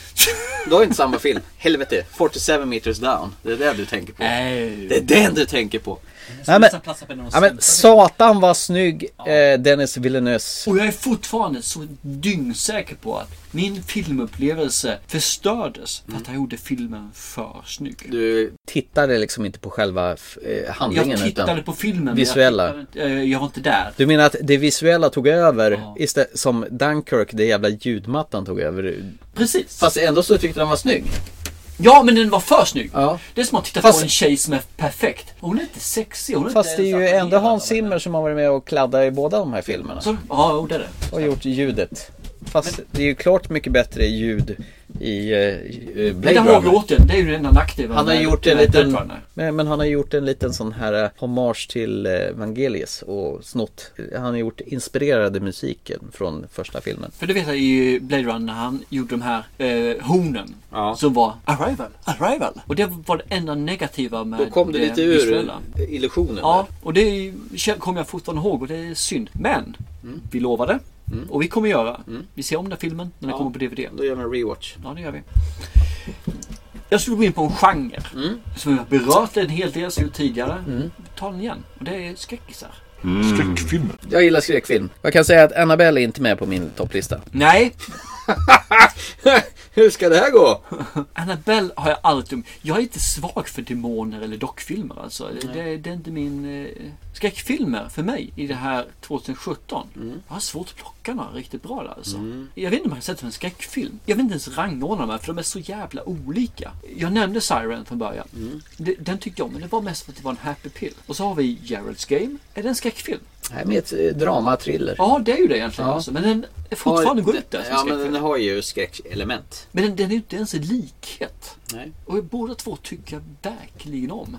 Speaker 4: då är inte samma film. Helvete, 47 meters down. Det är det du tänker på.
Speaker 3: Nej.
Speaker 4: Det är den du tänker på.
Speaker 3: skulle
Speaker 4: Nej,
Speaker 3: nästan platsa på en av de
Speaker 4: ja, men
Speaker 3: sämsta.
Speaker 4: satan vad snygg eh, Dennis Villeneuves.
Speaker 3: Och jag är fortfarande så dyngsäker på att min filmupplevelse förstördes
Speaker 4: Mm.
Speaker 3: för att jag gjorde filmen för snygg.
Speaker 4: Du tittade liksom inte på själva f- eh, handlingen.
Speaker 3: jag tittade
Speaker 4: utan
Speaker 3: på filmen men
Speaker 4: Visuella.
Speaker 3: Jag, tittade, eh, jag var inte där.
Speaker 4: Du menar att det visuella tog över istället som Dunkirk, det jävla ljudmattan tog över?
Speaker 3: Precis.
Speaker 4: Fast ändå så tyckte den var snygg.
Speaker 3: Ja, men den var för snygg.
Speaker 4: Ja.
Speaker 3: Det är som att titta
Speaker 4: Fast-
Speaker 3: på en tjej som är perfekt. Hon är inte sexig. Hon är
Speaker 4: Fast
Speaker 3: inte
Speaker 4: det är ju
Speaker 3: ens
Speaker 4: ändå
Speaker 3: attraherad.
Speaker 4: Hans Zimmer som har varit med och kladdat i båda de här filmerna.
Speaker 3: Så, ja, jo, det är det.
Speaker 4: och gjort ljudet. Fast det är ju klart mycket bättre ljud i uh,
Speaker 3: Men
Speaker 4: Blade
Speaker 3: det har vi
Speaker 4: Runner.
Speaker 3: återigen. Det är ju den enda nackdelen.
Speaker 4: Han har
Speaker 3: med-
Speaker 4: gjort en
Speaker 3: med
Speaker 4: liten,
Speaker 3: Blade Runner.
Speaker 4: men, men han har gjort en liten sån här eh, hommage till eh, Vangelis och snott. Han har gjort inspirerade musiken från första filmen.
Speaker 3: För du vet jag i eh, Blade Runner när han gjorde de här eh, hornen som var Arrival, Arrival. Och det var det enda negativa med det visuella.
Speaker 4: illusionen.
Speaker 3: Ja, och det är ju- kän- kommer jag fortfarande ihåg och det är synd. Men vi lovade och vi kommer göra. Vi ser om den här filmen när den kommer på DVD.
Speaker 4: Då gör vi en rewatch.
Speaker 3: Ja, det gör vi. Jag skulle gå in på en genre som jag har berört en hel del så jag gjort tidigare. Ta den igen. Och det är skräckisar.
Speaker 18: Skräckfilmer.
Speaker 4: Jag gillar skräckfilm. Jag kan säga att Annabelle är inte med på min topplista.
Speaker 3: Nej,
Speaker 4: <laughs> Hur ska det här gå?
Speaker 3: Annabelle har jag alltid... Jag är inte svag för demoner eller dockfilmer alltså. Det, det, det är inte min... Eh, skräckfilmer för mig i det här 2017.
Speaker 11: Mm.
Speaker 3: Jag har svårt att plocka några riktigt bra där alltså. Jag vet inte om jag har sett som en skräckfilm. Jag vill inte ens rangordna dem här för de är så jävla olika. Jag nämnde Siren från början.
Speaker 11: Mm.
Speaker 3: Det, den tyckte jag om, men det var mest för att det var en happy pill. Och så har vi Geralds Game. Är det en skräckfilm?
Speaker 11: Nej, men ett eh, dramatriller.
Speaker 3: Ja, det är ju det egentligen. Alltså. Men den är fortfarande går ut där som
Speaker 11: Ja,
Speaker 3: skräck.
Speaker 11: men den har ju skräckelement.
Speaker 3: Men den, den är ju inte ens en likhet.
Speaker 11: Nej.
Speaker 3: Och båda två tycker jag verkligen om.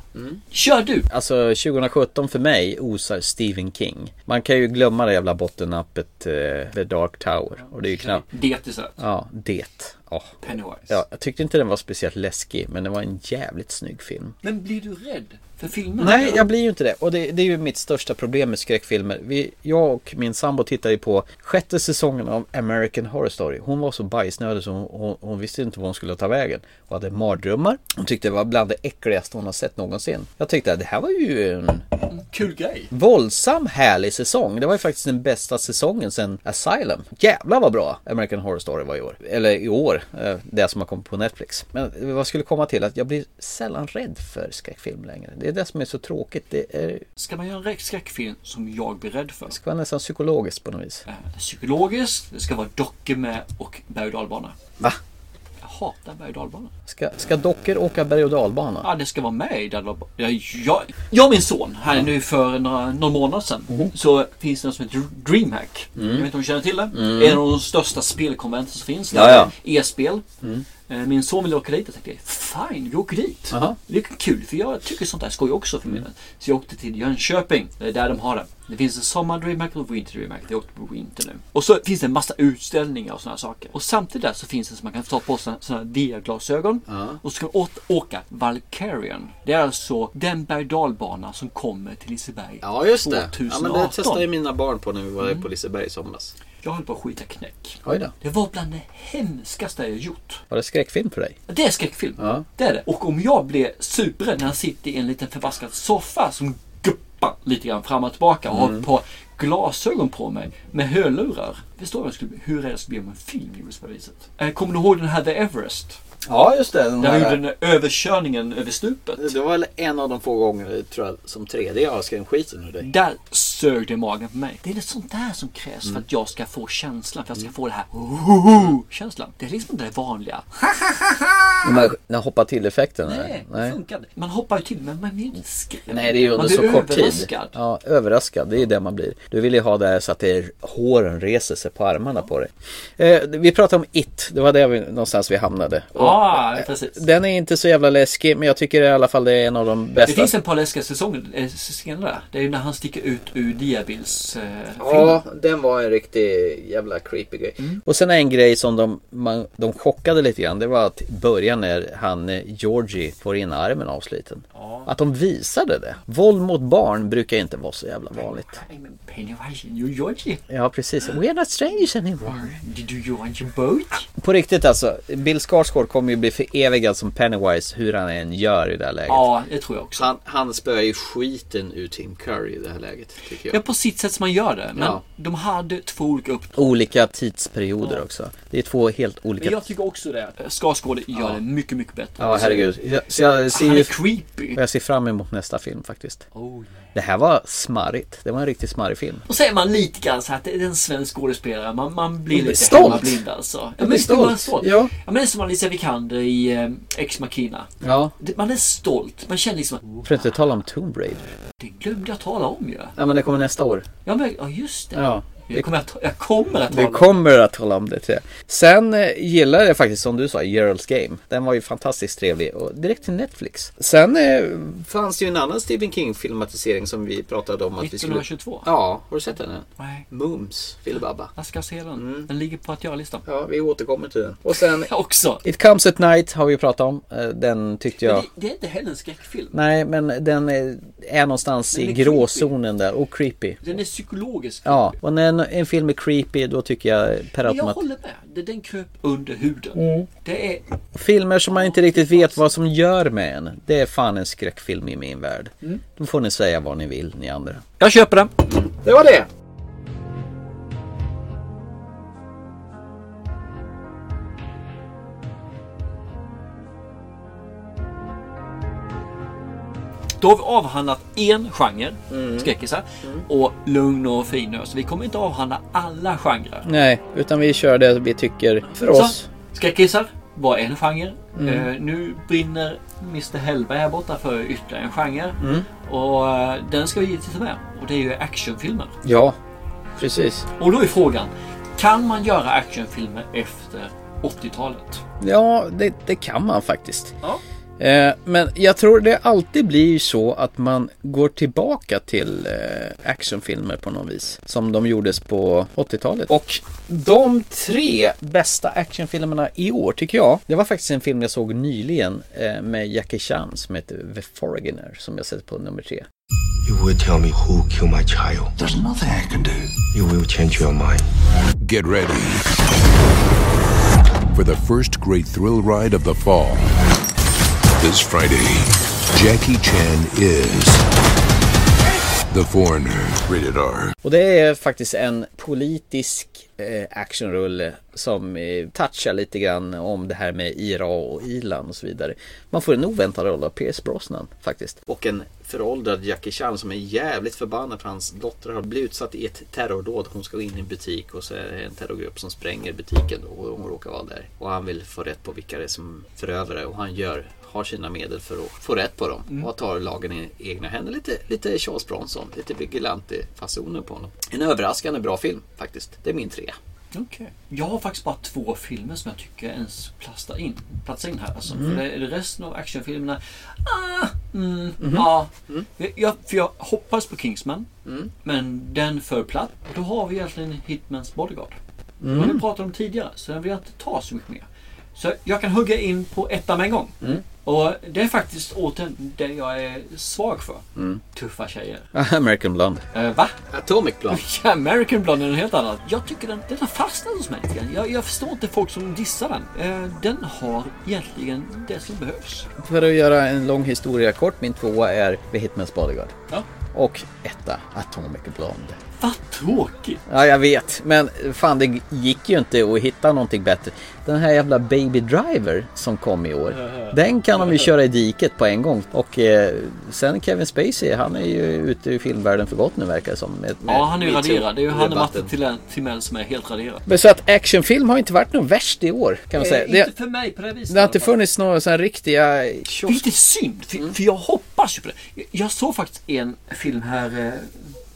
Speaker 3: Kör du!
Speaker 4: Alltså 2017 för mig osar Stephen King. Man kan ju glömma det jävla bottennappet eh, The Dark Tower. Och det är ju knappt...
Speaker 3: Det är så.
Speaker 4: Ja, det. Ja.
Speaker 3: Pennywise.
Speaker 4: Ja, jag tyckte inte den var speciellt läskig men det var en jävligt snygg film.
Speaker 3: Men blir du rädd för filmen?
Speaker 4: Nej, jag blir ju inte det. Och det, det är ju mitt största problem med skräckfilmer. Vi, jag och min sambo tittade ju på sjätte säsongen av American Horror Story. Hon var så bajsnödig så hon, hon, hon visste inte vad hon skulle ta vägen. Hon hade mardrömmar. Hon tyckte det var bland det äckligaste hon har sett någonsin. Jag tyckte att det här var ju en
Speaker 3: Kul grej.
Speaker 4: våldsam härlig säsong. Det var ju faktiskt den bästa säsongen sedan Asylum. Jävlar vad bra American Horror Story var i år. Eller i år, eh, det som har kommit på Netflix. Men vad jag skulle komma till att jag blir sällan rädd för skräckfilm längre. Det är det som är så tråkigt. Det är,
Speaker 3: Ska man göra en skräckfilm som jag blir rädd för? Eh,
Speaker 4: ska vara nästan psykologiskt på något vis.
Speaker 3: Psykologiskt, det ska vara dockor med och berg och dalbana.
Speaker 4: Va?
Speaker 3: Jag hatar berg och dalbana.
Speaker 4: Ska, ska dockor åka berg och dalbana?
Speaker 3: Ja, det ska vara med i Dalai Lama. jag, jag, jag och min son, här nu för några, någon månad sedan,
Speaker 4: Mhm.
Speaker 3: så finns det något som heter DreamHack. Jag vet inte om du känner till det? En av de största spelkonventen som finns.
Speaker 4: Mm. Ja, ja.
Speaker 3: E-spel. Eh, Min son ville åka dit. Jag tänkte, fine, vi åker dit.
Speaker 4: Aha.
Speaker 3: Det är kul, för jag tycker sånt där skoj också för mig. Så jag åkte till Jönköping, det är där de har det. Det finns en sommar-DreamHack och winter-DreamHack. Jag åkte på winter nu. Och så finns det en massa utställningar och sådana saker. Och samtidigt där så finns det så man kan ta på sig sådana VR-glasögon. Och så ska man åt, åka Valkyrian. Det är alltså den berg som kommer till Liseberg
Speaker 11: Ja, just det. Ja,
Speaker 3: 2018.
Speaker 11: men det testade ju mina barn på när vi var på Liseberg i somras.
Speaker 3: Jag höll på att skita knäck.
Speaker 4: Oj då.
Speaker 3: Det var bland det hemskaste jag gjort.
Speaker 4: Var det skräckfilm för dig?
Speaker 3: Det är skräckfilm.
Speaker 4: Ja.
Speaker 3: Det är det. Och om jag blir superrädd när han sitter i en liten förvaskad soffa som guppar lite grann fram och tillbaka och
Speaker 4: Mm.
Speaker 3: har ett par glasögon på mig med hörlurar. Förstår du vad jag skulle bli- hur rädd jag skulle bli om en film gjordes på det viset? Eh, Kommer du ihåg den här The Everest?
Speaker 11: Ja, just det.
Speaker 3: Där vi gjorde den där överkörningen över stupet.
Speaker 4: Mm.
Speaker 11: Det var väl en av de få gånger, tror jag, som 3D jag skrämde skiten ur dig.
Speaker 3: Där sög det i magen på mig. Det är det sånt där som krävs
Speaker 4: Mm.
Speaker 3: för att jag ska få känslan, för att jag ska få det här känslan. Det är liksom inte det vanliga.
Speaker 4: De här- Den här hoppa till-effekten? eller?
Speaker 3: Nej, det funkar inte. Man hoppar ju till men man blir inte skrämd.
Speaker 4: Nej, det är ju
Speaker 3: Man
Speaker 4: under
Speaker 3: blir
Speaker 4: så kort tid.
Speaker 3: överraskad.
Speaker 4: Ja, överraskad. Det är ju det man blir. Du vill ju ha det här så att det är, håren reser sig på armarna på dig. Eh, vi pratade om It. Det var där vi, någonstans vi hamnade. Och,
Speaker 3: Ja, precis.
Speaker 4: Den är inte så jävla läskig, men jag tycker i alla fall det är en av de bästa.
Speaker 3: Det finns en par läskiga säsonger, eh, scener där. Det är ju när han sticker ut ur Diabils eh,
Speaker 11: Ja, den var en riktig jävla creepy grej.
Speaker 4: Och sen är en grej som de, man, de chockade lite grann. Det var att i början när han eh, Georgie får in armen avsliten. Att de visade det. Våld mot barn brukar inte vara så jävla vanligt.
Speaker 3: film. Pennywise in New York. eh,
Speaker 4: Ja, precis. We are not strangers anymore.
Speaker 3: Did you want your boat?
Speaker 4: På riktigt alltså, Bill Skarsgård kommer ju bli förevigad som Pennywise hur han än gör i det här läget.
Speaker 3: Ja, det tror jag också.
Speaker 11: Han, han spöar ju skiten ur Tim Curry i det här läget, tycker
Speaker 3: Ja,
Speaker 11: jag.
Speaker 3: på sitt sätt som man gör det. Men
Speaker 11: Ja.
Speaker 3: de hade två olika uppdrag.
Speaker 4: Olika tidsperioder också. Det är två helt
Speaker 3: Men
Speaker 4: olika...
Speaker 3: jag tycker också det. Eh, Skarsgård gör det mycket, mycket bättre.
Speaker 4: Ja, herregud. Jag, så jag ser
Speaker 3: Han
Speaker 4: ju...
Speaker 3: är creepy.
Speaker 4: Och jag ser fram emot nästa film faktiskt.
Speaker 3: Oh,
Speaker 4: Det här var smarrigt. Det var en riktigt smarrig film.
Speaker 3: Och så är man lite grann så här att det är en svensk skådespelare. Man,
Speaker 4: Man
Speaker 3: man blir
Speaker 4: blir
Speaker 3: lite
Speaker 4: stolt.
Speaker 3: hemmablind alltså. Ja, men
Speaker 4: blir
Speaker 3: visst blir man
Speaker 4: stolt.
Speaker 3: stolt.
Speaker 4: Ja.
Speaker 3: ja, men det är som Alicia Vikander i eh, Ex Machina.
Speaker 4: Ja.
Speaker 3: Det- Man är stolt. Man känner liksom att
Speaker 4: För att inte tala om Tomb Raider.
Speaker 3: det glömde jag tala om ju.
Speaker 4: Ja, men det kommer nästa år.
Speaker 3: Ja, men, ja just det.
Speaker 4: Ja.
Speaker 3: Jag kommer att, jag kommer att
Speaker 4: Vi
Speaker 3: tala om
Speaker 4: kommer att tala om det tror jag. Sen eh, gillade jag faktiskt som du sa, Gerald's Game. Den var ju fantastiskt trevlig och direkt till Netflix. Sen eh,
Speaker 11: fanns ju en annan Stephen King-filmatisering som vi pratade om att vi skulle...
Speaker 3: 1922.
Speaker 11: Ja, har du sett den än?
Speaker 3: Nej.
Speaker 11: Mums, Filibabba.
Speaker 3: Jag ska se den. Den ligger på att göra-listan. <laughs>
Speaker 11: Ja, vi återkommer till den. Och sen...
Speaker 3: Jag också.
Speaker 4: It comes at night har vi ju pratat om. Eh, Den tyckte
Speaker 3: Men
Speaker 4: jag...
Speaker 3: Det, det är inte heller en skräckfilm.
Speaker 4: Nej, men den är, är någonstans
Speaker 3: Den är
Speaker 4: i
Speaker 3: creepy.
Speaker 4: gråzonen där och creepy.
Speaker 3: Den är psykologisk.
Speaker 4: Ja, och när en, en film är creepy då tycker jag per
Speaker 3: Men jag
Speaker 4: automat.
Speaker 3: håller med. Det- Den kröp under huden. Det är
Speaker 4: Filmer som man inte riktigt vet vad som gör med en. Det är fan en skräckfilm i min värld.
Speaker 3: Mm.
Speaker 4: Då får ni säga vad ni vill ni andra.
Speaker 3: Jag köper den.
Speaker 11: Det var det!
Speaker 3: Då har vi avhandlat en genre,
Speaker 4: Mm.
Speaker 3: skräckisar, och lugn och fin nu. Så vi kommer inte avhandla alla genrer.
Speaker 4: Nej, utan vi kör det vi tycker för
Speaker 3: Så,
Speaker 4: oss.
Speaker 3: skräckisar, var en genre.
Speaker 4: Mm.
Speaker 3: Eh, nu brinner Mr Hellberg här borta för ytterligare en genre.
Speaker 4: Mm.
Speaker 3: Och eh, den ska vi givetvis ta med. Och det är ju actionfilmer.
Speaker 4: Ja, precis.
Speaker 3: Och då är frågan, kan man göra actionfilmer efter 80-talet?
Speaker 4: Ja, det, det kan man faktiskt. Eh, men jag tror det alltid blir så att man går tillbaka till eh, actionfilmer på något vis. Som de gjordes på 80-talet. Och de tre bästa actionfilmerna i år tycker jag. Det var faktiskt en film jag såg nyligen eh, med Jackie Chan som heter The Foreigner som jag sett på nummer tre.
Speaker 17: You will tell me who killed my child. There's nothing I can do. You will change your mind.
Speaker 19: Get ready for the first great thrill ride of the fall. This Friday, Jackie Chan is The Foreigner. Rated R.
Speaker 4: Och det är faktiskt en politisk eh, actionrulle som eh, touchar lite grann om det här med IRA och Irland och så vidare. Man får en oväntad roll av Pierce Brosnan faktiskt. Och en föråldrad Jackie Chan som är jävligt förbannad för hans dotter har blivit utsatt i ett terrordåd. Hon ska in i en butik och så är det en terrorgrupp som spränger butiken och hon råkar vara där. Och han vill få rätt på vilka det är som förövare och han gör har sina medel för att få rätt på dem
Speaker 11: Mm.
Speaker 4: och tar lagen i egna händer. Lite, lite Charles Bronson, lite vigilante-fasoner på honom. En överraskande bra film faktiskt. Det är min trea.
Speaker 3: Okej. Jag har faktiskt bara två filmer som jag tycker ens plastar in, platsar in här. Alltså,
Speaker 4: Mm.
Speaker 3: för det, är det resten av actionfilmerna, ah, mm,
Speaker 4: Mhm.
Speaker 3: ja. Jag, för jag hoppas på Kingsman,
Speaker 4: Mm.
Speaker 3: men den föll platt. Då har vi egentligen Hitmans Bodyguard.
Speaker 4: Mm.
Speaker 3: Den vi pratade om tidigare, så den vill jag inte ta så mycket mer. Så jag kan hugga in på ettan med en gång.
Speaker 4: Mm.
Speaker 3: Och det är faktiskt återigen det jag är svag för.
Speaker 4: Mm.
Speaker 3: Tuffa tjejer.
Speaker 4: <laughs> American Blonde.
Speaker 3: Eh, va? <laughs>
Speaker 4: Atomic Blonde.
Speaker 3: Ja, American Blonde är en helt annan. Jag tycker den, den har fastnat hos mig. lite grann. Jag, jag förstår inte folk som dissar den. Eh, den har egentligen det som behövs.
Speaker 4: <laughs> För att göra en lång historia kort, min tvåa är The Hitman's Bodyguard.
Speaker 3: Ja.
Speaker 4: Och etta, Atomic Blonde.
Speaker 3: Vad tråkigt!
Speaker 4: Ja, jag vet. Men fan, det gick ju inte att hitta någonting bättre. Den här jävla Baby Driver som kom i år. Den kan de ju köra i diket på en gång. Och eh, sen Kevin Spacey, han är ju ute i filmvärlden för gott nu verkar det som. Med,
Speaker 3: Ja, han är ju
Speaker 4: med-
Speaker 3: raderad. Det är ju han och
Speaker 4: debatten.
Speaker 3: Martin Timell- Timell som är helt raderad.
Speaker 4: Men så att actionfilm har inte varit någon värst i år kan man
Speaker 3: Eh,
Speaker 4: säga.
Speaker 3: inte
Speaker 4: det,
Speaker 3: för mig på det viset.
Speaker 4: det har
Speaker 3: i
Speaker 4: inte Mm.
Speaker 3: alla fall.
Speaker 4: funnits några sådana riktiga...
Speaker 3: Det är lite synd, för, för jag hoppas ju på det. Jag, jag såg faktiskt en film här, eh,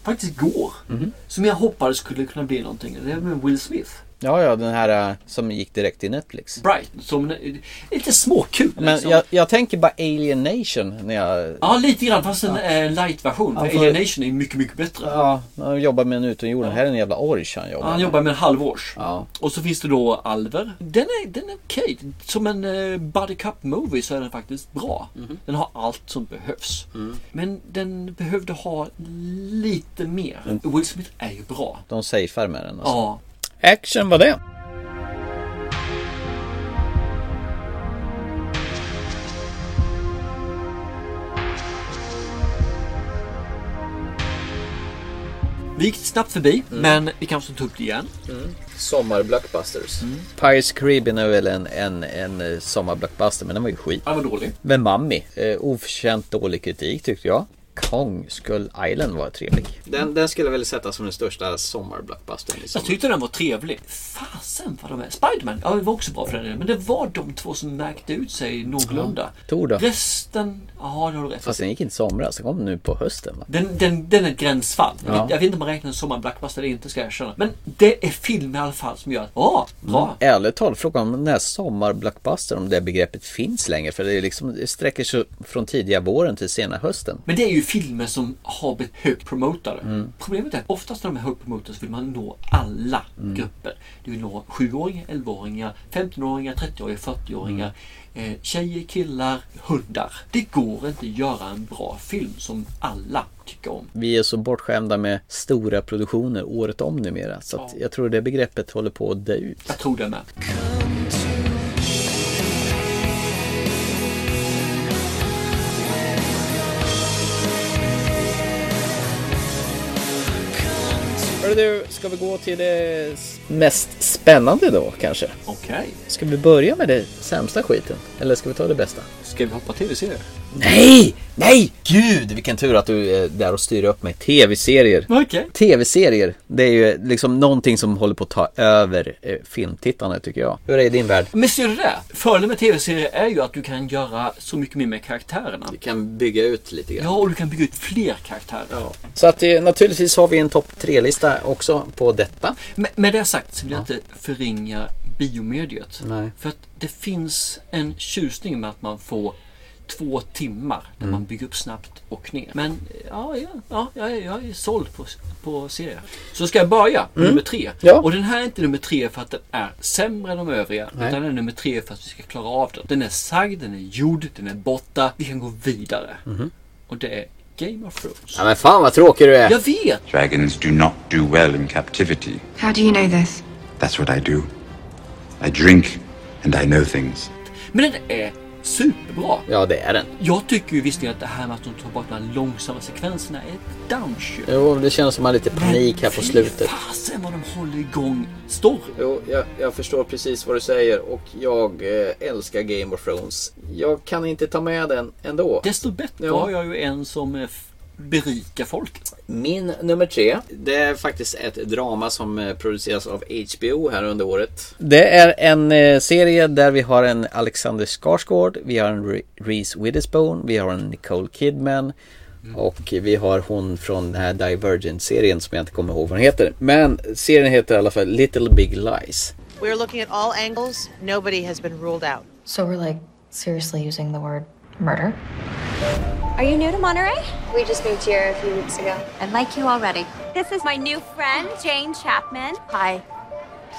Speaker 3: faktiskt igår,
Speaker 4: Mhm.
Speaker 3: som jag hoppades skulle kunna bli någonting. Det är med Will Smith.
Speaker 4: Ja, ja, den här eh, som gick direkt till Netflix.
Speaker 3: Bright, som eh, lite småkul.
Speaker 4: Men
Speaker 3: liksom.
Speaker 4: jag, jag tänker bara Alien Nation när jag...
Speaker 3: Ja, lite grann. Fast en eh, light-version.
Speaker 4: Ja,
Speaker 3: för
Speaker 4: för-
Speaker 3: Alienation är mycket, mycket bättre.
Speaker 4: Ja, när jag jobbar med en utomjording. Här är en jävla orch han jobbar
Speaker 3: Han
Speaker 4: med.
Speaker 3: jobbar med en halvårs.
Speaker 4: Ja.
Speaker 3: Och så finns det då Alver. Den är, den är okej. Som en eh, Buddy Cup-movie så är den faktiskt bra.
Speaker 4: Mhm.
Speaker 3: Den har allt som behövs.
Speaker 4: Mm.
Speaker 3: Men den behövde ha lite mer. Will Smith är ju bra.
Speaker 4: De safear med den. Mm. Alltså.
Speaker 3: Ja.
Speaker 4: Action var det.
Speaker 3: Vi gick snabbt förbi,
Speaker 4: Mm.
Speaker 3: men vi kanske tar upp det igen.
Speaker 4: Sommarblockbusters. Mm. Pirates Caribbean är väl en, en, en eh, sommarblockbuster, men den var ju skit.
Speaker 3: Den var dålig.
Speaker 4: Men Mammi, eh, oförtjänt dålig kritik tyckte jag. Kong Skull Island var trevlig. Den, den skulle jag väl sätta som den största sommarblockbustern.
Speaker 3: Jag tyckte den var trevlig. Fasen vad de är. Spiderman, ja det var också bra för den delen. Men det var de två som märkte ut sig någorlunda.
Speaker 4: Tor då?
Speaker 3: Resten, ja det har du rätt
Speaker 4: Fast den gick inte i somras, den kom nu på hösten va?
Speaker 3: Den, den, den är ett gränsfall. Jag
Speaker 4: Ja.
Speaker 3: vet- Jag vet inte om man räknar som en blackbuster eller inte ska jag erkänna. Men det är film i alla fall som gör att, ja, bra.
Speaker 4: Mm. Ärligt talat, frågan om den här sommarblockbustern, om det begreppet finns längre. För det, är liksom, det sträcker sig från tidiga våren till sena hösten.
Speaker 3: Men det är ju filmer som har blivit högt promotade. Problemet är att oftast när de är högt promotade så vill man nå alla
Speaker 4: Mm.
Speaker 3: grupper. Du vill nå 7-åringar, 11-åringar, 15-åringar, 30-åringar, 40-åringar, eh, tjejer, killar, hundar. Det går inte att göra en bra film som alla tycker om.
Speaker 4: Vi är så bortskämda med stora produktioner året om numera. Så att jag tror det begreppet håller på att dö ut.
Speaker 3: Jag tror det med.
Speaker 4: Hörru du, ska vi gå till det mest spännande spännande då kanske.
Speaker 3: Okej.
Speaker 4: Ska vi börja med det sämsta skiten? Eller ska vi ta det bästa?
Speaker 3: Ska vi hoppa tv-serier?
Speaker 4: Nej! Nej! Gud, vilken tur att du är där och styr upp mig. Tv-serier.
Speaker 3: Okej.
Speaker 4: Tv-serier, det är ju liksom någonting som håller på att ta över eh, filmtittarna tycker jag. Hur är det i din värld?
Speaker 3: Men ser du det? Fördelen med tv-serier är ju att du kan göra så mycket mer med karaktärerna.
Speaker 11: Du kan bygga ut lite grann.
Speaker 3: Ja, och du kan bygga ut fler karaktärer.
Speaker 4: Så att eh, naturligtvis har vi en topp tre-lista också på detta.
Speaker 3: Med, med det sagt så vill jag inte förringa biomediet.
Speaker 4: Nej.
Speaker 3: För att det finns en tjusning med att man får två timmar där
Speaker 4: Mm.
Speaker 3: man bygger upp snabbt och ner. Men eh, ja, ja, ja jag, är- jag är såld på, på serier. Så ska jag börja med
Speaker 4: Mm.
Speaker 3: nummer tre.
Speaker 4: Ja.
Speaker 3: Och den här är inte nummer tre för att den är sämre än de övriga.
Speaker 4: Nej.
Speaker 3: Utan den är nummer tre för att vi ska klara av den. Den är sagd, den är gjord, den är borta. Vi kan gå vidare.
Speaker 4: Mhm.
Speaker 3: Och det är Game of Thrones.
Speaker 11: Ja men fan vad tråkig du är!
Speaker 3: Jag vet!
Speaker 20: Dragons do not do well in captivity.
Speaker 14: How do you know this?
Speaker 20: That's what I do. I drink and I know things.
Speaker 3: Men den är superbra.
Speaker 11: Ja det är den.
Speaker 3: Jag tycker ju visserligen att det här med att de tar bort de här långsamma sekvenserna är ett downshoot.
Speaker 11: Jo, det känns som att man har lite panik här på slutet.
Speaker 3: Fasen vad de håller igång storyn.
Speaker 11: Jo, jag, jag förstår precis vad du säger och jag eh, älskar Game of Thrones. Jag kan inte ta med den ändå.
Speaker 3: Desto bättre
Speaker 11: Ja.
Speaker 3: har jag ju en som eh, f- berikar folket.
Speaker 11: Min nummer tre, det är faktiskt ett drama som eh, produceras av HBO här under året.
Speaker 4: Det är en eh, serie där vi har en Alexander Skarsgård, vi har en Re- Reese Witherspoon, vi har en Nicole Kidman och vi har hon från den här Divergent-serien som jag inte kommer ihåg vad den heter. Men serien heter i alla fall Little Big Lies.
Speaker 21: We're looking at all angles. Nobody has been ruled out.
Speaker 12: So we're like seriously using the word murder?
Speaker 6: Are you new to Monterey? We just moved here a few weeks ago. And like you already. This is my new friend, Jane Chapman. Hi.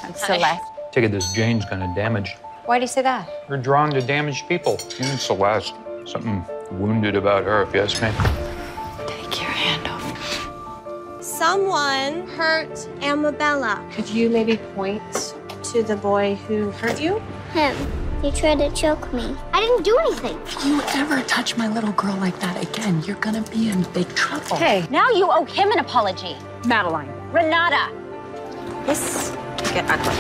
Speaker 6: I'm
Speaker 12: Celeste.
Speaker 22: Ticket this Jane's gonna damage.
Speaker 6: Why do you say that?
Speaker 22: You're drawn to damaged people. You and Celeste. Something wounded about her, if you ask me.
Speaker 6: Someone hurt Amabella. Could you maybe point to the boy who hurt you? Him. He tried to choke me. I didn't do anything.
Speaker 12: If you ever touch my little girl like that again, you're gonna be in big trouble.
Speaker 6: Hey, now you owe him an apology. Madeline. Renata. This could get ugly.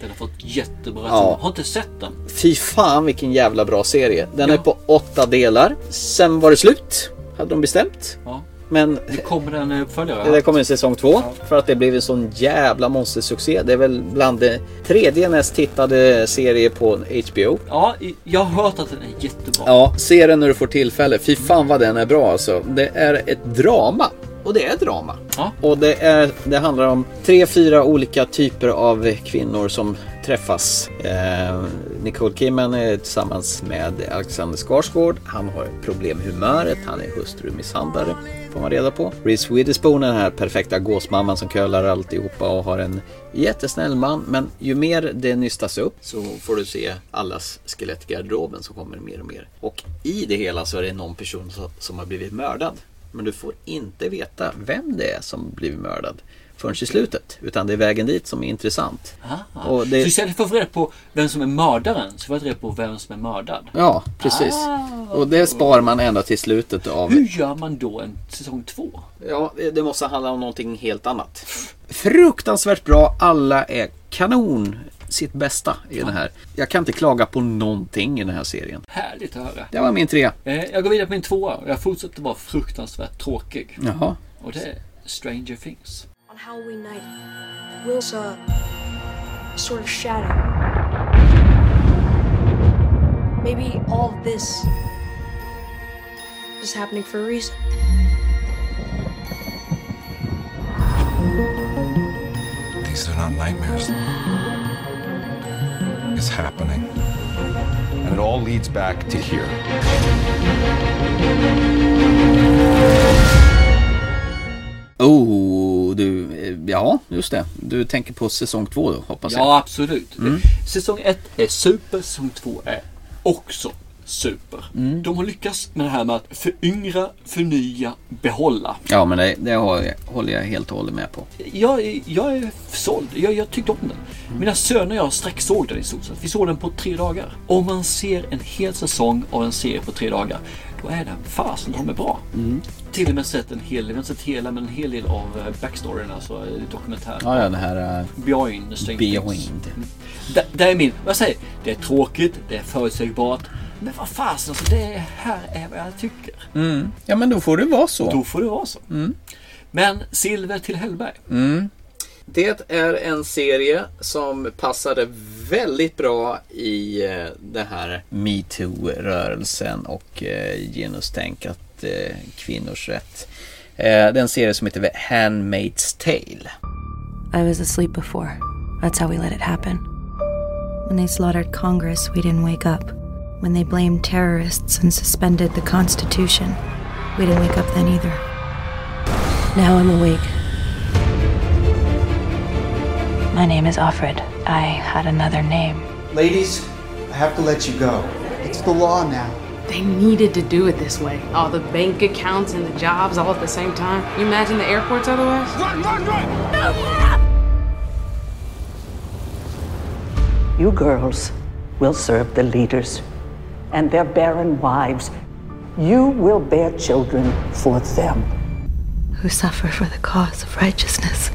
Speaker 3: Den har fått jättebra
Speaker 4: Ja.
Speaker 3: recensioner. Har inte sett den.
Speaker 4: Fy fan vilken jävla bra serie. Den är på åtta delar. Sen var det slut, hade de bestämt.
Speaker 3: Ja.
Speaker 4: Men
Speaker 3: Nu kommer den en uppföljare.
Speaker 4: det kommer en säsong två. För att det blev en sån jävla monstersuccé. Det är väl bland det tredje näst tittade serie på HBO.
Speaker 3: Ja, i- jag har hört att den är jättebra.
Speaker 4: Ja, se den när du får tillfälle. Fy fan vad den är bra alltså. Det är ett drama. Och det är drama.
Speaker 3: Ja.
Speaker 4: Och det, är, det handlar om tre, fyra olika typer av kvinnor som träffas. Eh, Nicole Kidman är tillsammans med Alexander Skarsgård. Han har problem med humöret, han är hustrumisshandlare. Får man reda på. Reese Witherspoon är den här perfekta gåsmamman som curlar alltihopa och har en jättesnäll man. Men ju mer det nystas upp
Speaker 11: Så får du se allas skelett i garderoben som kommer mer och mer. Och i det hela så är det någon person som, som har blivit mördad.
Speaker 4: Men du får inte veta vem det är som blivit mördad förrän i slutet. Utan det är vägen dit som är intressant.
Speaker 3: Ah.
Speaker 4: Och det-
Speaker 3: Så istället för att få reda på vem som är mördaren så får jag reda på vem som är mördad.
Speaker 4: Ja, precis.
Speaker 3: Ah.
Speaker 4: Och det sparar man ända till slutet av...
Speaker 3: Hur gör man då en säsong två?
Speaker 4: Ja, det måste handla om någonting helt annat. Fruktansvärt bra. Alla är kanon. Sitt bästa i den här. Jag kan inte klaga på någonting i den här serien.
Speaker 3: Härligt att höra.
Speaker 4: Det var min trea.
Speaker 3: Eh, Jag går vidare på min tvåa och jag fortsätter vara fruktansvärt tråkig.
Speaker 4: Jaha.
Speaker 3: Och det är Stranger Things.
Speaker 23: On Halloween night, Will saw a sort of shadow. Maybe all of this is happening for a reason.
Speaker 17: These are not nightmares. It's happening. And it all leads back to here.
Speaker 4: Oh, du... eh, Ja, just det. Du tänker på säsong två då, hoppas jag.
Speaker 3: Ja, absolut.
Speaker 4: Mm.
Speaker 3: Säsong 1 är super, säsong 2 är också super. De har lyckats med det här med att föryngra, förnya, behålla.
Speaker 4: Ja, men det, det har jag- håller jag helt och hållet med på.
Speaker 3: Jag, jag är såld. Jag, jag tyckte om den.
Speaker 4: Mm.
Speaker 3: Mina söner och jag sträcksåg den i stort sett. Vi såg den på tre dagar. Om man ser en hel säsong av en serie på tre dagar, då är den fasen de är bra.
Speaker 4: Mm.
Speaker 3: Till och med sett en hel del, jag har sett hela, men en hel del av eh, backstoryn, alltså eh, dokumentären.
Speaker 4: Ja, ja, det här... eh,
Speaker 3: Behind the Stranger Things.
Speaker 4: Behind.
Speaker 3: Mm. Det, det är min, vad jag säger, det är tråkigt, det är förutsägbart. Men vad fasen, alltså det här är vad jag tycker.
Speaker 4: Mm. Ja, men då får det vara så.
Speaker 3: Då får det vara så. Men silver till Hellberg.
Speaker 4: Mm.
Speaker 11: Det är en serie som passade väldigt bra i eh, det här.
Speaker 4: metoo-rörelsen och eh, genustänkat eh, kvinnors rätt. Eh, det är en serie som heter The Handmaid's Tale.
Speaker 5: I was asleep before. That's how we let it happen. When they slaughtered Congress, we didn't wake up. When they blamed terrorists and suspended the Constitution, we didn't wake up then either. Now I'm awake. My name is Alfred. I had another name.
Speaker 24: Ladies, I have to let you go. It's the law now.
Speaker 25: They needed to do it this way. All the bank accounts and the jobs all at the same time. You imagine the airports otherwise? Run, run, run!
Speaker 26: You girls will serve the leaders and their barren wives. You will bear children for them.
Speaker 5: Who suffer for the cause of righteousness.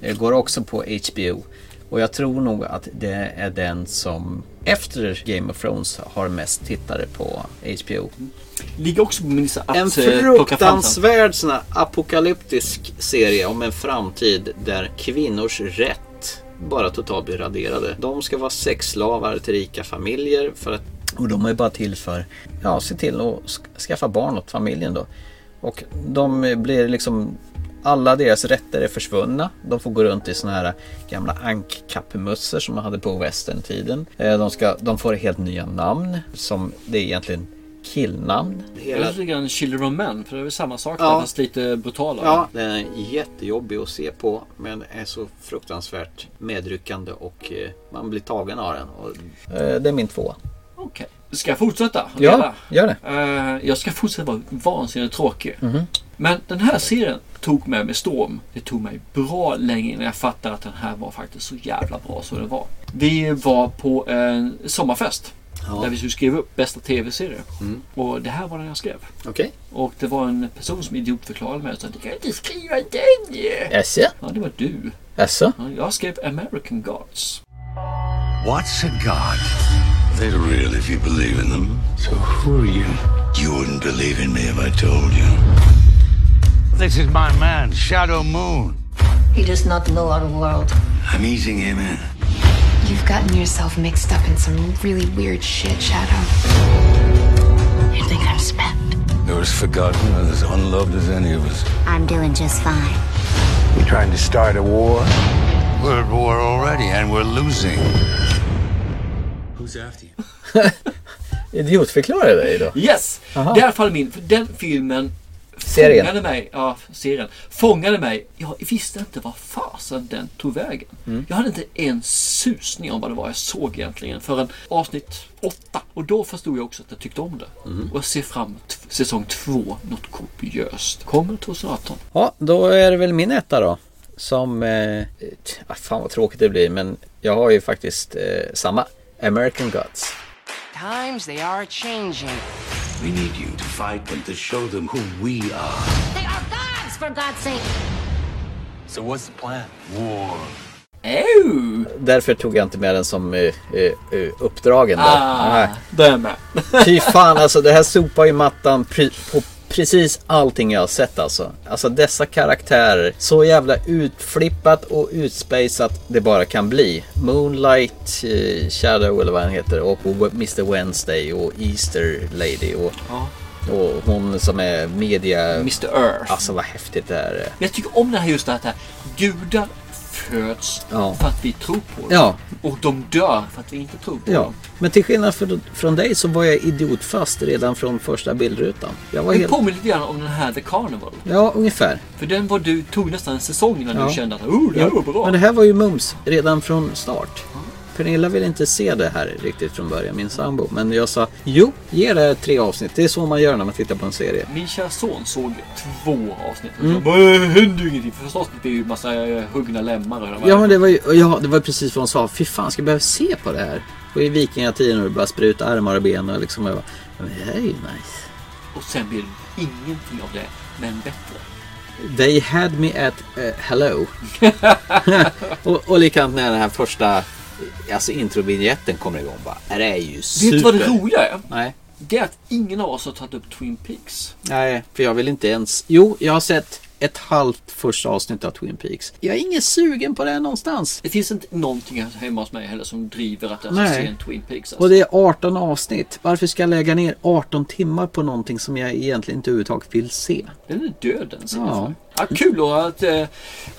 Speaker 4: Det går också på HBO. Och jag tror nog att det är den som efter Game of Thrones har mest tittare på HBO.
Speaker 3: Ligger också på min lista att
Speaker 4: En
Speaker 3: eh, plocka fram den.
Speaker 11: fruktansvärd sån här apokalyptisk serie om en framtid där kvinnors rätt bara totalt blir raderade. De ska vara sexslavar till rika familjer för att
Speaker 4: Och de är bara till för ja, se till att sk- skaffa barn åt familjen då. Och de eh, blir liksom alla deras rätter är försvunna. De får gå runt i såna här gamla ankkappmössor som man hade på västerntiden. Eh, De, ska, de får helt nya namn som det är egentligen killnamn.
Speaker 3: Hela... Lite grann Children of Men, för det är väl samma sak
Speaker 11: Ja.
Speaker 3: där, fast lite brutalare.
Speaker 11: Ja, den är jättejobbig att se på men är så fruktansvärt medryckande och eh, man blir tagen av den. Och...
Speaker 4: Eh, Det är min tvåa.
Speaker 3: Okej. Ska jag fortsätta?
Speaker 4: Ja, gör det.
Speaker 3: Eh, jag ska fortsätta vara vansinnigt tråkig.
Speaker 4: Mhm.
Speaker 3: Men den här serien tog mig med storm. Det tog mig bra länge innan jag fattade att den här var faktiskt så jävla bra som den var. Vi var på en sommarfest.
Speaker 11: Ja. Mm.
Speaker 3: Där vi skulle skriva upp bästa tv-serie. Och det här var den jag skrev.
Speaker 11: Okej.
Speaker 3: Och det var en person som idiotförklarade mig och sa Du kan inte skriva den ju!
Speaker 4: Jaså?
Speaker 3: Ja, det var du.
Speaker 4: Jaså?
Speaker 3: Ja, Jag skrev American Gods.
Speaker 9: What's a god? They're real if you believe in them. So who are you? You wouldn't believe in me if I told you. This is my man, Shadow Moon.
Speaker 12: He does not know our world.
Speaker 9: I'm easing him in.
Speaker 12: You've gotten yourself mixed up in some really weird shit, Shadow.
Speaker 9: You think I'm spent? You're as forgotten and as unloved as any of us.
Speaker 27: I'm doing just fine.
Speaker 9: You're trying to start a war? We're at war already, and we're losing. Who's after you?
Speaker 4: Idiotförklarar dig då?
Speaker 3: Yes!
Speaker 4: Aha.
Speaker 3: Det är i alla fall min, för den filmen
Speaker 4: Serien.
Speaker 3: fångade mig. Ja, serien. Fångade mig. Jag visste inte vad fasen den tog vägen.
Speaker 4: Mm.
Speaker 3: Jag hade inte en susning om vad det var jag såg egentligen förrän avsnitt åtta. Och då förstod jag också att jag tyckte om det.
Speaker 4: Mm.
Speaker 3: Och jag ser fram emot t- säsong två något kopiöst. Kommer 2018.
Speaker 4: Ja, då är det väl min etta då. Som... Eh, t- ah, fan vad tråkigt det blir men jag har ju faktiskt eh, samma. American Gods.
Speaker 16: Times they are changing.
Speaker 9: We need you to fight them to show them who we are.
Speaker 27: They are gods, for God's sake.
Speaker 9: So what's the plan? War.
Speaker 4: Därför tog jag inte med den som eh, eh, eh, uppdragen. Där.
Speaker 3: Ah, det är med.
Speaker 4: Fy fan alltså, det här sopar ju mattan pri- på precis allting jag har sett alltså. Alltså dessa karaktärer, så jävla utflippat och utspejsat det bara kan bli. Moonlight, eh, Shadow eller vad han heter och Mr Wednesday och Easter Lady och,
Speaker 3: Ja.
Speaker 4: och hon som är media...
Speaker 3: Mr Earth.
Speaker 4: Alltså vad häftigt det här är.
Speaker 3: Men jag tycker om det här just det här. att Gudar föds
Speaker 4: Ja.
Speaker 3: för att vi tror på dem.
Speaker 4: Ja,
Speaker 3: Och de dör för att vi inte tror på
Speaker 4: Ja,
Speaker 3: dem.
Speaker 4: men till skillnad från, från dig så var jag idiotfast redan från första bildrutan. Jag var
Speaker 3: Det
Speaker 4: helt...
Speaker 3: påminner lite grann om den här The Carnival.
Speaker 4: Ja, ungefär.
Speaker 3: För den var du tog nästan en säsong innan
Speaker 4: Ja.
Speaker 3: du kände att oh, det här
Speaker 4: Jo,
Speaker 3: var bra.
Speaker 4: Men det här var ju mums redan från start. Pernilla ville inte se det här riktigt från början, min sambo. Men jag sa, jo, ge det här tre avsnitt. Det är så man gör när man tittar på en serie.
Speaker 3: Min kära son såg två avsnitt.
Speaker 4: Mm.
Speaker 3: Mm. Bara, det hände ju ingenting. Första avsnittet blev ju en massa eh, huggna lemmar. och vad
Speaker 4: Ja, men det var ju ja, det var precis vad hon sa. Fy fan, ska jag behöva se på det här? Och i vikingatiden och det bara spruta armar och ben och liksom. Jag bara, men det här är ju nice.
Speaker 3: Och sen blev det ingenting av det, men bättre.
Speaker 4: They had me at eh, hello. <laughs> och, och likadant när den här första alltså introvinjetten kommer igång. Bara, det här är ju super.
Speaker 3: Vet du vad det roliga är?
Speaker 4: Nej.
Speaker 3: Det är att ingen av oss har tagit upp Twin Peaks.
Speaker 4: Nej, för jag vill inte ens. Jo, jag har sett ett halvt första avsnitt av Twin Peaks. Jag är ingen sugen på det någonstans.
Speaker 3: Det finns inte någonting hemma hos mig heller som driver att jag ska
Speaker 4: Nej.
Speaker 3: se en Twin Peaks. Alltså.
Speaker 4: Och det är 18 avsnitt. Varför ska jag lägga ner 18 timmar på någonting som jag egentligen inte överhuvudtaget vill se?
Speaker 3: Den är död den serien.
Speaker 4: Ja.
Speaker 3: Ja, kul då att eh,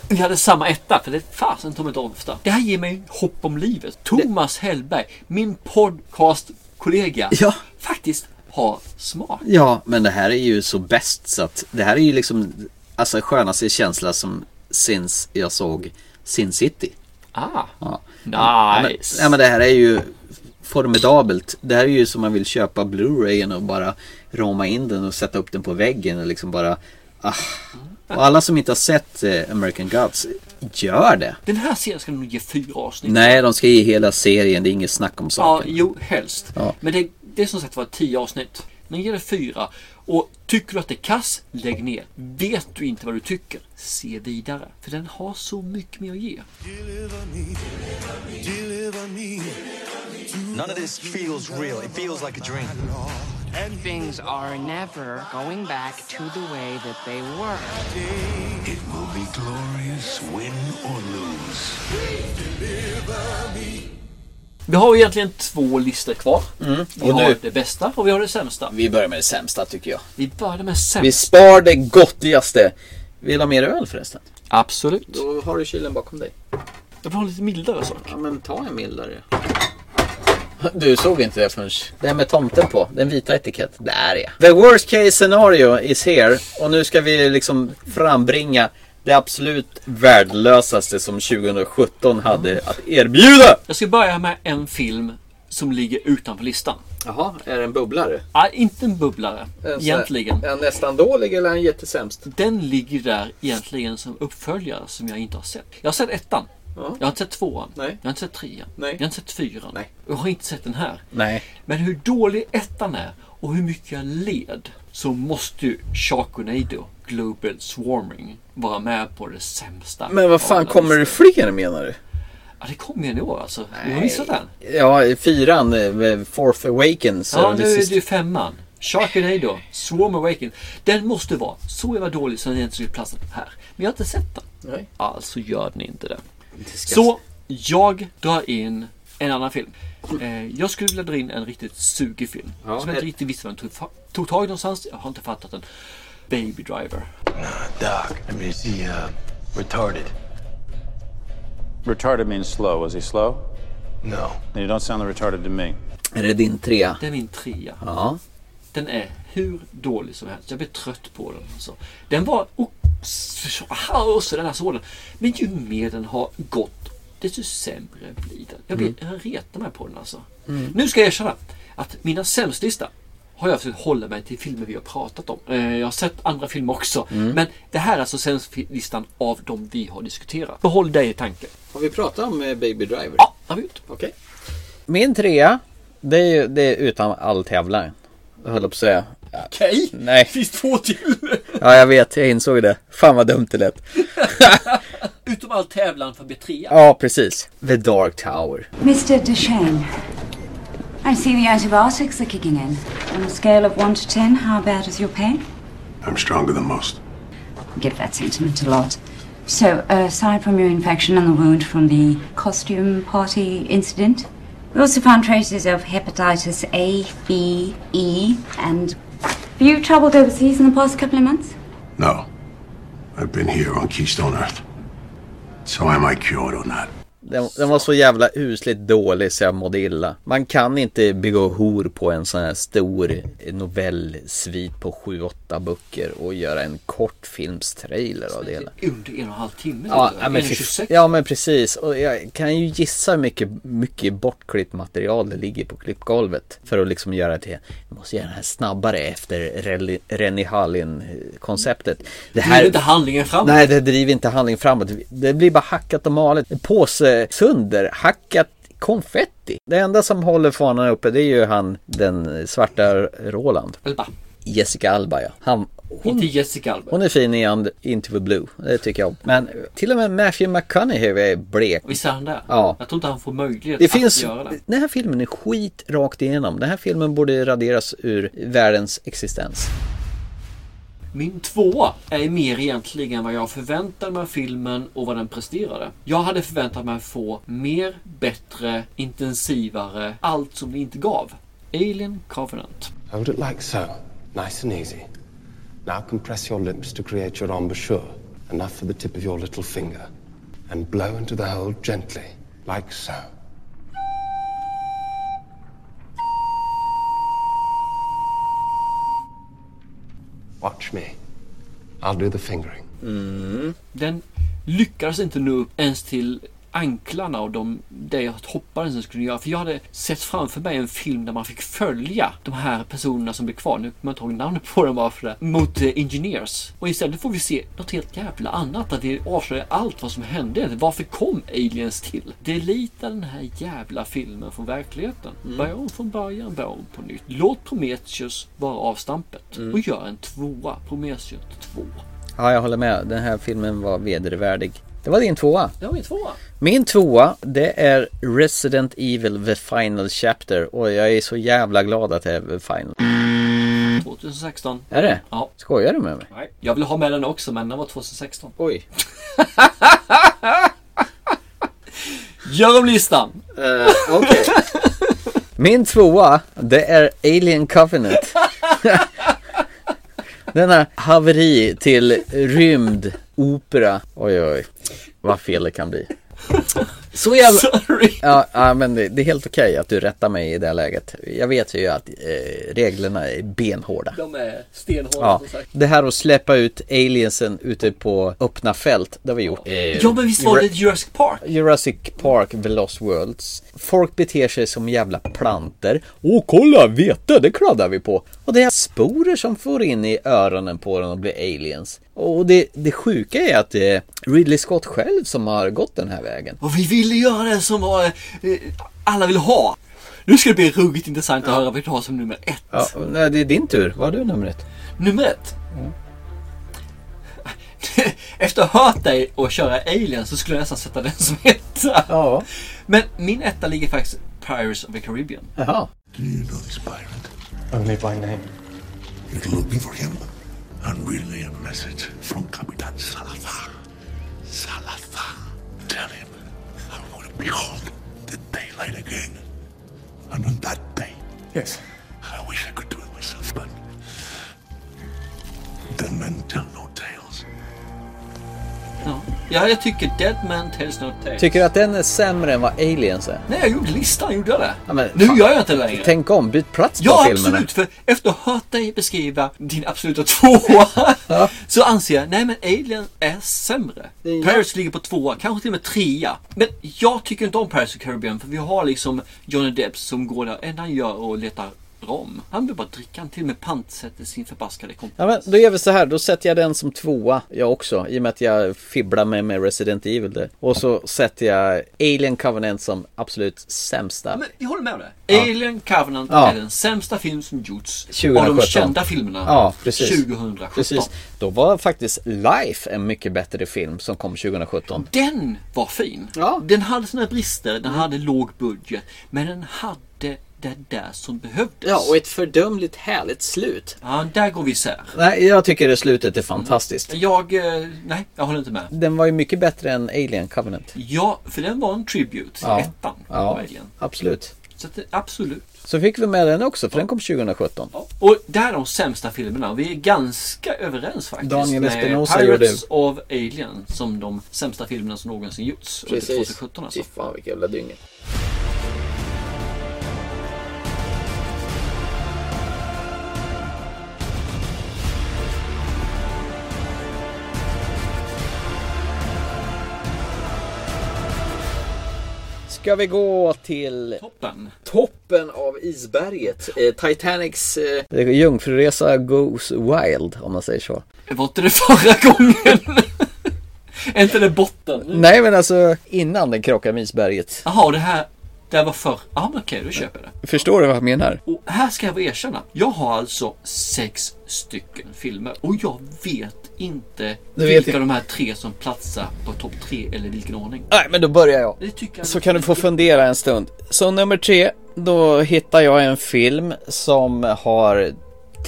Speaker 3: vi hade samma etta, för det är fasen tar mig inte ofta. Det här ger mig hopp om livet. Thomas Hellberg, min podcastkollega, faktiskt har smak.
Speaker 4: Ja, men det här är ju så bäst så att det här är ju liksom alltså skönaste känsla som since jag såg Sin City.
Speaker 3: Ah,
Speaker 4: Ja.
Speaker 3: nice.
Speaker 4: Ja, men, ja, men det här är ju formidabelt. Det här är ju som man vill köpa Blu-rayen och bara rama in den och sätta upp den på väggen och liksom bara ah. Och alla som inte har sett eh, American Gods, gör det!
Speaker 3: Den här serien ska nog ge fyra avsnitt.
Speaker 4: Nej, de ska ge hela serien, det är inget snack om
Speaker 3: Ja,
Speaker 4: saken.
Speaker 3: jo, helst.
Speaker 4: Ja.
Speaker 3: Men det, det är som sagt var tio avsnitt. Men ge det fyra. Och tycker du att det är kass, lägg ner. Vet du inte vad du tycker, se vidare. För den har så mycket mer att ge.
Speaker 17: None of this feels real. It feels like a dream.
Speaker 16: Things are never going back to the way that they were.
Speaker 9: It will be glorious, win or lose.
Speaker 3: Vi har ju egentligen två listor kvar.
Speaker 4: Mm.
Speaker 3: Vi
Speaker 4: Och
Speaker 3: har
Speaker 4: nu-
Speaker 3: det bästa och vi har det sämsta.
Speaker 4: Vi börjar med det sämsta tycker jag.
Speaker 3: Vi börjar med
Speaker 4: Vi
Speaker 3: sämst.
Speaker 4: spar det gottigaste. Vill du ha mer öl förresten?
Speaker 3: Absolut.
Speaker 4: Då har du kylen bakom dig.
Speaker 3: Jag vill ha en lite mildare sak.
Speaker 4: Ja, men ta en mildare. Du såg inte det förrän... Det här med tomten på, den vita etiketten. Där ja. The worst case scenario is here. Och nu ska vi liksom frambringa det absolut värdelösaste som 2017 hade att erbjuda.
Speaker 3: Jag ska börja med en film som ligger utanför listan.
Speaker 4: Jaha, är det en bubblare?
Speaker 3: Nej, inte en bubblare egentligen.
Speaker 4: Är nästan dålig eller är den jättesämst?
Speaker 3: Den ligger där egentligen som uppföljare som jag inte har sett. Jag har sett ettan.
Speaker 4: Ja.
Speaker 3: Jag har inte sett tvåan.
Speaker 4: Nej.
Speaker 3: Jag har inte sett trean.
Speaker 4: Nej.
Speaker 3: Jag har inte sett fyran. Och Jag har inte sett den här.
Speaker 4: Nej.
Speaker 3: Men hur dålig ettan är och hur mycket jag led så måste ju Sharknado Global Swarming vara med på det sämsta.
Speaker 4: Men vad
Speaker 3: av
Speaker 4: fan,
Speaker 3: alla
Speaker 4: kommer det
Speaker 3: listor.
Speaker 4: fler menar du?
Speaker 3: Ja, det kommer igen i år alltså. Du har missat den.
Speaker 4: Ja, fyran, eh, Fourth Awakens.
Speaker 3: Ja,
Speaker 4: det
Speaker 3: nu är
Speaker 4: sista.
Speaker 3: det ju femman. Sharknado, Swarm Awaken. Den måste vara så jävla dålig så den inte skulle platsa här. Men jag har inte sett den.
Speaker 4: Nej.
Speaker 3: Alltså gör den inte det.
Speaker 4: Disgust.
Speaker 3: Så jag drar in en annan film. Eh, jag skulle vilja dra in en riktigt sugig film.
Speaker 4: Ja,
Speaker 3: som jag inte
Speaker 4: ett-
Speaker 3: riktigt visste vem tog, fa- tog tag i någonstans. Jag har inte fattat den. Baby Driver.
Speaker 17: Doc, I mean, is he, uh, retarded?
Speaker 2: Retarded means slow. Was he slow?
Speaker 17: No.
Speaker 2: Then you don't sound retarded to me.
Speaker 4: Är det din trea?
Speaker 3: Det är min trea.
Speaker 4: Ja.
Speaker 3: Den är hur dålig som helst. Jag blir trött på den. Alltså. Den var... Och, och så den här sålen. Men ju mer den har gått, desto sämre blir den. Jag, blir, jag retar mig på den alltså.
Speaker 28: Mm.
Speaker 3: Nu ska jag erkänna att mina sämstlista har jag försökt hålla mig till filmer vi har pratat om. Eh, Jag har sett andra filmer också.
Speaker 4: Mm.
Speaker 3: Men det här är alltså sämstlistan av de vi har diskuterat. Behåll dig i tanken.
Speaker 4: Har vi pratat om eh, Baby Driver?
Speaker 3: Ja, har vi gjort.
Speaker 4: Okej. Min trea, det är, ju- det är utan all tävlan. Jag höll på att säga.
Speaker 3: Okej,
Speaker 4: Nej.
Speaker 3: finns två till.
Speaker 4: Ja, jag vet, jag insåg det. Fan vad dumt det lät.
Speaker 3: Utom all tävlan för B3.
Speaker 4: Ja, precis. The Dark Tower.
Speaker 29: Mr. Duchesne, I see the antibiotics are kicking in. On a scale of 1 to 10, how bad is your pain? I'm stronger than most. Give that sentiment a lot. So, uh, aside from your infection and the wound from the costume party incident, we also found traces of hepatitis A, B, E, and. Have you traveled overseas in the past couple of months?
Speaker 20: No. I've been here on Keystone Earth. So am I cured or not?
Speaker 4: Den, den var så jävla usligt dålig så jag mådde illa. Man kan inte bygga hor på en sån här stor novellsvit på 7-8 böcker och göra en kortfilmstrailer av det hela.
Speaker 3: Under en och en halv timme.
Speaker 4: Ja,
Speaker 3: eller?
Speaker 4: ja, men,
Speaker 3: En
Speaker 4: fy-
Speaker 3: 26.
Speaker 4: ja men precis. Och jag kan ju gissa hur mycket, mycket bortklippt material det ligger på klippgolvet. För att liksom göra det. Vi måste göra det här snabbare efter Rally- Rennie Hallin-konceptet. Det
Speaker 3: Driver inte handlingen framåt.
Speaker 4: Nej, det driver inte handlingen framåt. Det blir bara hackat och malet. En påse sönder, hackat konfetti. Det enda som håller fanan uppe det är ju han, den svarta Roland.
Speaker 3: Alba.
Speaker 4: Jessica Alba ja. Han,
Speaker 3: Inte Jessica Alba.
Speaker 4: hon är fin i And- Into the Blue, det tycker jag om. Men till och med Matthew McConaughey är blek.
Speaker 3: Visst är han där?
Speaker 4: Ja.
Speaker 3: Jag tror inte han får möjlighet
Speaker 4: Det
Speaker 3: att
Speaker 4: finns,
Speaker 3: göra det.
Speaker 4: den här filmen är skit rakt igenom. Den här filmen borde raderas ur världens existens.
Speaker 3: Min tvåa är mer egentligen vad jag förväntade mig av filmen och vad den presterade. Jag hade förväntat mig att få mer, bättre, intensivare, allt som det inte gav. Alien Covenant.
Speaker 17: Hold it like so, nice and easy. Now compress your lips to create your embouchure, enough for the tip of your little finger, and blow into the hole gently, like so. Watch me. I'll do the fingering.
Speaker 3: Den lyckades inte nå upp ens till anklarna och de, det jag hoppades den skulle göra. För jag hade sett framför mig en film där man fick följa de här personerna som blev kvar. Nu kommer jag inte ihåg namnet på dem bara för det. Mot eh, Engineers. Och istället får vi se något helt jävla annat. Att det avslöjar allt vad som hände. Varför kom aliens till? Delita den här jävla filmen från verkligheten. Börja om från början, börja om på nytt. Låt Prometheus vara avstampet. Och gör en tvåa. Prometheus 2.
Speaker 4: Ja, jag håller med. Den här filmen var vedervärdig. Det var din tvåa.
Speaker 3: Det var min tvåa.
Speaker 4: Min tvåa, det är Resident Evil The Final Chapter och jag är så jävla glad att det är The Final.
Speaker 3: 2016.
Speaker 4: Är det?
Speaker 3: Ja.
Speaker 4: Skojar du med mig?
Speaker 3: Nej, jag vill ha med den också men den var 2016.
Speaker 4: Oj.
Speaker 3: Gör om listan!
Speaker 4: Okej. <laughs> Min tvåa, det är Alien Covenant. <laughs> Denna haveri till rymd, opera. Oj, oj, oj. Vad fel det kan bli. Så jävla... <laughs> Ja, ja, men det, det är helt okej att du rättar mig i det här läget. Jag vet ju att eh, reglerna är benhårda.
Speaker 3: De är stenhårda
Speaker 4: Ja,
Speaker 3: som sagt.
Speaker 4: det här att släppa ut aliensen ute på öppna fält, det har vi gjort.
Speaker 3: Ja men visst var det Jurassic Park?
Speaker 4: Jurassic Park, The Lost Worlds. Folk beter sig som jävla planter. Åh, kolla, vete, det kladdar vi på. Och det är sporer som får in i öronen på den och blir aliens. Och det, det sjuka är att det är Ridley Scott själv som har gått den här vägen.
Speaker 3: Och vi ville göra det som var, eh, alla vill ha. Nu ska det bli ruggigt intressant att höra vad vi har som nummer ett.
Speaker 4: Ja, nej, det är din tur. Vad har du nummer ett?
Speaker 3: Nummer ett. <laughs> Efter att ha hört dig och köra Alien så skulle jag nästan sätta den som etta.
Speaker 4: Ja.
Speaker 3: Men min etta ligger faktiskt Pirates of the Caribbean.
Speaker 4: Jaha.
Speaker 9: Do you know this pirate?
Speaker 17: Only by name.
Speaker 9: You're looking for him? And relay a message from Capitan Salazar. Salazar. Tell him I want to behold the daylight again. And on that day. Yes. I wish I could do it myself, but. Dead men tell no tales.
Speaker 3: Ja. ja, jag tycker Dead Man Tells No Tales.
Speaker 4: Tycker du att den är sämre än vad aliens är?
Speaker 3: Nej, jag gjorde listan, gjorde jag det?
Speaker 4: Ja, men
Speaker 3: nu
Speaker 4: fan.
Speaker 3: gör jag inte det längre.
Speaker 4: Tänk om, byt plats på
Speaker 3: Ja,
Speaker 4: filmerna.
Speaker 3: absolut. För efter att ha hört dig beskriva din
Speaker 4: <laughs>
Speaker 3: absoluta tvåa så anser jag, nej men Alien är sämre. Paris ligger på tvåa, kanske till och med trea. Men jag tycker inte om Paris och Caribbean för vi har liksom Johnny Depp som går där, enda han gör och letar rom. Han vill bara dricka, han till och med pantsätter sin förbaskade kompis.
Speaker 4: Ja men då gör vi så här, då sätter jag den som tvåa jag också i och med att jag fibblar mig med Resident Evil där. Och så sätter jag Alien Covenant som absolut sämsta.
Speaker 3: Men jag håller med om det.
Speaker 4: Ja.
Speaker 3: Alien Covenant
Speaker 4: Ja.
Speaker 3: är den sämsta film som gjorts
Speaker 4: 2017.
Speaker 3: av de kända filmerna
Speaker 4: Ja, precis.
Speaker 3: 2017.
Speaker 4: Precis. Då var faktiskt Life en mycket bättre film som kom 2017.
Speaker 3: Den var fin. Den hade sina brister, den hade låg budget. Men den hade det där som behövdes.
Speaker 11: Ja,
Speaker 4: och ett fördömligt härligt slut.
Speaker 3: Ja, där går vi isär.
Speaker 4: Nej, jag tycker det slutet är fantastiskt.
Speaker 3: Jag, eh, nej, jag håller inte med.
Speaker 4: Den var ju mycket bättre än Alien Covenant.
Speaker 3: Ja, för den var en tribute till ettan.
Speaker 4: ja.
Speaker 3: verkligen.
Speaker 4: absolut.
Speaker 3: Så att det, absolut.
Speaker 4: Så fick vi med den också, för den kom 2017.
Speaker 3: Och där är de sämsta filmerna. Vi är ganska överens faktiskt.
Speaker 4: Daniel
Speaker 3: med
Speaker 4: Espinosa
Speaker 3: Pirates of Alien som de sämsta filmerna som någonsin gjorts. Och det är
Speaker 11: Precis.
Speaker 3: 2017 alltså.
Speaker 11: Fy fan vilken jävla dynga. Ska vi gå till
Speaker 3: toppen,
Speaker 11: toppen av isberget? Eh, Titanics... Eh...
Speaker 4: Jungfruresa goes wild, om man säger så.
Speaker 3: Var inte det förra gången? <laughs> är inte det botten?
Speaker 4: Nej, men alltså innan den krockar med isberget.
Speaker 3: Jaha, det här, det här var förr. Ja, ah, men okej, då köper jag det.
Speaker 4: Förstår du vad jag menar?
Speaker 3: Och här ska jag erkänna. Jag har alltså sex stycken filmer och jag vet inte
Speaker 4: Du vet
Speaker 3: vilka
Speaker 4: inte.
Speaker 3: de här tre som platsar på topp tre eller vilken ordning.
Speaker 4: Nej, men då börjar jag.
Speaker 3: Det tycker jag
Speaker 4: Så kan du få fundera en stund. Så nummer tre, då hittar jag en film som har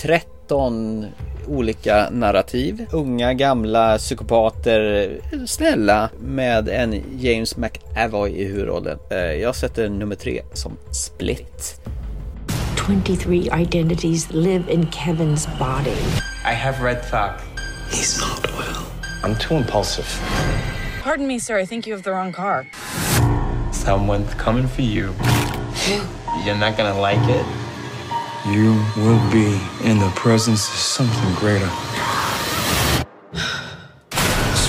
Speaker 4: 13 olika narrativ. Unga, gamla, psykopater, snälla med en James McAvoy i huvudrollen. Eh, Jag sätter nummer tre som Split.
Speaker 12: 23 identities live in Kevin's body.
Speaker 17: I have red flag. He's not well. I'm too impulsive.
Speaker 28: Pardon me, sir. I think you have the wrong car.
Speaker 17: Someone's coming for you. You're not gonna like it.
Speaker 7: You will be in the presence of something greater.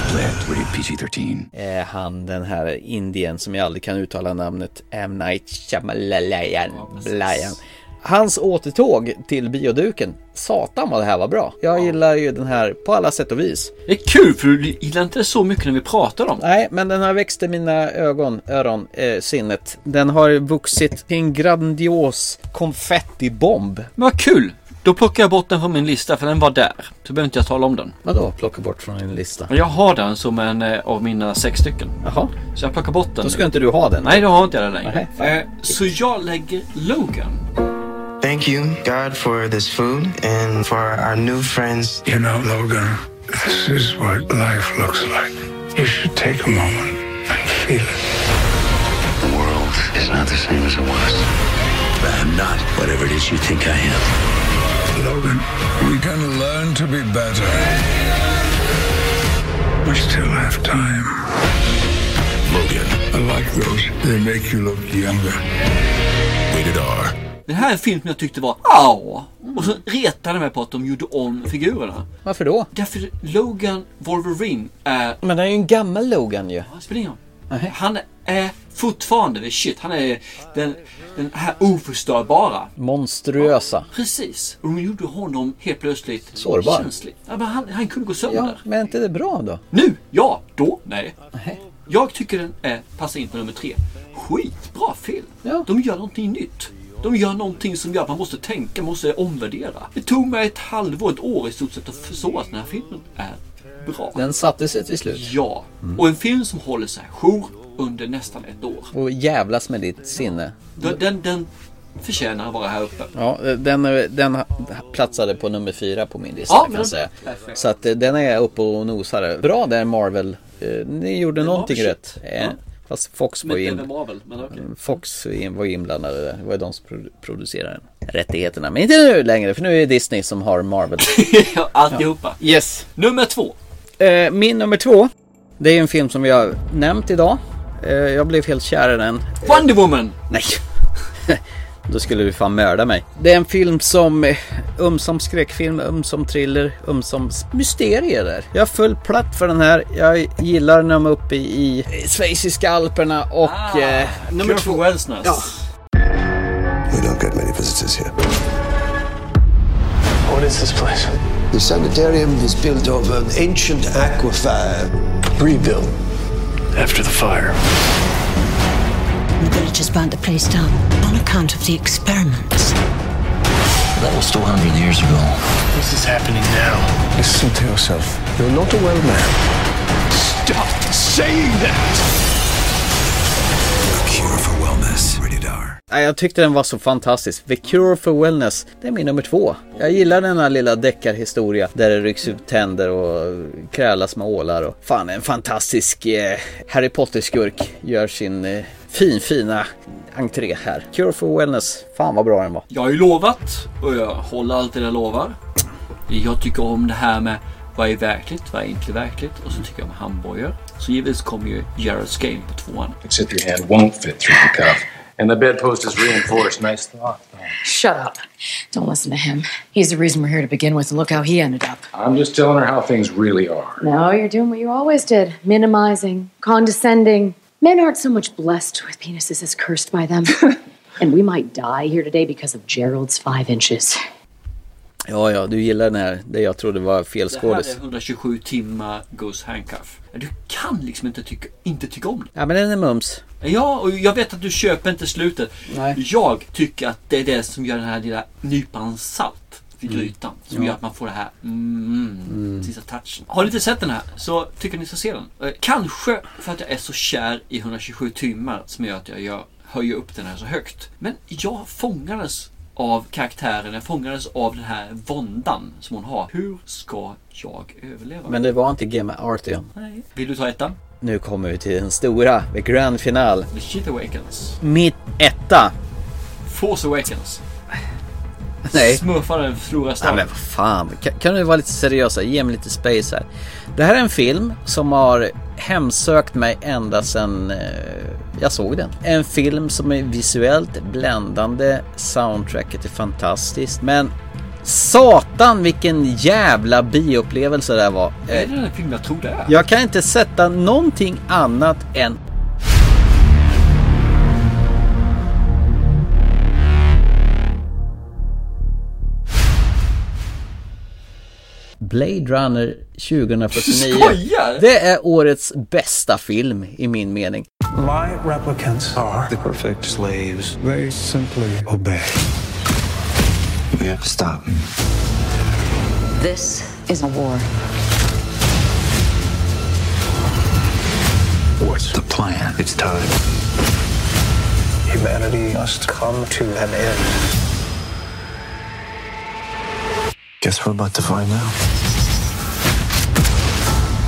Speaker 4: Split, PG-13. Eh, han den här indien som jag aldrig kan uttala namnet, M. Night Shyamalan. Blayan. Hans återtåg till bioduken. Satan vad det här var bra. Jag gillar ju den här på alla sätt och vis.
Speaker 3: Det är kul för du gillar inte så mycket när vi pratar om
Speaker 4: Nej, men den har växt i mina ögon, öron, eh, sinnet. Den har vuxit till en grandios konfettibomb.
Speaker 3: Men vad kul! Då plockar jag bort den från min lista för den var där. Så behöver inte jag tala om den.
Speaker 4: Vadå plocka bort från din lista?
Speaker 3: Men jag har den som en eh, av mina sex stycken.
Speaker 4: Jaha.
Speaker 3: Så jag plockar bort den.
Speaker 4: Då ska inte du ha den.
Speaker 3: Nej, då har inte jag den längre.
Speaker 4: Nej, fan.
Speaker 3: eh, så jag lägger Logan.
Speaker 18: Thank you, God, for this food and for our new friends.
Speaker 13: You know, Logan, this is what life looks like. You should take a moment and feel it.
Speaker 7: The world is not the same as it was. I am not whatever it is you think I am.
Speaker 13: Logan, we can learn to be better. We still have time. Logan. I like those. They make you look younger. Rated R.
Speaker 3: Det här är en film som jag tyckte var au. Och så retade jag mig på att de gjorde om figurerna.
Speaker 4: Varför då?
Speaker 3: Därför Logan Wolverine är...
Speaker 4: Men han är ju en gammal Logan ju.
Speaker 3: Det spelar ingen roll. Han är fortfarande the shit. Han är den, den här oförstörbara.
Speaker 4: Monstruösa.
Speaker 3: Precis. Och de gjorde honom helt plötsligt
Speaker 4: Sårbar.
Speaker 3: känslig. Ja, men han, han kunde gå sönder.
Speaker 4: Ja, men är inte det bra då?
Speaker 3: Nu? Ja, då? Nej. Jag tycker den är, passar in på nummer tre. Skitbra film. De gör någonting nytt. De gör någonting som gör att man måste tänka, måste omvärdera. Det tog mig ett halvår, ett år i stort sett att förstå att den här filmen är bra.
Speaker 4: Den satte sig till slut.
Speaker 3: Ja, och en film som håller sig jour under nästan ett år.
Speaker 4: Och jävlas med ditt sinne.
Speaker 3: Den, den, den förtjänar att vara här uppe.
Speaker 4: Ja, eh, den, den platsade på nummer fyra på min lista
Speaker 3: Ja,
Speaker 4: kan
Speaker 3: men-
Speaker 4: jag säga.
Speaker 3: perfekt.
Speaker 4: Så att eh, den är jag uppe och nosar. Bra där Marvel. Eh, Ni gjorde någonting
Speaker 3: shit.
Speaker 4: rätt. Eh, Fast Fox var,
Speaker 3: Men
Speaker 4: ju
Speaker 3: inte
Speaker 4: in...
Speaker 3: Marvel, men okej.
Speaker 4: Fox in- var ju inblandade där. Det var ju de som produ- producerade den. rättigheterna. Men inte nu längre för nu är det Disney som har
Speaker 3: <laughs>
Speaker 4: Marvel.
Speaker 3: <laughs> Ja, Alltihopa.
Speaker 4: Yes.
Speaker 3: Nummer två.
Speaker 4: Eh, min nummer två. Det är en film som vi har nämnt idag. Eh, jag blev helt kär i den.
Speaker 3: Wonder Woman!
Speaker 4: Nej. Då skulle du fan mörda mig. Det är en film som eh, ömsom skräckfilm, ömsom thriller, ömsom s- mysterier där. Jag föll platt för den här. Jag gillar när de är uppe i eh, schweiziska alperna och... eh, nummer
Speaker 3: Kurt
Speaker 4: två.
Speaker 3: Wellsness.
Speaker 4: Ja.
Speaker 15: We don't get many visitors here. What is this place? The sanitarium is built of an ancient aquifer, rebuilt after the fire.
Speaker 12: The villagers burnt the place down on account of the experiments.
Speaker 7: That was 200 years ago.
Speaker 15: This is happening now. Listen to yourself. You're not a well man. Stop saying that! A cure for wellness. Rated R.
Speaker 4: Nej, Jag tyckte den var så fantastisk. The Cure for Wellness, det är min nummer två. Jag gillar den här lilla deckarhistoria där det rycks ut tänder och krälas med ålar och fan en fantastisk eh, Harry Potter-skurk gör sin eh, fin, fina entré här. Cure for Wellness. Fan vad bra den var.
Speaker 3: Jag har ju lovat och jag håller alltid det jag lovar. Jag tycker om det här med vad är verkligt, vad är inte verkligt och så tycker jag om hamburgare. Så givetvis kommer ju Gerald's Game på tvåan.
Speaker 6: Except your hand won't fit through the cuff. And the bedpost is reinforced. Nice thought.
Speaker 14: Shut up. Don't listen to him. He's the reason we're here to begin with, and look how he ended up.
Speaker 6: I'm just telling her how things really are.
Speaker 14: No, you're doing what you always did minimizing, condescending. Men aren't so much blessed with penises as cursed by them. and we might die here today because of Gerald's five inches.
Speaker 4: Ja, ja, du gillar den här, det jag trodde var fel
Speaker 3: Det här är
Speaker 4: skådis.
Speaker 3: 127 timmar Goes Handcuff. Du kan liksom inte tycka, inte tycka om
Speaker 4: Ja, men den är mums.
Speaker 3: det. Ja, och jag vet att du köper inte slutet. Jag tycker att det är det som gör den här lilla nypan salt vid
Speaker 4: Mm.
Speaker 3: grytan. Som
Speaker 4: Ja.
Speaker 3: gör att man får det här mm,
Speaker 4: Mm.
Speaker 3: sista touchen. Har ni inte sett den här så tycker ni ska se den. Eh, Kanske för att jag är så kär i 127 timmar som gör att jag gör, höjer upp den här så högt. Men jag fångades av karaktären, jag fångades av den här våndan som hon har. Hur ska jag överleva?
Speaker 4: Men det var inte Game Artion.
Speaker 3: Nej. Vill du ta ettan?
Speaker 4: Nu kommer vi till den stora, the grand final.
Speaker 3: The Shit Awakens.
Speaker 4: Mitt etta.
Speaker 3: Force Awakens.
Speaker 4: Nej.
Speaker 3: Smurfaren förlorar
Speaker 4: Nej,
Speaker 3: staden.
Speaker 4: men vad fan, kan, kan du vara lite seriösa? Ge mig lite space här. Det här är en film som har hemsökt mig ända sedan eh, jag såg den. En film som är visuellt bländande, soundtracket är fantastiskt, men satan vilken jävla bioupplevelse det här var.
Speaker 3: Är
Speaker 4: Eh,
Speaker 3: det den film jag tror det är?
Speaker 4: jag kan inte sätta någonting annat än Blade Runner 2049.
Speaker 15: Skojar!
Speaker 4: Det är årets bästa film i min mening.
Speaker 13: My replicants are the perfect slaves. They simply obey.
Speaker 7: We have to stop.
Speaker 29: This is a war.
Speaker 7: What's the plan? It's time.
Speaker 13: Humanity must come to an end.
Speaker 15: Guess we're about to find out.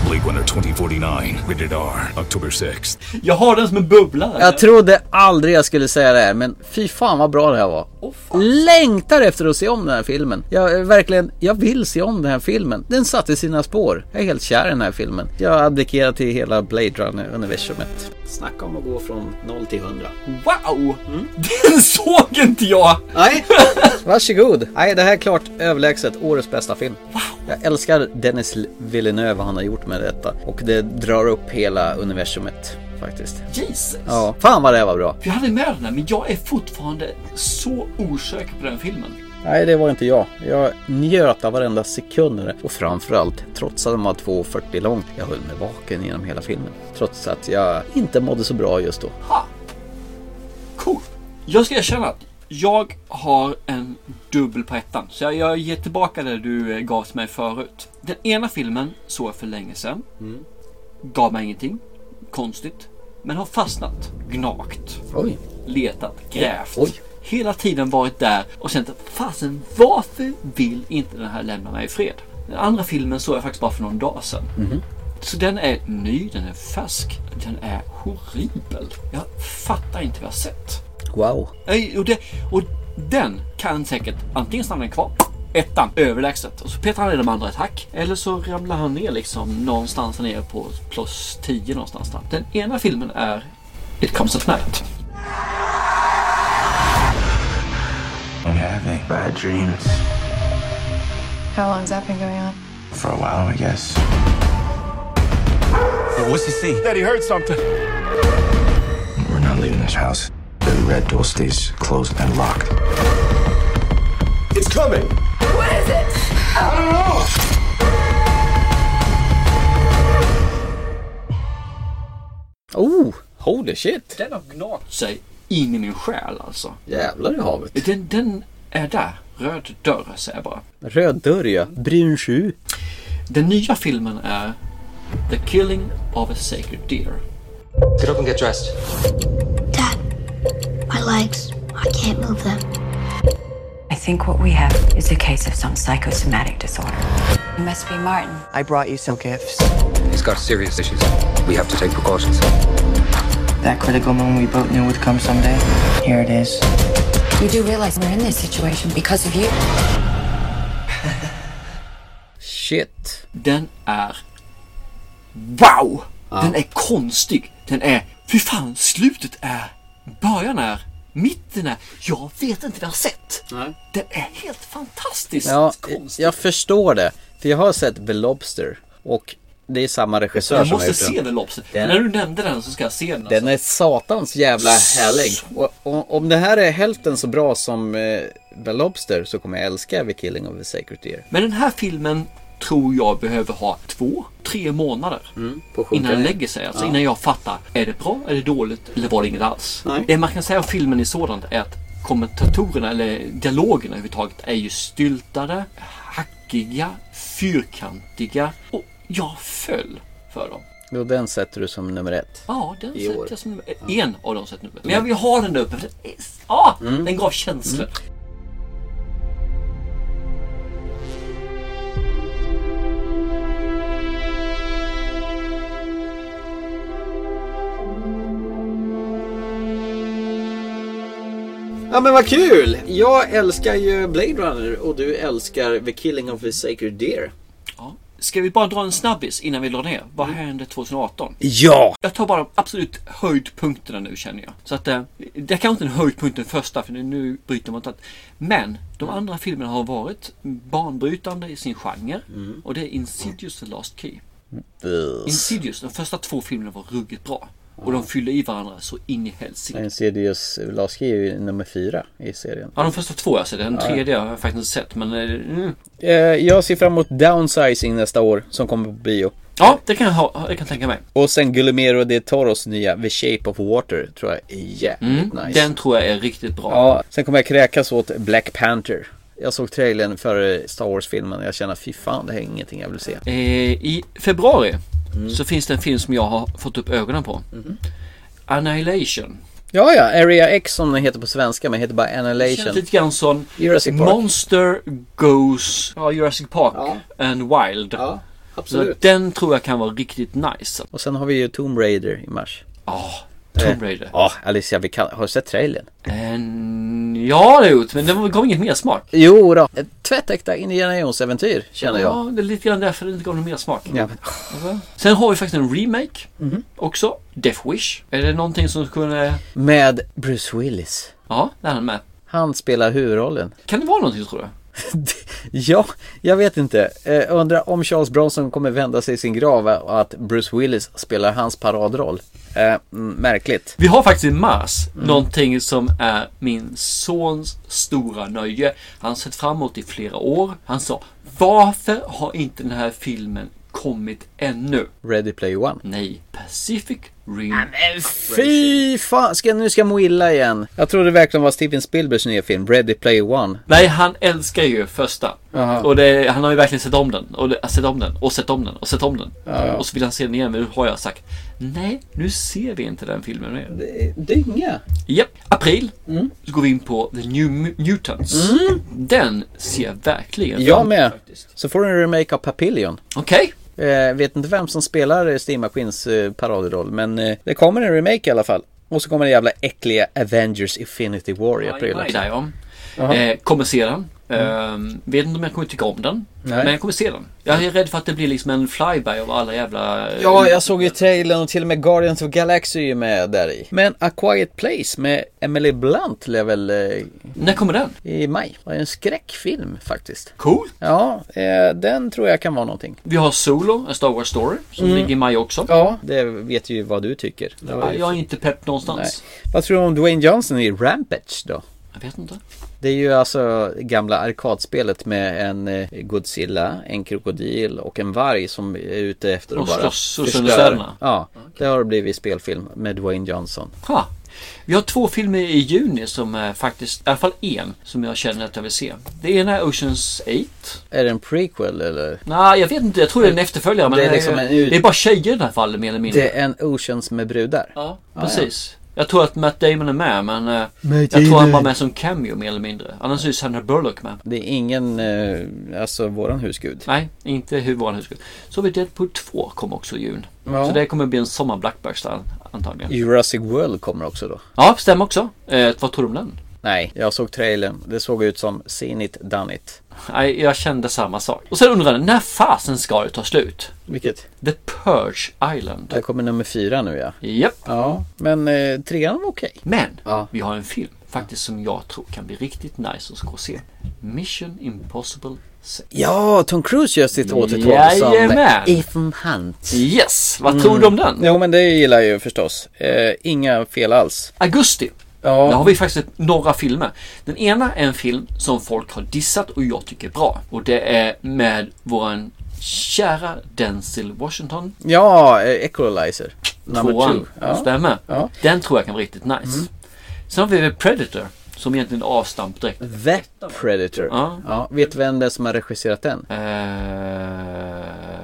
Speaker 15: Blade Runner 2049, rated R, October 6th.
Speaker 3: Jag har den som en bubbla.
Speaker 4: Jag trodde aldrig jag skulle säga det här, men fy fan vad bra det här var. Längtar efter att se om den här filmen. Jag eh, verkligen, jag vill se om den här filmen. Den satte sina spår. Jag är helt kär i den här filmen. Jag abdikerar till hela Blade Runner-universumet. Snacka om att gå från 0 till 100.
Speaker 3: Wow! Den <laughs> såg inte jag!
Speaker 4: <laughs> Nej, varsågod. Nej, det här är klart överlägset årets bästa film. Jag älskar Dennis Villeneuve, vad han har gjort med detta. Och det drar upp hela universumet faktiskt.
Speaker 3: Jesus!
Speaker 4: Ja, fan vad det här var bra.
Speaker 3: Jag hade med den här, men jag är fortfarande så osäker på den filmen.
Speaker 4: Nej, det var inte jag. Jag njöt av varenda sekund i det. och framförallt, trots att den var 2.40 lång, jag höll mig vaken genom hela filmen. Trots att jag inte mådde så bra just då.
Speaker 3: Jag ska erkänna att jag har en dubbel på ettan. Så jag, jag ger tillbaka det du eh, gav till mig förut. Den ena filmen såg jag för länge sedan. Gav mig ingenting. Konstigt. Men har fastnat. Gnagt.
Speaker 4: Oj.
Speaker 3: Letat. Grävt.
Speaker 4: Oj.
Speaker 3: Hela tiden varit där och sen tänkt, fasen varför vill inte den här lämna mig i fred? Den andra filmen såg jag faktiskt bara för någon dag sedan. Så den är ny, den är färsk, den är horribel. Jag fattar inte vad jag har sett.
Speaker 4: Wow.
Speaker 3: Nej, Och, det, och den kan säkert antingen stanna kvar, ettan, överlägset. Och så petar han i de andra ett hack. Eller så ramlar han ner liksom någonstans ner på plus 10 någonstans där. Den ena filmen är It comes at night.
Speaker 7: I'm having bad dreams.
Speaker 19: How long's that been going on?
Speaker 7: For a while, I guess.
Speaker 19: what's he see?
Speaker 7: That he heard something. We're not leaving this house. The red door stays closed and locked. It's coming!
Speaker 19: What is it? I don't know.
Speaker 4: Oh, holy shit.
Speaker 3: Den har gnagt sig in i min själ alltså.
Speaker 4: Jävlar i havet.
Speaker 3: Den, den är där. Röd dörr säger jag bara.
Speaker 4: Röd dörr ja. Brun sju.
Speaker 3: Den nya filmen är The Killing of a Sacred Deer.
Speaker 21: Get up and get dressed.
Speaker 27: My legs, I can't move them.
Speaker 21: I think what we have is a case of some psychosomatic disorder.
Speaker 19: It must be Martin.
Speaker 21: I brought you some gifts.
Speaker 19: He's got serious issues.
Speaker 21: We have to take precautions.
Speaker 18: That critical moment we both knew would come someday. Here it is.
Speaker 21: You do realize we're in this situation because of you.
Speaker 4: Shit.
Speaker 3: Den är... Wow! Den är konstig. Den är... Fy fan, slutet är... Början är... Mitten är... Jag vet inte när jag sett. Den är helt fantastiskt
Speaker 4: Ja,
Speaker 3: konstig.
Speaker 4: jag förstår det. För jag har sett The Lobster och det är samma regissör
Speaker 3: Jag
Speaker 4: som har
Speaker 3: måste
Speaker 4: gjort
Speaker 3: se
Speaker 4: den.
Speaker 3: den Lobster.
Speaker 4: Den-
Speaker 3: När du nämnde den så ska jag se den. alltså.
Speaker 4: Den är satans jävla härlig. Alltså. Och, och, om det här är hälften så bra som eh, The Lobster så kommer jag älska The Killing of the Sacred Deer.
Speaker 3: Men den här filmen tror jag behöver ha två, tre månader
Speaker 4: på att sjunka
Speaker 3: innan den
Speaker 4: ner.
Speaker 3: lägger sig. Alltså
Speaker 4: Mm, Ja.
Speaker 3: innan jag fattar, är det bra, är det dåligt eller var det inget alls?
Speaker 4: Nej.
Speaker 3: Det man kan säga om filmen i sådant är att kommentatorerna eller dialogerna överhuvudtaget är ju styltade, hackiga, fyrkantiga och jag föll för dem.
Speaker 4: Och den sätter du som nummer ett.
Speaker 3: Ja, den
Speaker 4: I
Speaker 3: sätter
Speaker 4: år. Mm.
Speaker 3: jag som nummer- en av de sätter nummer. Men jag vill ha den där uppe. för den är- Ja, den gav känslor.
Speaker 4: Ja men vad kul! Jag älskar ju Blade Runner och du älskar The Killing of the Sacred Deer.
Speaker 3: Ja. Ska vi bara dra en snabbis innan vi drar ner? Vad hände 2018?
Speaker 4: Mm. Ja!
Speaker 3: Jag tar bara de absolut höjdpunkterna nu känner jag. Så att eh, det kanske inte är en höjdpunkt den första för nu- nu bryter man tatt. Men de
Speaker 4: Mm.
Speaker 3: andra filmerna har varit banbrytande i sin genre
Speaker 4: Mm.
Speaker 3: och det är Insidious The Last Key.
Speaker 4: Eh,
Speaker 3: Insidious, de första två filmerna var ruggigt bra och de fyllde i varandra så in i helsike.
Speaker 4: Insidious Lasky är ju nummer fyra i serien.
Speaker 3: Ja, de första två jag sett, den
Speaker 4: Ja.
Speaker 3: tredje har jag faktiskt inte sett men... eh, Mm.
Speaker 4: Eh, Jag ser fram emot Downsizing nästa år som kommer på bio.
Speaker 3: Ja, det kan jag, ha, jag kan tänka mig.
Speaker 4: Och sen Guillermo de Toros nya The Shape of Water tror jag är jävligt
Speaker 3: Mm,
Speaker 4: nice.
Speaker 3: Den tror jag är riktigt bra.
Speaker 4: Ja, sen kommer jag kräkas åt Black Panther. Jag såg trailern för Star Wars-filmen och jag känner fy fan det här är ingenting jag vill se.
Speaker 3: Eh, I februari
Speaker 4: Mm.
Speaker 3: så finns det en film som jag har fått upp ögonen på.
Speaker 4: Mhm.
Speaker 3: Annihilation.
Speaker 4: Ja, ja, Area X som den heter på svenska men heter bara
Speaker 3: Det känns
Speaker 4: Annihilation.
Speaker 3: lite grann som
Speaker 4: Jurassic Park.
Speaker 3: Monster Goes ja, Jurassic Park and Wild. Så
Speaker 4: absolut.
Speaker 3: den tror jag kan vara riktigt nice.
Speaker 4: Och sen har vi ju Tomb Raider i mars.
Speaker 3: Ja, Tomb
Speaker 4: Eh,
Speaker 3: Raider.
Speaker 4: Ja, Alicia Vikander. Har du sett trailern?
Speaker 3: En... Ja, det har jag gjort, men det var- gav inget mer smak.
Speaker 4: Jo då. Ett tvättäkta Indiana Jones-äventyr känner jag.
Speaker 3: Ja, det är lite grann därför det inte gav någon mer smak.
Speaker 4: Ja, Mhm. men,
Speaker 3: Alltså. Sen har vi faktiskt en remake också. Death Wish. Är det någonting som kunde...
Speaker 4: Med Bruce Willis.
Speaker 3: Ja, där är han med.
Speaker 4: Han spelar huvudrollen.
Speaker 3: Kan det vara någonting tror du?
Speaker 4: Ja, jag vet inte. Eh, undrar om Charles Bronson kommer vända sig i sin grav och att Bruce Willis spelar hans paradroll. Eh, mm, märkligt.
Speaker 3: Vi har faktiskt i mars någonting som är min sons stora nöje. Han har sett fram emot i flera år. Han sa Varför har inte den här filmen kommit ännu?
Speaker 4: Ready Player One.
Speaker 3: Nej, Pacific Rim.
Speaker 4: Fy fan, ska, nu ska jag må illa igen. Jag trodde verkligen det var Steven Spielbergs nya film, Ready Player One.
Speaker 3: Nej, han älskar ju första.
Speaker 4: Jaha.
Speaker 3: Och det, han har ju verkligen sett om den. Och det, sett om den. Och sett om den. Och sett om den. Och så vill han se den igen. Men nu har jag sagt Nej, nu ser vi inte den filmen mer.
Speaker 4: Dynga.
Speaker 3: Japp, april. Så går vi in på The New Mu- Mutants. Den ser jag verkligen
Speaker 4: Jag med. Så får du en remake av Papillion.
Speaker 3: Okej.
Speaker 4: Eh, vet inte vem som spelar eh, Steve McQueens eh, paradroll, men eh, det kommer en remake i alla fall. Och så kommer det jävla äckliga Avengers Infinity War i april.
Speaker 3: Maj
Speaker 4: också.
Speaker 3: där ja.
Speaker 4: Jaha. Mm.
Speaker 3: Eh, kommer se den. Eh, vet inte om jag kommer tycka om den.
Speaker 4: Nej.
Speaker 3: Men jag kommer se den. Jag är rädd för att det blir liksom en flyby av alla jävla... eh,
Speaker 4: Ja, jag såg ju trailern och till och med Guardians of Galaxy är ju med där i. Men A Quiet Place med Emily Blunt lär väl... Eh,
Speaker 3: När kommer den?
Speaker 4: I maj. Det är en skräckfilm faktiskt.
Speaker 3: Cool.
Speaker 4: Ja, eh, den tror jag kan vara någonting.
Speaker 3: Vi har Solo, en Star Wars story, som
Speaker 4: Mm.
Speaker 3: ligger i maj också.
Speaker 4: Ja, det vet ju vad du tycker. Det var ju-
Speaker 3: Jag är inte pepp
Speaker 4: Nej.
Speaker 3: någonstans.
Speaker 4: Vad tror du om Dwayne Johnson i Rampage då?
Speaker 3: Jag vet inte.
Speaker 4: Det är ju alltså gamla arkadspelet med en eh, Godzilla, en krokodil och en varg som är ute efter
Speaker 3: Och
Speaker 4: att bara
Speaker 3: slåss och sönder städerna.
Speaker 4: Ja, det har blivit spelfilm med Dwayne Johnson.
Speaker 3: Ha. Vi har två filmer i juni som är faktiskt, i alla fall en, som jag känner att jag vill se. Det ena är Oceans 8.
Speaker 4: Är det en prequel eller?
Speaker 3: Nej, jag vet inte. Jag tror det är en efterföljare. Men
Speaker 4: Det är liksom en ut-
Speaker 3: det är bara tjejer i det här fallet mer eller mindre.
Speaker 4: Det är en Oceans med brudar.
Speaker 3: Ja, precis. Jag tror att Matt Damon är med men eh, jag
Speaker 4: Matt
Speaker 3: tror han
Speaker 4: Damon.
Speaker 3: bara är med som cameo mer eller mindre. Annars är ju Sandra Bullock med.
Speaker 4: Det är ingen, eh, alltså våran husgud.
Speaker 3: Nej, inte hur vår husgud. Så har vi Deadpool 2 kom också i jun.
Speaker 4: Ja.
Speaker 3: Så det kommer bli en sommar blockbuster antagligen.
Speaker 4: Jurassic World kommer också då.
Speaker 3: Ja, stämmer också. Eh, vad tror du om den?
Speaker 4: Nej, jag såg trailern. Det såg ut som seen it, done it.
Speaker 3: Nej, jag kände samma sak. Och sen undrar jag, när fasen ska det ta slut?
Speaker 4: Vilket?
Speaker 3: The Purge Island.
Speaker 4: Där kommer nummer fyra nu ja.
Speaker 3: Japp.
Speaker 4: Ja, men eh, trean var okej.
Speaker 3: Men vi har en film faktiskt som jag tror kan bli riktigt nice att gå och se. Mission Impossible 6.
Speaker 4: Ja, Tom Cruise gör sitt återtåg
Speaker 3: Jajamän.
Speaker 4: som Ethan Hunt.
Speaker 3: Yes, vad tror du om den?
Speaker 4: Jo, men det gillar jag ju förstås. Eh, inga fel alls.
Speaker 3: Augusti.
Speaker 4: Ja.
Speaker 3: Där har vi faktiskt ett- några filmer. Den ena är en film som folk har dissat och jag tycker är bra. Och det är med våran kära Denzel Washington.
Speaker 4: Ja, eh, Equalizer. Number
Speaker 3: Tvåan.
Speaker 4: two. Ja.
Speaker 3: Stämmer.
Speaker 4: Ja.
Speaker 3: Den tror jag kan bli riktigt nice.
Speaker 4: Mm.
Speaker 3: Sen har vi väl Predator. Som egentligen är avstamp direkt.
Speaker 4: The Predator.
Speaker 3: Ja.
Speaker 4: Ja, vet vem det är som har regisserat den?
Speaker 3: Eh,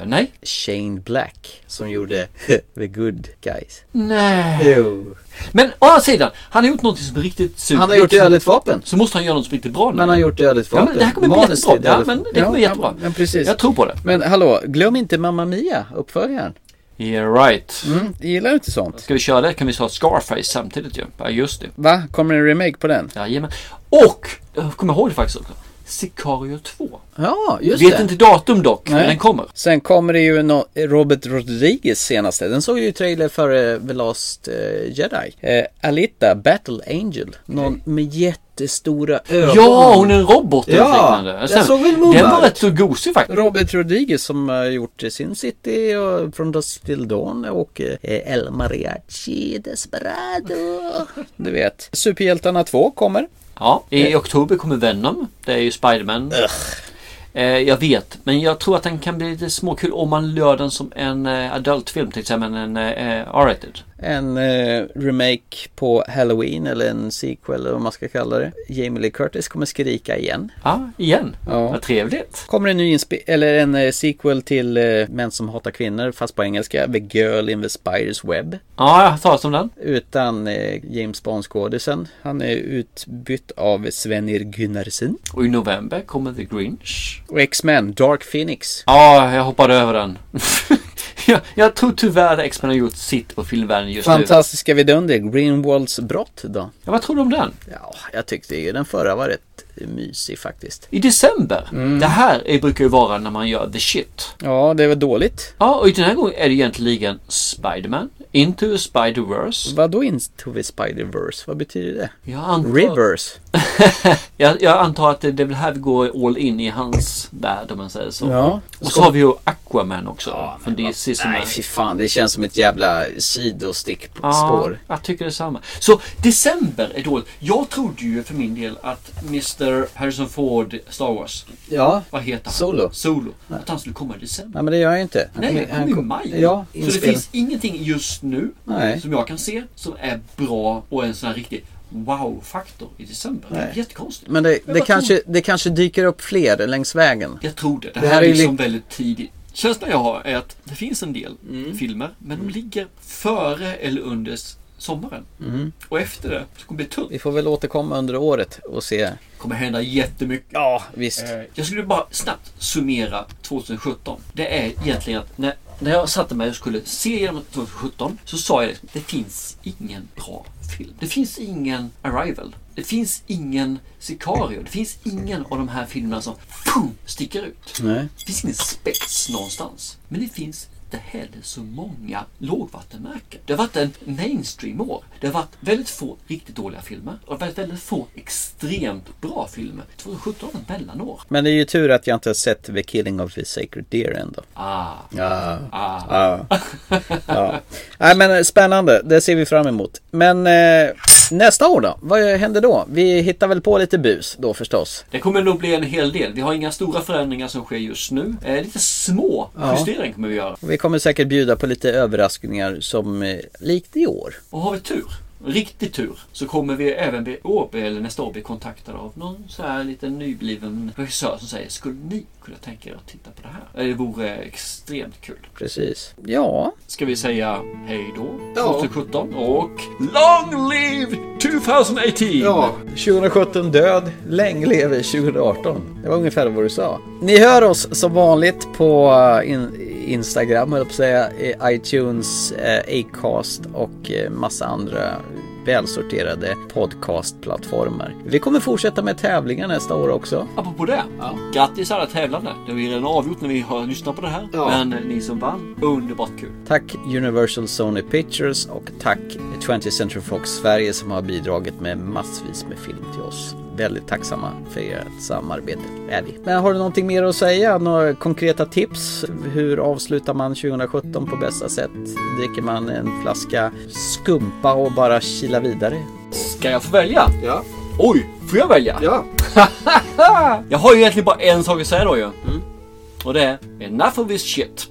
Speaker 3: nej.
Speaker 4: Shane Black som <laughs> gjorde The Good Guys.
Speaker 3: Nej.
Speaker 4: Jo.
Speaker 3: Men å andra sidan, han har gjort något som är riktigt super.
Speaker 4: Han har gjort Dödligt vapen.
Speaker 3: Så måste han göra något som är riktigt bra nu.
Speaker 4: Men han har gjort Dödligt
Speaker 3: Ja,
Speaker 4: vapen.
Speaker 3: men det här kommer bli
Speaker 4: Manus till
Speaker 3: jättebra. Ja,
Speaker 4: Dödligt
Speaker 3: men
Speaker 4: vapen.
Speaker 3: det kommer bli
Speaker 4: Ja,
Speaker 3: jättebra.
Speaker 4: men precis.
Speaker 3: Jag tror på det.
Speaker 4: Men hallå, glöm inte Mamma Mia, uppföljaren.
Speaker 3: Yeah right.
Speaker 4: Mm, gillar du inte sånt?
Speaker 3: Ska vi köra det kan vi ta Scarface samtidigt ju. Ja, just det.
Speaker 4: Va? Kommer det en remake på den?
Speaker 3: Jajamän. Och, jag kommer ihåg det faktiskt också. Sicario 2.
Speaker 4: Ja, just
Speaker 3: Vet
Speaker 4: det.
Speaker 3: inte datum dock, men
Speaker 4: Nej.
Speaker 3: den kommer.
Speaker 4: Sen kommer det ju nå- Robert Rodriguez senaste. Den såg ju trailer före The Last eh, Jedi. Eh, Alita, Battle Angel. Någon med jättestora ögon.
Speaker 3: Ja, hon är en robot eller
Speaker 4: Ja,
Speaker 3: liknande.
Speaker 4: jag
Speaker 3: Sen-
Speaker 4: såg väl
Speaker 3: den var rätt så gosig faktiskt.
Speaker 4: Robert Rodriguez som har gjort eh, Sin City och From Dusk Till Dawn och eh, El Mariachi Desperado. Du vet, Superhjältarna 2 kommer.
Speaker 3: Ja, i oktober kommer Venom. Det är ju Spiderman. Eh, jag vet, men jag tror att den kan bli lite småkul om man gör den som en eh, adultfilm till exempel. En eh, eh, R-rated.
Speaker 4: En eh, remake på Halloween eller en sequel eller vad man ska kalla det. Jamie Lee Curtis kommer skrika igen.
Speaker 3: Ja, igen.
Speaker 4: Ja.
Speaker 3: Vad trevligt.
Speaker 4: Kommer en ny inspe- eller en eh, sequel till eh, Män som hatar kvinnor fast på engelska. The Girl in the Spider's Web.
Speaker 3: Ja, jag har talat om den.
Speaker 4: Utan eh, James Bond-skådisen. Han är utbytt av Svenir Gunnarsen.
Speaker 3: Och i november kommer The Grinch.
Speaker 4: Och X-Men, Dark Phoenix.
Speaker 3: Ja, jag hoppade över den. <laughs> jag, jag tror tyvärr att X-Men har gjort sitt på filmvärlden just
Speaker 4: Fantastiska vidunder, Greenwalds brott då.
Speaker 3: nu. Ja, vad tror du om den?
Speaker 4: Ja, jag tyckte ju den förra var rätt mysig faktiskt.
Speaker 3: I december. Det här är, brukar ju vara när man gör the shit.
Speaker 4: Ja, det var dåligt.
Speaker 3: Ja, och den här gången är det egentligen Spiderman, Into the Spider-Verse.
Speaker 4: Vadå Into the Spider-Verse? Vad betyder det?
Speaker 3: Jag antar,
Speaker 4: Reverse.
Speaker 3: jag, jag antar att det, det är väl här vi går all in i hans värld om man säger så.
Speaker 4: Ja.
Speaker 3: Och så har vi ju Aquaman också. från DC som
Speaker 4: Mm. Nej,
Speaker 3: är-
Speaker 4: fy fan. Det känns som ett jävla sidostickspår.
Speaker 3: Ja, jag tycker detsamma. Så december är dåligt. Jag trodde ju för min del att Mr Harrison Ford, Star Wars.
Speaker 4: Ja.
Speaker 3: Vad heter han?
Speaker 4: Solo.
Speaker 3: Solo. Att han skulle komma i december.
Speaker 4: Nej, men det gör jag inte. Han
Speaker 3: Nej,
Speaker 4: kommer-
Speaker 3: han kom i
Speaker 4: kom-
Speaker 3: maj.
Speaker 4: Ja,
Speaker 3: så det
Speaker 4: inspel.
Speaker 3: finns ingenting just nu
Speaker 4: Nej.
Speaker 3: som jag kan se som är bra och en sån här riktig wow-faktor i december. Det är
Speaker 4: Nej.
Speaker 3: jättekonstigt.
Speaker 4: Men det, det,
Speaker 3: vad
Speaker 4: kanske, det kanske dyker upp fler längs vägen.
Speaker 3: Jag tror det. Det här,
Speaker 4: Det här
Speaker 3: är
Speaker 4: är
Speaker 3: liksom
Speaker 4: lik-
Speaker 3: väldigt tidigt. Känslan jag har är att det finns en del
Speaker 4: Mm.
Speaker 3: filmer, men de ligger före eller under s- sommaren.
Speaker 4: Mm.
Speaker 3: Och efter det så kommer det bli tungt.
Speaker 4: Vi får väl återkomma under året och se.
Speaker 3: Det kommer hända jättemycket.
Speaker 4: Ja, visst.
Speaker 3: Eh, Jag skulle bara snabbt summera 2017. Det är egentligen att när, när jag satte mig och skulle se igenom 2017 så sa jag liksom, det finns ingen bra film. Det finns ingen Arrival. Det finns ingen Sicario. Det finns ingen av de här filmerna som boom, sticker ut.
Speaker 4: Nej.
Speaker 3: Det finns ingen spets någonstans. Men det finns inte heller så många lågvattenmärken. Det har varit en mainstream-år. Det har varit väldigt få riktigt dåliga filmer och väldigt, väldigt få extremt bra filmer. 2017 var ett mellanår.
Speaker 4: Men det är ju tur att jag inte har sett The Killing of the Sacred Deer ändå.
Speaker 3: Ah.
Speaker 4: Ja.
Speaker 3: Ah.
Speaker 4: Ja. ja. Nej men eh, spännande, det ser vi fram emot. Men eh, nästa år då? Vad händer då? Vi hittar väl på lite bus då förstås.
Speaker 3: Det kommer nog bli en hel del. Vi har inga stora förändringar som sker just nu. Eh, lite små
Speaker 4: Ja.
Speaker 3: justeringar kommer vi göra.
Speaker 4: Och Vi kommer säkert bjuda på lite överraskningar som eh, likt i år.
Speaker 3: Och har vi tur riktig tur så kommer vi även bli år eller nästa år bli kontaktade av någon så här liten nybliven regissör som säger skulle ni kunna tänka er att titta på det här? Eh, Det vore extremt kul.
Speaker 4: Precis. Ja.
Speaker 3: Ska vi säga hej då
Speaker 4: Ja.
Speaker 3: 2017 och long live 2018!
Speaker 4: Ja. 2017 död, länge leve 2018. Det var ungefär vad du sa. Ni hör oss som vanligt på eh, in, Instagram, höll jag på att säga, eh, iTunes, eh, Acast och eh, massa andra välsorterade podcastplattformar. Vi kommer fortsätta med tävlingar nästa år också.
Speaker 3: Apropå det, grattis alla tävlande. Det är redan avgjort när vi har lyssnat på det här. Men ni som vann, underbart kul.
Speaker 4: Tack Universal Sony Pictures och tack 20th Century Fox Sverige som har bidragit med massvis med film till oss. Väldigt tacksamma för ert samarbete är vi. Men har du någonting mer att säga? Några konkreta tips? Hur avslutar man 2017 på bästa sätt? Dricker man en flaska skumpa och bara kilar vidare?
Speaker 3: Ska jag få välja? Ja. Oj, får jag välja? Ja. <laughs> jag har ju egentligen bara en sak att säga då ju. Och det är enough of this shit.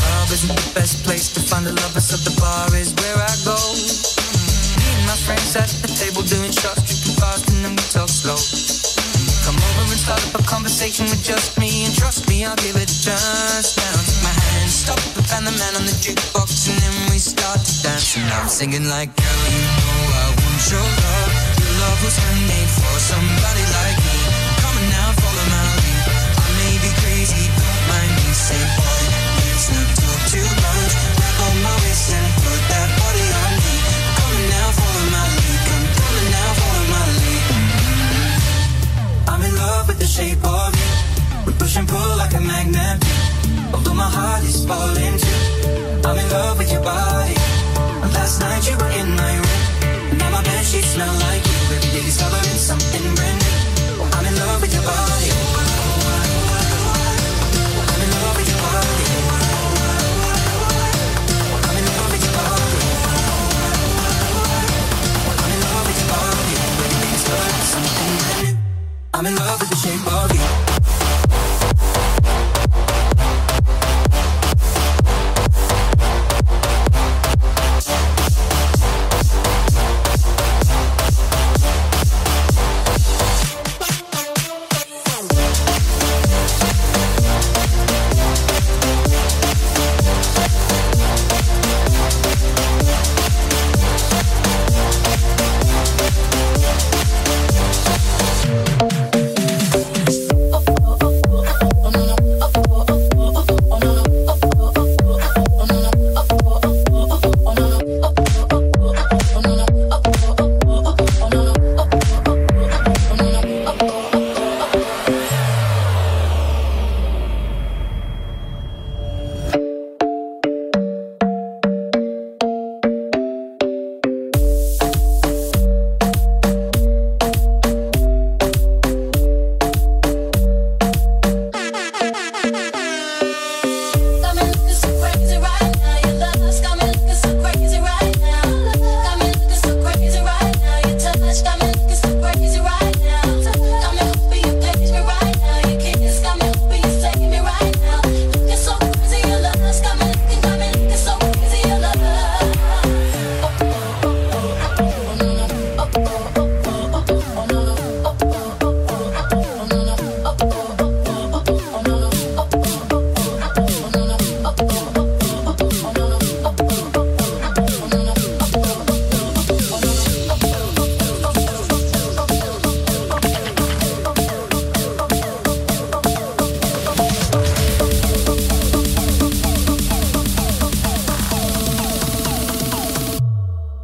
Speaker 2: club isn't the best place to find a lover, so the bar is where I go. Mm-hmm. Me and my friends at the table doing shots, drinking fast, and then we talk slow. Mm-hmm. Come over and start up a conversation with just me, and trust me, I'll give it a chance. Now take my hand and stop and find the man on the jukebox, and then we start to dance. And I'm singing like, girl, you know I want your love. Your love was handmade for somebody like me. Come on now, follow my lead. I may be crazy, don't mind me. Say, boy, let's not talk too much. Grab on my waist and put that body on me. Come on now, follow my lead. Come, come on now, follow my lead. I'm in love with the shape of you. We push and pull like a magnet. Although my heart is falling too. I'm in love with your body. Last night you were in my room. Now my bed sheets smell like you. Every day discovering something brand new. I'm in love with your body. I'm in love with your body. I'm in love with your body. I'm in love with your body. Every day discovering something brand new. I'm in love with the shape of you.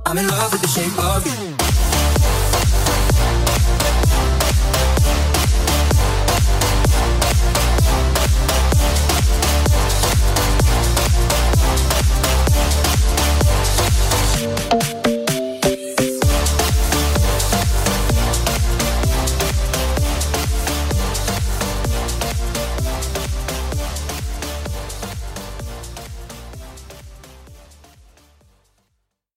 Speaker 2: I'm in love with the shape of you.